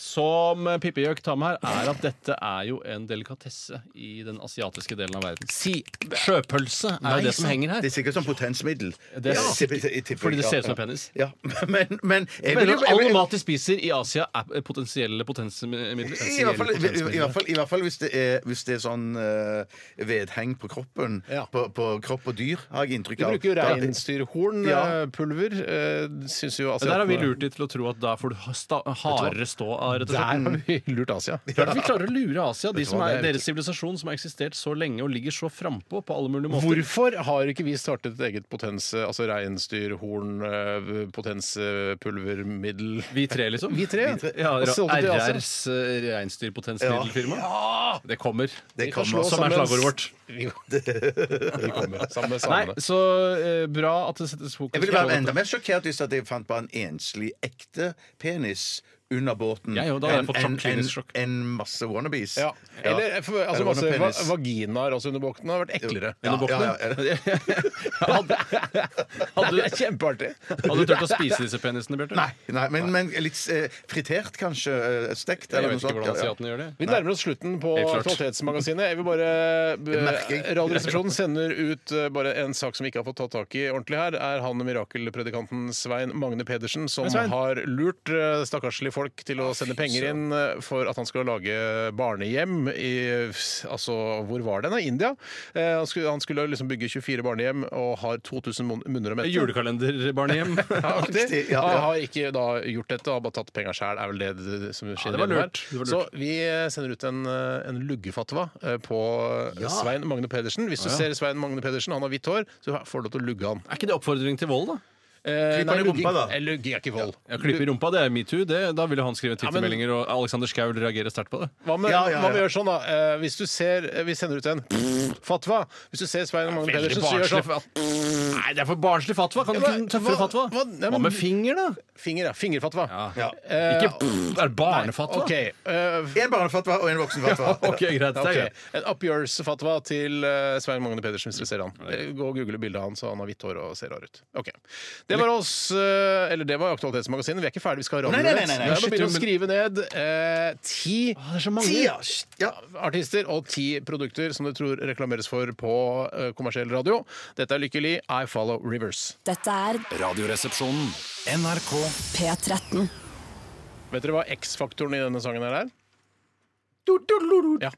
F: som eh, Pippi Gjøk tar med her, er at dette er jo en delikatesse i den asiatiske delen av verden. Sjøpølse er jo det som henger her.
G: Det er sikkert som potensmiddel.
F: Det er
G: Ja,
F: sikkert-
G: i- i- i-
F: fordi det ser ut som en penis.
G: Ja, men, men jeg
F: Mener
G: vil jo-
F: du at
G: jeg
F: all
G: vil-
F: mat de spiser i Asia, er potensielle potensmidler?
G: I hvert, fall, i, i, hvert fall, I hvert fall hvis det er, hvis det er sånn eh, vedheng på kroppen.
E: Ja.
G: På, på kropp og dyr, har jeg inntrykk
E: De
G: av.
E: bruker jo
G: Da-
E: reinsdyrhorn,
G: Ja.
E: eh, pulver. eh, Syns jo
F: Der har vi
E: asiatene-
F: lurt de til å tro at da får du ha sta- hardere stå av, rett og
E: Der
F: slett.
E: har vi lurt Asia.
F: Klart at vi klarer å lure Asia, de
E: du
F: som
E: hva,
F: er,
E: det er-
F: deres sivilisasjon som har eksistert så lenge og ligger så frampå på alle mulige måter.
E: Hvorfor har ikke vi startet et eget potens, altså reinsdyrhorn, eh, potenspulvermiddel
F: Vi tre, liksom?
E: Vi tre?
F: Ja,
E: Og solgte til Asia.
F: RRs eh, reinsdyrpotensmiddelfirma. Det kommer.
G: Det kan
E: slå
G: man-
F: Som er
E: sammen-
F: slagordet vårt.
E: Vi vi kommer sammen med samene.
F: Nei, så eh, bra at det settes fokus
G: Jeg ville
F: på
G: vært
F: dette.
G: enda mer sjokkert hvis at jeg fant bare en enslig, ekte penis under båten.
F: Ja, jo, da hadde jeg
G: En-
F: fått sjokk,
G: en-
F: klinisk sjokk.
G: En, en masse wannabes.
E: Ja. Eller eh, for, altså,
G: Eller
E: masse va
G: penis.
E: vaginaer også under båten har vært eklere.
G: Ja, ja, ja, ja.
F: hadde, hadde,
E: Det er kjempeartig.
F: hadde du turt å spise disse penisene, Bjarte?
G: Nei, nei, men, men litt eh, fritert, kanskje? eh, Stekt?
F: Jeg
G: Eller
F: vet
G: noe
F: ikke
G: sånt.
F: hvordan
G: Ja, ja.
F: asiatene gjør det.
E: Vi nærmer oss slutten på
F: Helt klart.
E: Aktualitetsmagasinet. Jeg vil bare eh,
G: merker jeg.
E: Radioresepsjonen sender ut eh, bare en sak som vi ikke har fått tatt tak i ordentlig her. Er han mirakelpredikanten Svein Magne Pedersen som
F: Svein.
E: har lurt eh, stakkarslige folk til å sende penger inn eh, for at han skulle lage barnehjem i Altså, hvor var det? Nei, India. Eh, Han skulle, han skulle liksom bygge 24 barnehjem og har 2000 mun- munner å mette.
F: Julekalenderbarnehjem.
E: Ja, riktig.
G: ja, ja.
E: Han har ikke da gjort dette, har bare tatt penga sjæl, er vel det det som skjer.
F: det var
E: her.
F: lurt. Det var lurt.
E: Så vi sender ut en, eh, en luggefatwa eh, på Svein Magne Pedersen. Hvis du ser Svein Magne Pedersen, han har hvitt hår, så får du lov til å lugge han.
F: Er ikke det oppfordring til vold, da?
E: Eh,
G: Klipp han i
E: lugging-
G: rumpa, da.
E: eh, Lugging er ikke vold.
F: Ja, Klippe i rumpa, det er metoo. Det- Da ville han skrive
E: men-
F: twittermeldinger, og Alexander Schou vil reagere sterkt på det.
E: Hva med,
G: Ja, ja, ja.
E: hva med å gjøre sånn, da? Eh, hvis du ser eh, Vi sender ut en fatwa. Hvis du ser Svein Magne
F: veldig
E: Pedersen, så gjør
F: barnslig
E: sånn
F: Nei, det er for barnslig fatwa! Kan du
E: Ja,
F: ikke
E: men
F: en tøffere
E: hva-
F: fatwa?
E: hva- ja, men-
F: Hva med finger, da?
E: Finger, ja. Fingerfatwa.
G: Ja.
E: Eh,
F: Ikke Det er barnefatwa.
E: OK. eh,
G: En barnefatwa og en voksenfatwa.
F: Ok, greit. Det er
E: Ok,
F: greit.
E: En up yours-fatwa til eh, Svein Magne Pedersen, hvis dere ser han. Eh, Gå og google bildet av han, så han har hvitt hår og ser rar ut. Ok, Det var oss, eh, eller det var Aktualitetsmagasinet. Vi er ikke ferdig, vi skal ha
G: Nei, nei, nei,
E: radioevent.
G: nei, nei.
E: Vi er
F: Shit,
E: bare å
F: men-
E: skrive ned eh, ti
F: Å, Det er så mange.
G: Ja, ja.
E: artister og ti produkter som du tror reklameres for på eh, kommersiell radio. Dette er Lykkelig, I Follow Rivers.
A: Dette er
D: Radioresepsjonen. NRK
A: P13.
E: Vet dere hva X-faktoren i denne sangen her er? Ja.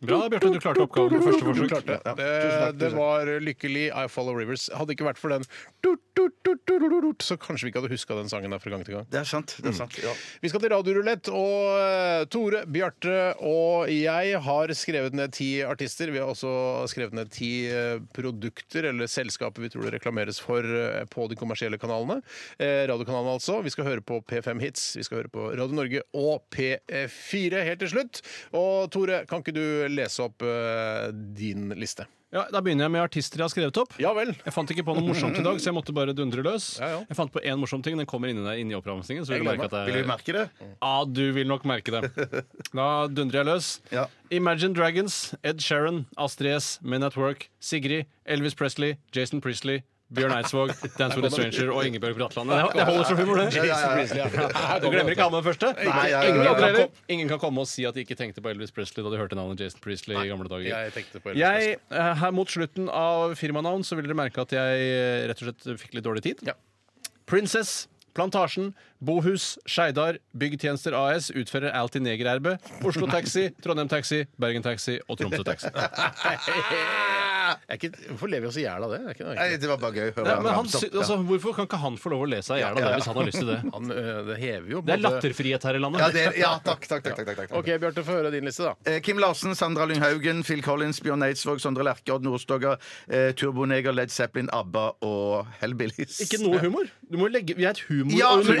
F: Bra, Bjarte. Du klarte oppgaven på første
E: Du
F: forsøk.
E: klarte det. Det, det var eh, lykkelig I Follow Rivers. Hadde ikke vært for den tut, tut, tut, tut, tut, tut, så kanskje vi ikke hadde huska den sangen der fra gang til gang.
G: Det er sant. det er sant, ja.
E: Vi skal til radiorulett, og eh, Tore, Bjarte og jeg har skrevet ned ti artister. Vi har også skrevet ned ti eh, produkter eller selskaper vi tror det reklameres for eh, på de kommersielle kanalene. Eh, Radiokanalene altså. Vi skal høre på P5 Hits, vi skal høre på Radio Norge og P4 helt til slutt. Og Tore, kan ikke du lese opp eh, din liste?
F: Ja, da begynner jeg med artister jeg har skrevet opp.
E: Ja vel.
F: Jeg fant ikke på noe morsomt i dag, så jeg måtte bare dundre løs.
E: Ja, ja.
F: Jeg fant på én morsom ting. Den kommer inni deg inni oppramsingen. Så
E: Jeg
F: vil du merke at
G: Vil
F: det
G: du
F: er...
G: merke det?
F: Ja, du vil nok merke det. Da dundrer jeg løs.
G: Ja.
F: Imagine Dragons, Ed Sheeran, Astrid S, Men at Work, Sigrid, Elvis Presley, Jason Priestley, Bjørn Eidsvåg, Dance with a Stranger og Ingebjørg Bratland. Det det holder som humor, det.
G: Ja, ja, ja.
F: Du glemmer ikke han med den første?
G: Nei, ja, ja,
F: Ingen,
G: ja.
F: andre heller. Ingen kan komme og si at de ikke tenkte på Elvis Presley da de hørte navnet Jason Priestley i gamle dager.
E: Jeg tenkte på Elvis
F: Jeg, eh, her mot slutten av firmanavn så vil dere merke at jeg eh, rett og slett fikk litt dårlig tid.
E: Ja.
F: Princess, Plantasjen, Bohus, Skeidar, Byggtjenester AS, utfører Alti Negererbe, Oslo Taxi, Trondheim Taxi, Bergen Taxi og Tromsø Taxi.
E: Er ikke, hvorfor lever vi oss i hjel av det? Er ikke,
G: Ah! Nei, det var bare gøy å høre.
F: Nei, men han,
G: ramse opp,
F: sy-
G: ja.
F: altså, hvorfor kan ikke han få lov å lese av hjel av det hvis han har lyst til det?
E: Han, ø, det hever jo
F: Det er
E: både-
F: latterfrihet her i landet.
G: Ja, det, ja takk, takk, takk, takk, takk, takk.
E: OK, Bjarte, få høre din liste, da.
G: Eh, Kim Larsen, Sandra Lynghaugen, Phil Collins, Bjørn Eidsvåg, Sondre Lerche, Odd Nordstoga, eh, Turboneger, Led Zeppelin, ABBA og Hellbillies.
F: Ikke noe humor. Du må legge, vi er et humor-
G: Ja,
F: og
G: men-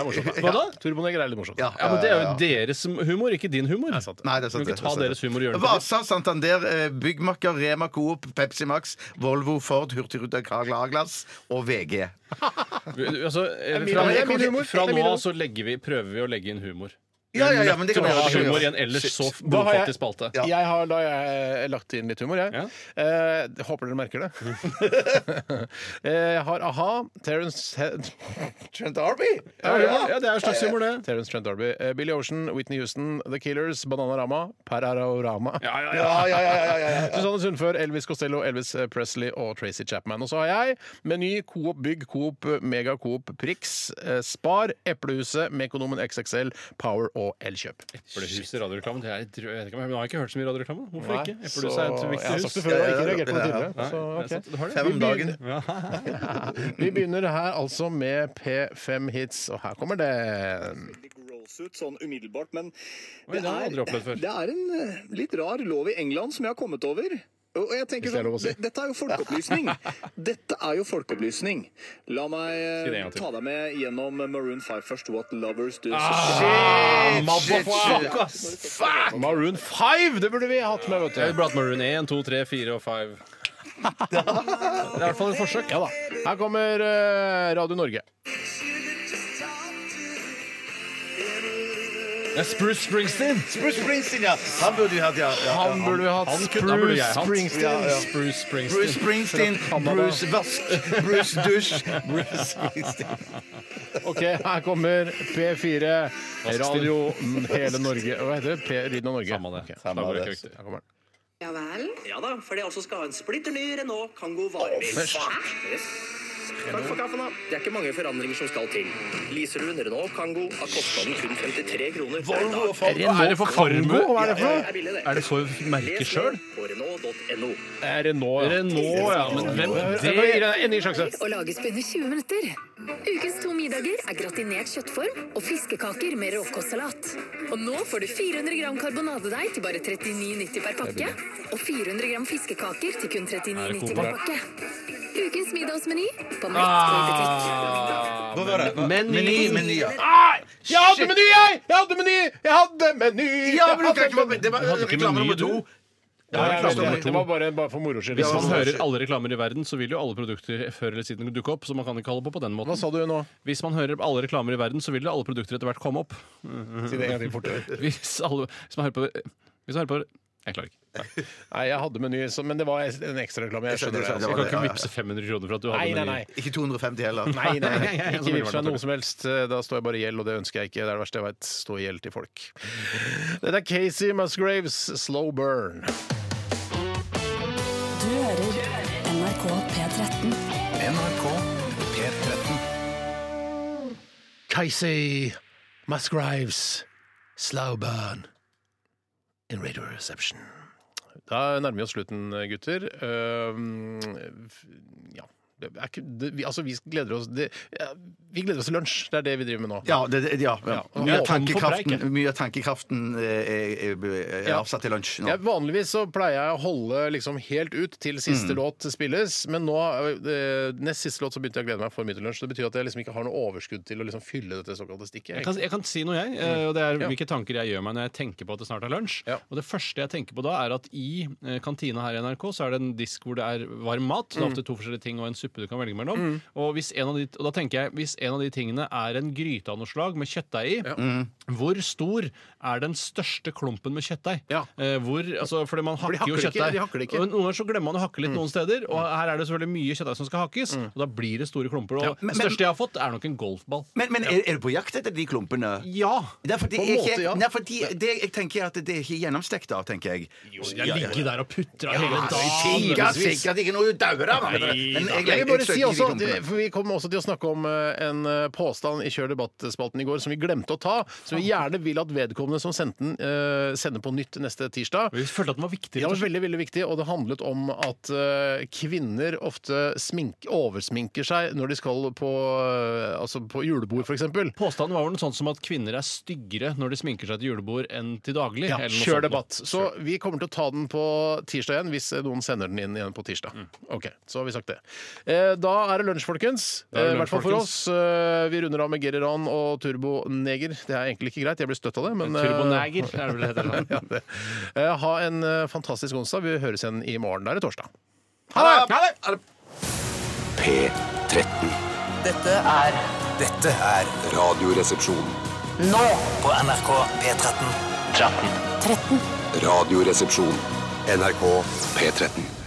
E: Turboneger er morsomt.
F: Hva da?
E: Turboneger er litt morsomt.
G: Ja,
F: Ja, men Det er jo deres humor, ikke din humor.
E: sant.
G: Nei, det er
F: Du kan
G: sant.
F: ikke ta
G: det er
F: deres
G: sant.
F: humor og gjøre det til
G: Vasa, Santander, eh, Byggmakker, Rema Coop, Pepsi Max, Volvo, Ford, Hurtigruta, Kragl Aglas og VG.
F: Vi- Altså, eh,
E: min-
F: fra,
E: det er min humor.
F: fra
E: Det er min
F: nå
E: humor.
F: av så legger vi, prøver vi å legge inn humor.
G: Ja, ja, ja, men det kan
F: vi
G: vi
F: ha
G: gjøre. det kan vi
F: humor i
G: gjøre.
F: en ellers så f-
E: Da har jeg-
F: blodfattig spalte.
G: Ja.
E: Jeg har da jeg, eh, lagt inn litt humor, jeg.
F: Ja.
E: Eh, håper dere merker det. Eh, jeg har a-ha, Terence Head
G: Trent Arby?
F: Ja, humor. ja, det er jo slags humor, det.
E: Terence Trent Darby. Eh, Billy Ocean, Whitney Houston, The Killers, Bananarama, Pararorama.
F: Ja, ja, ja.
G: Ja, ja, ja, ja, ja, ja.
E: Susanne Sundfør, Elvis Costello, Elvis eh, Presley og Tracy Chapman. Og så har jeg Meny, Coop Bygg, Coop Mega, Coop Prix, eh, Spar, Eplehuset, Mekonomen XXL, Power og Elkjøp.
F: Eplehuset i radioreklame. Det er, jeg tror- jeg vet ikke, men jeg har ikke hørt så mye radioreklame. Hvorfor ikke?
E: Nei,
F: Eplehuset
E: så-
F: er et
E: Jeg har sagt det
F: viktig hus.
E: før, jeg har ikke reagert på det tidligere. Så,
F: Nei, det er
E: ok.
F: sant. Du har det?
G: Fem om dagen.
E: Vi begynner her altså med P5 Hits, og her kommer den.
H: veldig gross ut sånn umiddelbart, men
F: Oi, det har jeg aldri opplevd før.
H: det er en eh, litt rar lov i England som jeg har kommet over. Og jeg tenker
E: Hvis det er
H: sånn,
E: lov å si.
H: det- Dette er jo folkeopplysning. Dette er jo folkeopplysning. La meg
F: Si det
H: eh,
F: en gang til.
H: ta deg med gjennom Maroon 5 først. What lovers do.
F: Ah,
G: shit, shit.
F: motherfucker, ass.
E: Maroon 5! Det burde vi hatt med, vet
F: Jeg
E: du.
F: vil prate Maroon 1, 2, 3, 4 og 5. Det er i hvert fall et forsøk.
E: Ja da. Her kommer eh, Radio Norge.
F: Det er Spruce Springsteen.
G: Bruce Springsteen, ja. Han burde jo hatt, ja. ja, ja.
E: Han burde vi hatt.
F: han kunne- han burde jeg hatt.
E: Springsteen.
G: Ja, ja.
F: Spruce Springsteen.
G: Bruce Springsteen, Bruce Vask, Bruce Dusj, Bruce Springsteen.
E: Ok, her kommer P4, Radio Hele Norge. Hva heter det? P Lyden av Norge.
F: Samme det.
E: Ok,
F: Samme
E: slagordet er
F: det.
E: ikke viktig. Her kommer den.
I: Ja vel? Ja da, for det også skal ha en splitter ny Renault Kangoo varebil.
E: først.
I: Yes.
H: Takk for kaffen, da. Det er ikke mange forandringer som skal til. Leaser du en Renault Kango, er kostnaden kun 53 kroner per dag.
F: Er det for formue? Hva er det for
H: Jeg
F: noe?
H: ville det.
F: Er det for merke
H: Les
F: sjøl?
H: mer på Renault.no.
E: Er det nå, ja?
F: Renault, ja. Men hvem
E: Jeg
F: det
E: gir deg En ny sjanse.
I: og lages på under 20 minutter. Ukens to middager er gratinert kjøttform og fiskekaker med råkostsalat. Og nå får du 400 gram karbonadedeig til bare 39,90 per pakke. Og 400 gram fiskekaker til kun 39,90 per pakke. Ukens middagsmeny på Mett.
G: Hva var det?
F: Meny.
G: meny ja.
E: Jeg hadde meny, jeg! Jeg hadde meny! Jeg hadde meny!
G: ja, men du kan ikke bare Det var
F: hadde ikke
G: reklame
F: meny,
G: nummer
F: du.
G: to. Ja,
E: Jeg
G: reklame
E: vet det.
G: nummer
E: Det var
G: to.
E: bare, bare for moro skyld.
F: Hvis man
E: Hva
F: hører alle reklamer i verden, så vil jo alle produkter før eller siden dukke opp. Så man kan ikke holde på på den måten.
G: Altså-
E: sa du nå?
F: Hvis man hører alle reklamer i verden, så vil alle produkter etter hvert komme opp.
E: Si det en gang til fortere.
F: Hvis, alle, hvis man hører på Hvis man hører på Jeg klarer ikke.
E: Nei, jeg hadde meny, så- men det var en ekstrareklame. Jeg skjønner det.
G: Jeg skjønner, jeg
F: Jeg
E: altså.
F: kan ikke vippse 500 kroner for at du hadde
E: Nei, nei, nei.
F: meny.
G: Ikke 250 heller.
E: Nei, nei, nei.
F: Så
E: Ikke
F: blir det
E: vips meg
F: bare
E: noe som helst. Da står jeg bare i gjeld, og det ønsker jeg ikke. Det er det verste jeg veit. Stå i gjeld til folk. Dette er Casey Musgraves Slow Burn.
A: Du hører NRK P13.
D: NRK P13.
E: Casey Musgraves Slow Burn in Radio Reception. Da nærmer vi oss slutten, gutter. Ehm, f- ja. Det er ikke, det, vi, altså, vi gleder oss det, ja, Vi gleder oss til lunsj. Det er det vi driver med nå.
G: Ja, det, det- ja, ja. Mye, av
E: Ja,
F: tom for preik,
G: tankekraften,
F: jeg.
G: mye av tankekraften eh, er, er, er
E: Ja.
G: avsatt til lunsj nå.
E: Jeg, vanligvis så pleier jeg å holde liksom helt ut til siste låt spilles, men nå, eh, nest siste låt, så begynte jeg å glede meg for mye til lunsj. Det betyr at jeg liksom ikke har noe overskudd til å liksom fylle dette såkalte
F: Jeg
E: stikket.
F: kan, jeg kan si noe, jeg. eh, Og det er
E: Mm. Ja.
F: hvilke tanker jeg gjør meg når jeg tenker på at det snart er lunsj.
E: Ja.
F: Og det første jeg tenker på da, er at i eh, kantina her i NRK så er det en disk hvor det er varm mat. Det er
E: Mm.
F: ofte to forskjellige ting og en suppe du kan velge mellom. Og, hvis en av de, og da tenker jeg hvis en av de tingene er en gryte av noe slag med kjøttdeig i, Mm. hvor stor er den største klumpen med kjøttdeig?
E: Ja.
F: Eh, hvor, altså, fordi man hakker,
E: hakker
F: jo
E: det ikke,
F: kjøttdeig.
E: de hakker det ikke. Mm.
F: Og noen ganger så glemmer man å hakke litt noen steder, og her er det selvfølgelig mye kjøttdeig som skal hakkes, og da blir det store klumper. Og
G: men-
F: det største jeg har fått, er nok en golfball.
G: Men, men er, er du på jakt etter de klumpene?
F: Ja!
G: Det er fordi
E: På en
G: jeg,
E: måte,
G: ikke-
E: ja.
G: nei, fordi det, jeg tenker at det er ikke gjennomstekt, da, tenker jeg. Jo,
F: Jeg ligger der og putter av hele dagen.
G: Sikkert sikkert ikke noe du dauer av! Men jeg, jeg,
E: Jeg vil bare si
G: søker
E: også at,
G: de klumpene.
E: for Vi kom også til å snakke om eh, en eh, påstand i Kjør debatt-spalten i går som vi glemte å ta, som vi gjerne vil at vedkommende som sendte den, eh, sender på nytt neste tirsdag.
F: Vi følte at den var viktig.
E: Det var veldig veldig viktig, og det handlet om at eh, kvinner ofte smink, oversminker seg når de skal på, eh, altså på julebord, f.eks.
F: Påstanden var vel noe sånt som at kvinner er styggere når de sminker seg til julebord enn til daglig.
E: Ja,
F: eller noe sånt.
E: kjør debatt. Så vi kommer til å ta den på tirsdag igjen, hvis eh, noen sender den inn igjen på tirsdag.
F: Mm.
E: Ok, så har vi sagt det. Eh, Da er det lunsj, folkens.
F: Da er det
E: Eh, I hvert fall for oss.
F: lunsj,
E: Eh, Vi runder av med Geri Ran og Turbo Neger. Det er egentlig ikke greit, jeg blir støtt av det, men eh,
F: Turboneger, er det vel det heter.
E: ja, det. Eh, Ha en eh, fantastisk onsdag. Vi høres igjen i morgen. Da er det torsdag.
B: P13.
J: Dette er Dette er
B: Radioresepsjon.
J: nå på NRK P13. 13.
A: 13.
B: Radioresepsjon. NRK P13.